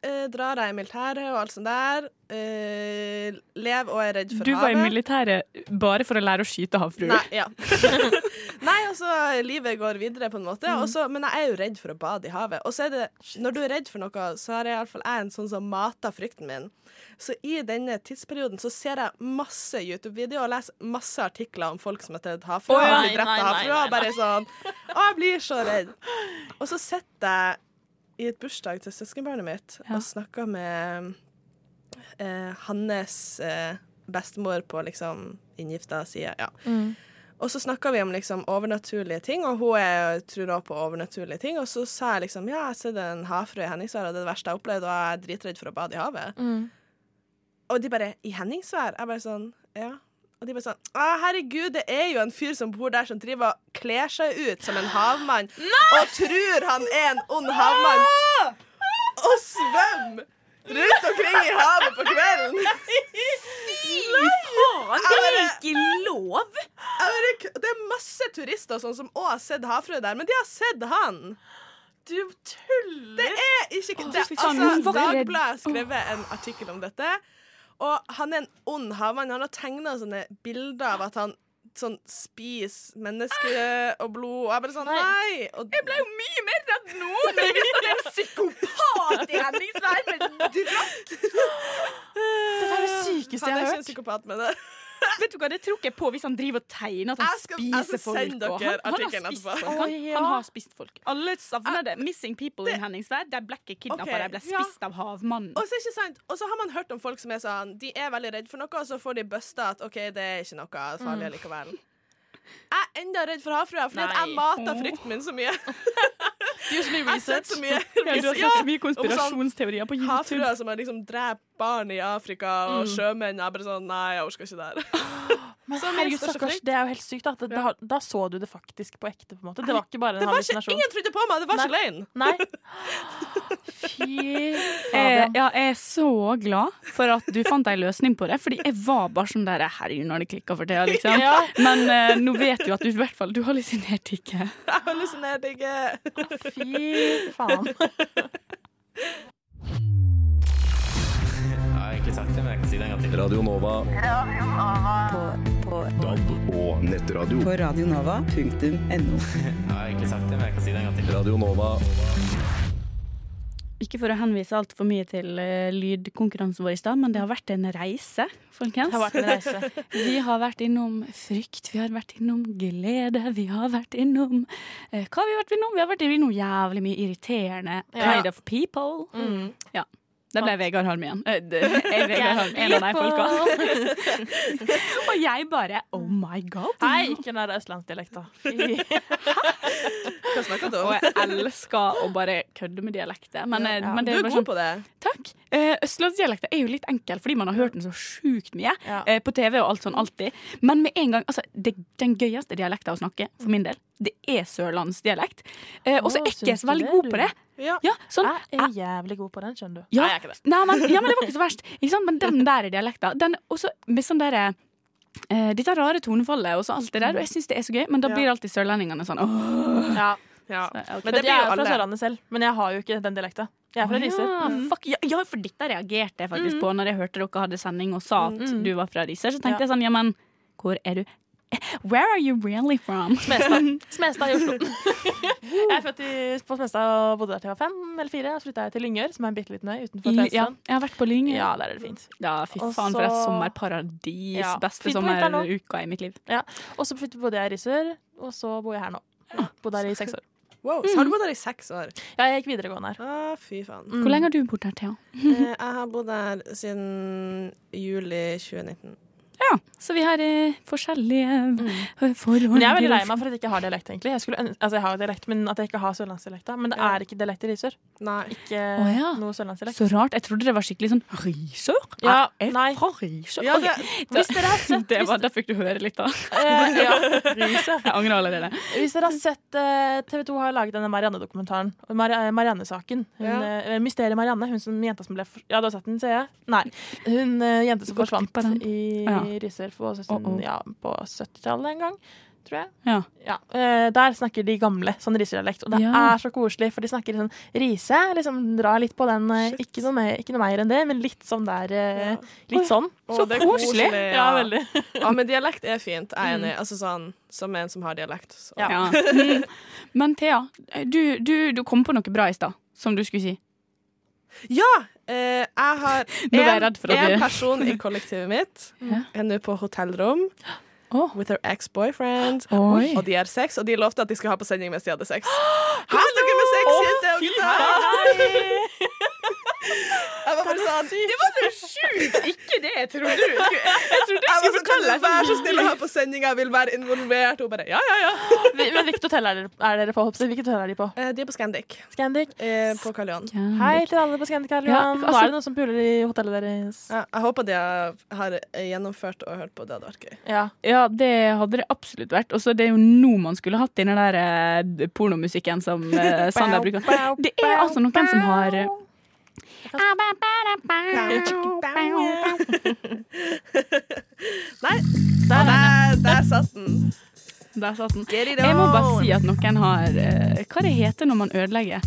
[SPEAKER 6] eh, drar jeg i militæret og alt sånt der. Eh, lev og er redd for
[SPEAKER 4] Du var
[SPEAKER 6] havet.
[SPEAKER 4] i militæret bare for å lære å skyte havfruer.
[SPEAKER 6] Nei, ja. Nei, altså, livet går videre på en måte. og så- men jeg er jo redd for å bade i havet. Og så er det, når du er redd for noe, så har jeg iallfall jeg en sånn som mater frykten min. Så i denne tidsperioden så ser jeg masse YouTube-videoer og leser masse artikler om folk som har tatt
[SPEAKER 5] Å,
[SPEAKER 6] havfrua og
[SPEAKER 5] nei,
[SPEAKER 6] blitt drept
[SPEAKER 5] nei,
[SPEAKER 6] av
[SPEAKER 5] nei,
[SPEAKER 6] havfrua.
[SPEAKER 5] nei,
[SPEAKER 6] og Bare sånn Å, jeg blir så redd. Og så sitter jeg i et bursdag til søskenbarnet mitt og snakker med eh, hans eh, bestemor på liksom inngifta side. Ja.
[SPEAKER 5] Mm.
[SPEAKER 6] Og så snakka vi om liksom overnaturlige ting, og hun er, tror også på overnaturlige ting. Og så sa jeg liksom ja, jeg ser det en havfrue i Henningsvær, og det er det verste jeg har opplevd, og jeg er dritredd for å bade i havet.
[SPEAKER 5] Mm.
[SPEAKER 6] Og de bare i Henningsvær? Jeg bare sånn ja. Og de bare sånn Å, herregud, det er jo en fyr som bor der, som driver og kler seg ut som en havmann, og tror han er en ond havmann, og svømmer rundt omkring i havet på kvelden.
[SPEAKER 11] Faen, det er ikke lov!
[SPEAKER 6] Jeg bare, k- det er masse turister og sånn som også har sett havfrue der, men de har sett han. Du tuller! Det er ikke
[SPEAKER 11] Å,
[SPEAKER 6] det,
[SPEAKER 11] fy faen,
[SPEAKER 6] altså,
[SPEAKER 11] hun var redd.
[SPEAKER 6] Dagbladet har skrevet en artikkel om dette, og han er en ond havmann. Han har tegna sånne bilder av at han sånn spiser menneske og blod, og jeg bare sånn nei! Og, jeg ble jo mye mer redd nå!
[SPEAKER 11] men hvis han er en psykopat i Henningsvær, men
[SPEAKER 6] drakk
[SPEAKER 4] Dette er det sykeste
[SPEAKER 6] Han
[SPEAKER 4] jeg har
[SPEAKER 6] er ikke en
[SPEAKER 4] hørt.
[SPEAKER 6] psykopat, men det.
[SPEAKER 4] Vet du hva, det tror ikke jeg på hvis han driver og tegner at han
[SPEAKER 6] Jeg skal- jeg skal
[SPEAKER 4] spiser folk.
[SPEAKER 6] sende
[SPEAKER 4] og han,
[SPEAKER 6] dere
[SPEAKER 4] han, har
[SPEAKER 6] artikkelen
[SPEAKER 4] spist
[SPEAKER 6] etterpå.
[SPEAKER 4] folk. Han,
[SPEAKER 6] Å, ja.
[SPEAKER 4] han har spist folk. Alle savner det. Missing people in Henningsvær. De ble ikke kidnappa,
[SPEAKER 6] Ok,
[SPEAKER 4] de ble
[SPEAKER 6] ja.
[SPEAKER 4] spist av havmannen.
[SPEAKER 6] Og så er det ikke sant Og så har man hørt om folk som er sånn De er veldig redd for noe Og så får de bøsta at Ok, det er ikke noe farlig
[SPEAKER 4] Mm.
[SPEAKER 6] likevel Jeg er enda redd for havfrua Fordi at jeg
[SPEAKER 4] Nei.
[SPEAKER 6] mater
[SPEAKER 4] Åh.
[SPEAKER 6] frykten min så mye
[SPEAKER 4] Du har
[SPEAKER 6] Jeg har sett så mye
[SPEAKER 4] Ja, du har sett så mye
[SPEAKER 6] sånn-
[SPEAKER 4] konspirasjonsteorier på
[SPEAKER 6] YouTube Havfrua
[SPEAKER 4] YouTube.
[SPEAKER 6] som har liksom drept barn i Afrika Og
[SPEAKER 5] Mm.
[SPEAKER 6] sjømenn Jeg er bare sånn Nei, jeg orker ikke det her
[SPEAKER 5] Men
[SPEAKER 6] Så min
[SPEAKER 5] herregud,
[SPEAKER 6] største
[SPEAKER 5] stakkars,
[SPEAKER 6] frykt-
[SPEAKER 5] det er jo helt sykt. Da, da, da, da så du det faktisk på ekte. på en måte Det var ikke bare en
[SPEAKER 6] Det var ikke-
[SPEAKER 5] hallusinasjon.
[SPEAKER 6] Ingen trodde på meg, det var ikke løgn
[SPEAKER 5] Nei.
[SPEAKER 4] Eh, ja, jeg er så glad for at du fant ei løsning på det, fordi jeg var bare sånn der Herregud, når det klikka for tida, liksom.
[SPEAKER 6] Ja.
[SPEAKER 4] Men eh, nå vet du at du i hvert fall Du hallusinerte ikke.
[SPEAKER 6] Jeg hallusinerte ikke
[SPEAKER 5] Fy faen
[SPEAKER 12] Jeg har egentlig sagt det, men jeg kan si det en gang til. Radio Nova.
[SPEAKER 13] På, på,
[SPEAKER 12] DAB og nettradio.
[SPEAKER 13] på radionova.no.
[SPEAKER 12] Jeg har egentlig sagt det, men jeg kan si det en gang til. Radio Nova.
[SPEAKER 4] Ikke for å henvise altfor mye til eh, lydkonkurransen vår i stad, men det har vært en reise, folkens.
[SPEAKER 5] Det har vært en reise.
[SPEAKER 4] vi har vært innom frykt, vi har vært innom glede, vi har vært innom eh, Hva har vi vært innom? Vi har vært innom jævlig mye irriterende
[SPEAKER 11] Ja.
[SPEAKER 4] kind of people.
[SPEAKER 11] Mm.
[SPEAKER 4] Ja. Det ble Vegard Harm igjen. Eh, det- Jeg er Vegard Harm, en av de folka. Og jeg bare oh my god.
[SPEAKER 5] Nei, ikke den der østlandsdialekta.
[SPEAKER 6] Hva snakker du
[SPEAKER 4] Og jeg elsker å bare kødde med dialekter. Men, eh,
[SPEAKER 6] Ja.
[SPEAKER 4] men det
[SPEAKER 6] Du er
[SPEAKER 4] bare
[SPEAKER 6] god
[SPEAKER 4] sånn-
[SPEAKER 6] på det.
[SPEAKER 4] Takk. Eh, Østlandsdialekter er jo litt enkel, fordi man har hørt den så sjukt mye eh, på TV og alt sånn alltid. Men med en gang, altså, det, den gøyeste dialekten å snakke, for min del, det er sørlandsdialekt. Eh, og så
[SPEAKER 5] Å,
[SPEAKER 4] er ikke jeg
[SPEAKER 5] syns
[SPEAKER 4] så
[SPEAKER 5] du
[SPEAKER 4] veldig
[SPEAKER 5] det,
[SPEAKER 4] god
[SPEAKER 5] du?
[SPEAKER 4] på det.
[SPEAKER 6] Ja.
[SPEAKER 4] sånn,
[SPEAKER 5] jeg er jævlig god på den, skjønner du.
[SPEAKER 4] Ja.
[SPEAKER 5] Nei, jeg er ikke det.
[SPEAKER 4] Nei, men, ja, men det var ikke så verst. Ikke sant? Men den der dialekten, den også med sånn derre Uh, dette rare tonefallet og så alt det der, og jeg syns det er så gøy, men da
[SPEAKER 5] Ja.
[SPEAKER 4] blir alltid sørlendingene sånn åh.
[SPEAKER 5] Ja.
[SPEAKER 4] Så, ok.
[SPEAKER 5] Men det blir jo alle. Mm. Jeg er jo fra Sørlandet selv, men jeg har jo ikke den dialekta. Jeg er fra
[SPEAKER 4] Å
[SPEAKER 5] Riser.
[SPEAKER 4] Ja, fuck, ja, ja, for dette reagerte jeg faktisk
[SPEAKER 5] Mm.
[SPEAKER 4] på når jeg hørte dere hadde sending og sa at
[SPEAKER 5] Mm.
[SPEAKER 4] du var fra Riser. Så tenkte
[SPEAKER 5] Ja.
[SPEAKER 4] jeg sånn, ja, men hvor er du? Eh, Where are you really from?
[SPEAKER 5] Smestad. Smestad i Oslo. jeg er født i, på Smestad og bodde der til jeg var fem eller fire. Og så flytta jeg til Lyngør, som er en bitte liten øy
[SPEAKER 4] I-
[SPEAKER 5] utenfor
[SPEAKER 4] ja,
[SPEAKER 5] Tvedestrand.
[SPEAKER 4] jeg har vært på Lyng.
[SPEAKER 5] Ja, der er det fint.
[SPEAKER 4] Ja, fy
[SPEAKER 5] Og
[SPEAKER 4] faen, for et
[SPEAKER 5] så-
[SPEAKER 4] sommerparadis.
[SPEAKER 5] Ja,
[SPEAKER 4] Beste
[SPEAKER 5] fint på vinteren nå.
[SPEAKER 4] sommeruka i mitt liv.
[SPEAKER 5] Ja. Og så flyttet- bodde jeg i Risør, og så bor jeg her nå. Bodde her i seks år.
[SPEAKER 6] Wow, så har du bodd her i seks år?
[SPEAKER 5] Ja, jeg gikk videregående her.
[SPEAKER 6] Å, fy faen
[SPEAKER 5] Mm.
[SPEAKER 4] Hvor lenge har du bodd her, Thea?
[SPEAKER 6] Eh, Jeg har bodd her siden juli 2019
[SPEAKER 4] Ja, så vi har eh, forskjellige eh, forhold.
[SPEAKER 5] Mm. Men jeg er veldig lei meg for at jeg ikke har dialekt, egentlig. Jeg, skulle, øn- altså, jeg har jo dialekt, men at jeg ikke har sørlandsdialekta. Men det er ikke dialekt i Risør. Ikke
[SPEAKER 4] Å, ja.
[SPEAKER 5] noe sørlandsdialekt.
[SPEAKER 4] Så rart. Jeg trodde det var skikkelig sånn Risør?
[SPEAKER 5] Ja,
[SPEAKER 4] jeg er
[SPEAKER 5] nei.
[SPEAKER 4] fra Risør.
[SPEAKER 5] Ja,
[SPEAKER 4] Ok,
[SPEAKER 5] det-
[SPEAKER 4] da-
[SPEAKER 5] hvis dere har sett-
[SPEAKER 4] det
[SPEAKER 5] hvis-
[SPEAKER 4] var, Da fikk du høre litt, da.
[SPEAKER 5] Eh, ja.
[SPEAKER 4] Jeg angrer allerede.
[SPEAKER 5] Hvis dere har sett eh, TV 2 har laget denne Marianne-dokumentaren. og Mar eh, Marianne-saken. Hun,
[SPEAKER 4] Ja.
[SPEAKER 5] eh, Mysteriet Marianne. Hun som jenta som ble for Ja, du har sett den, ser jeg? Nei. Hun eh, jenta som
[SPEAKER 4] Gått glipp av
[SPEAKER 5] forsvant
[SPEAKER 4] den.
[SPEAKER 5] i
[SPEAKER 4] Ja.
[SPEAKER 5] Risør på, søsten-
[SPEAKER 4] Uh-oh.
[SPEAKER 5] ja, på 70-tallet en gang, tror jeg.
[SPEAKER 4] Ja.
[SPEAKER 5] Ja, eh, Der snakker de gamle sånn risedialekt, og det
[SPEAKER 4] Ja.
[SPEAKER 5] er så koselig, for de snakker sånn rise, liksom dra litt på den, eh, ikke noe, mer, ikke noe mer enn det, men litt sånn der, eh, litt sånn.
[SPEAKER 6] Å, det er
[SPEAKER 5] Ja, veldig.
[SPEAKER 6] Ja, men dialekt er fint. Jeg er enig. Altså sånn som en som har dialekt. Så.
[SPEAKER 4] Ja. Mm. Men Thea, du, du, du kom på noe bra i stad, som du skulle si.
[SPEAKER 6] Ja! Eh, jeg har
[SPEAKER 4] Nå ble jeg
[SPEAKER 6] en-
[SPEAKER 4] redd for at du-
[SPEAKER 6] en person i kollektivet mitt.
[SPEAKER 4] Ja.
[SPEAKER 6] Er nå på hotellrom with her ex-boyfriend.
[SPEAKER 4] Oi.
[SPEAKER 6] Og de har sex, og de lovte at de skulle ha på sending mens de hadde sex. Kos dere med sex, jenter og gutter! Jeg var bare sånn
[SPEAKER 11] Det var så sjukt ikke det jeg trodde du skulle Jeg trodde jeg
[SPEAKER 6] Jeg var
[SPEAKER 11] skulle
[SPEAKER 6] sånn, kan du
[SPEAKER 11] fortelle
[SPEAKER 6] være så snill å ha på sending, jeg vil være involvert. Hun bare ja, ja, ja.
[SPEAKER 5] Men hvilket hotell er dere, er dere på? Hopsi? Hvilket hotell er de på?
[SPEAKER 6] Eh, De er på Scandic. eh,
[SPEAKER 5] Scandic.
[SPEAKER 6] på Karl Johan.
[SPEAKER 5] Hei til alle på Scandic Karl Johan.
[SPEAKER 6] Ja,
[SPEAKER 5] Nå
[SPEAKER 6] altså-
[SPEAKER 5] er det noen som puler i hotellet deres.
[SPEAKER 6] Ja, jeg håper de har gjennomført og hørt på. Det hadde vært gøy.
[SPEAKER 5] Ja.
[SPEAKER 4] Ja, det hadde det absolutt vært. Og så det er jo nå man skulle hatt den der eh, pornomusikken som eh, Sander bruker. Det er altså noen som har eh,
[SPEAKER 6] Nei, der, der, der satt den.
[SPEAKER 4] Der satt den.
[SPEAKER 6] Get it on.
[SPEAKER 4] Jeg må bare si at noen har eh, Hva det heter når man ødelegger?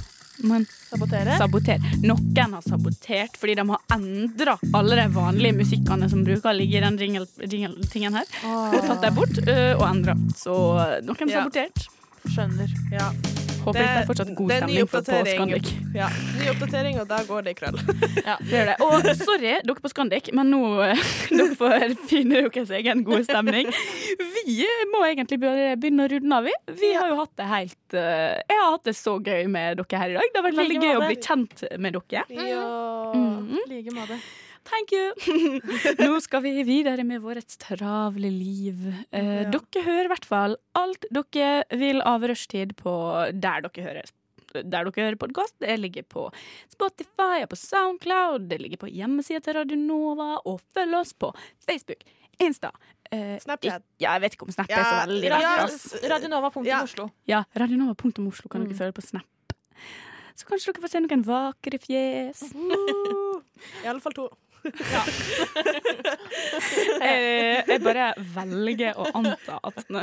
[SPEAKER 4] Man
[SPEAKER 5] Sabotere?
[SPEAKER 4] Saboter. Noen har sabotert fordi de har endra alle de vanlige musikkene som bruker å ligge i den jingle- jingle-tingen her, og tatt dem bort eh, og endra. Så eh, noen
[SPEAKER 6] Ja.
[SPEAKER 4] sabotert.
[SPEAKER 5] Skjønner.
[SPEAKER 6] Ja.
[SPEAKER 4] Håper det, er fortsatt god
[SPEAKER 6] det er ny
[SPEAKER 4] stemning på, på
[SPEAKER 6] oppdatering.
[SPEAKER 4] Scandic.
[SPEAKER 6] Ja, ny oppdatering, og da går det i krøll.
[SPEAKER 4] Det gjør det. Og sorry, dere på Scandic, men nå eh, dere får finne deres egen gode stemning. Vi må egentlig bare begynne å runde av. Vi Vi har jo hatt det helt eh, Jeg har hatt det så gøy med dere her i dag. Det har vært veldig
[SPEAKER 5] Like
[SPEAKER 4] gøy å
[SPEAKER 5] måte.
[SPEAKER 4] bli kjent med dere.
[SPEAKER 6] Ja.
[SPEAKER 4] Mm.
[SPEAKER 5] Like måte.
[SPEAKER 4] Thank you! Nå skal vi videre med vårt travle liv. Eh, Dere hører i hvert fall alt dere vil av rushtid på der dere hører. Der dere hører podkast. Det ligger på Spotify og på Soundcloud. Det ligger på hjemmesida til Radio Nova. Og følg oss på Facebook, Insta eh,
[SPEAKER 6] Snapchat.
[SPEAKER 4] ik- Ja, jeg vet ikke om Snap er så
[SPEAKER 6] Ja,
[SPEAKER 4] veldig
[SPEAKER 6] Radio-
[SPEAKER 4] rett. ass.
[SPEAKER 5] Radionova.oslo.
[SPEAKER 4] Ja, radionova.oslo kan
[SPEAKER 6] Mm.
[SPEAKER 4] dere følge på Snap. Så kanskje dere får se noen vakre fjes.
[SPEAKER 6] I alle fall to.
[SPEAKER 4] Eh, jeg bare velger å anta at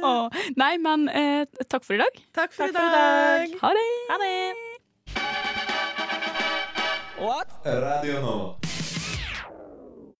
[SPEAKER 4] Å, Nei, men eh, takk for i dag.
[SPEAKER 6] Takk for,
[SPEAKER 4] i dag. Ha det.
[SPEAKER 5] Ha det.
[SPEAKER 14] Radio Nova.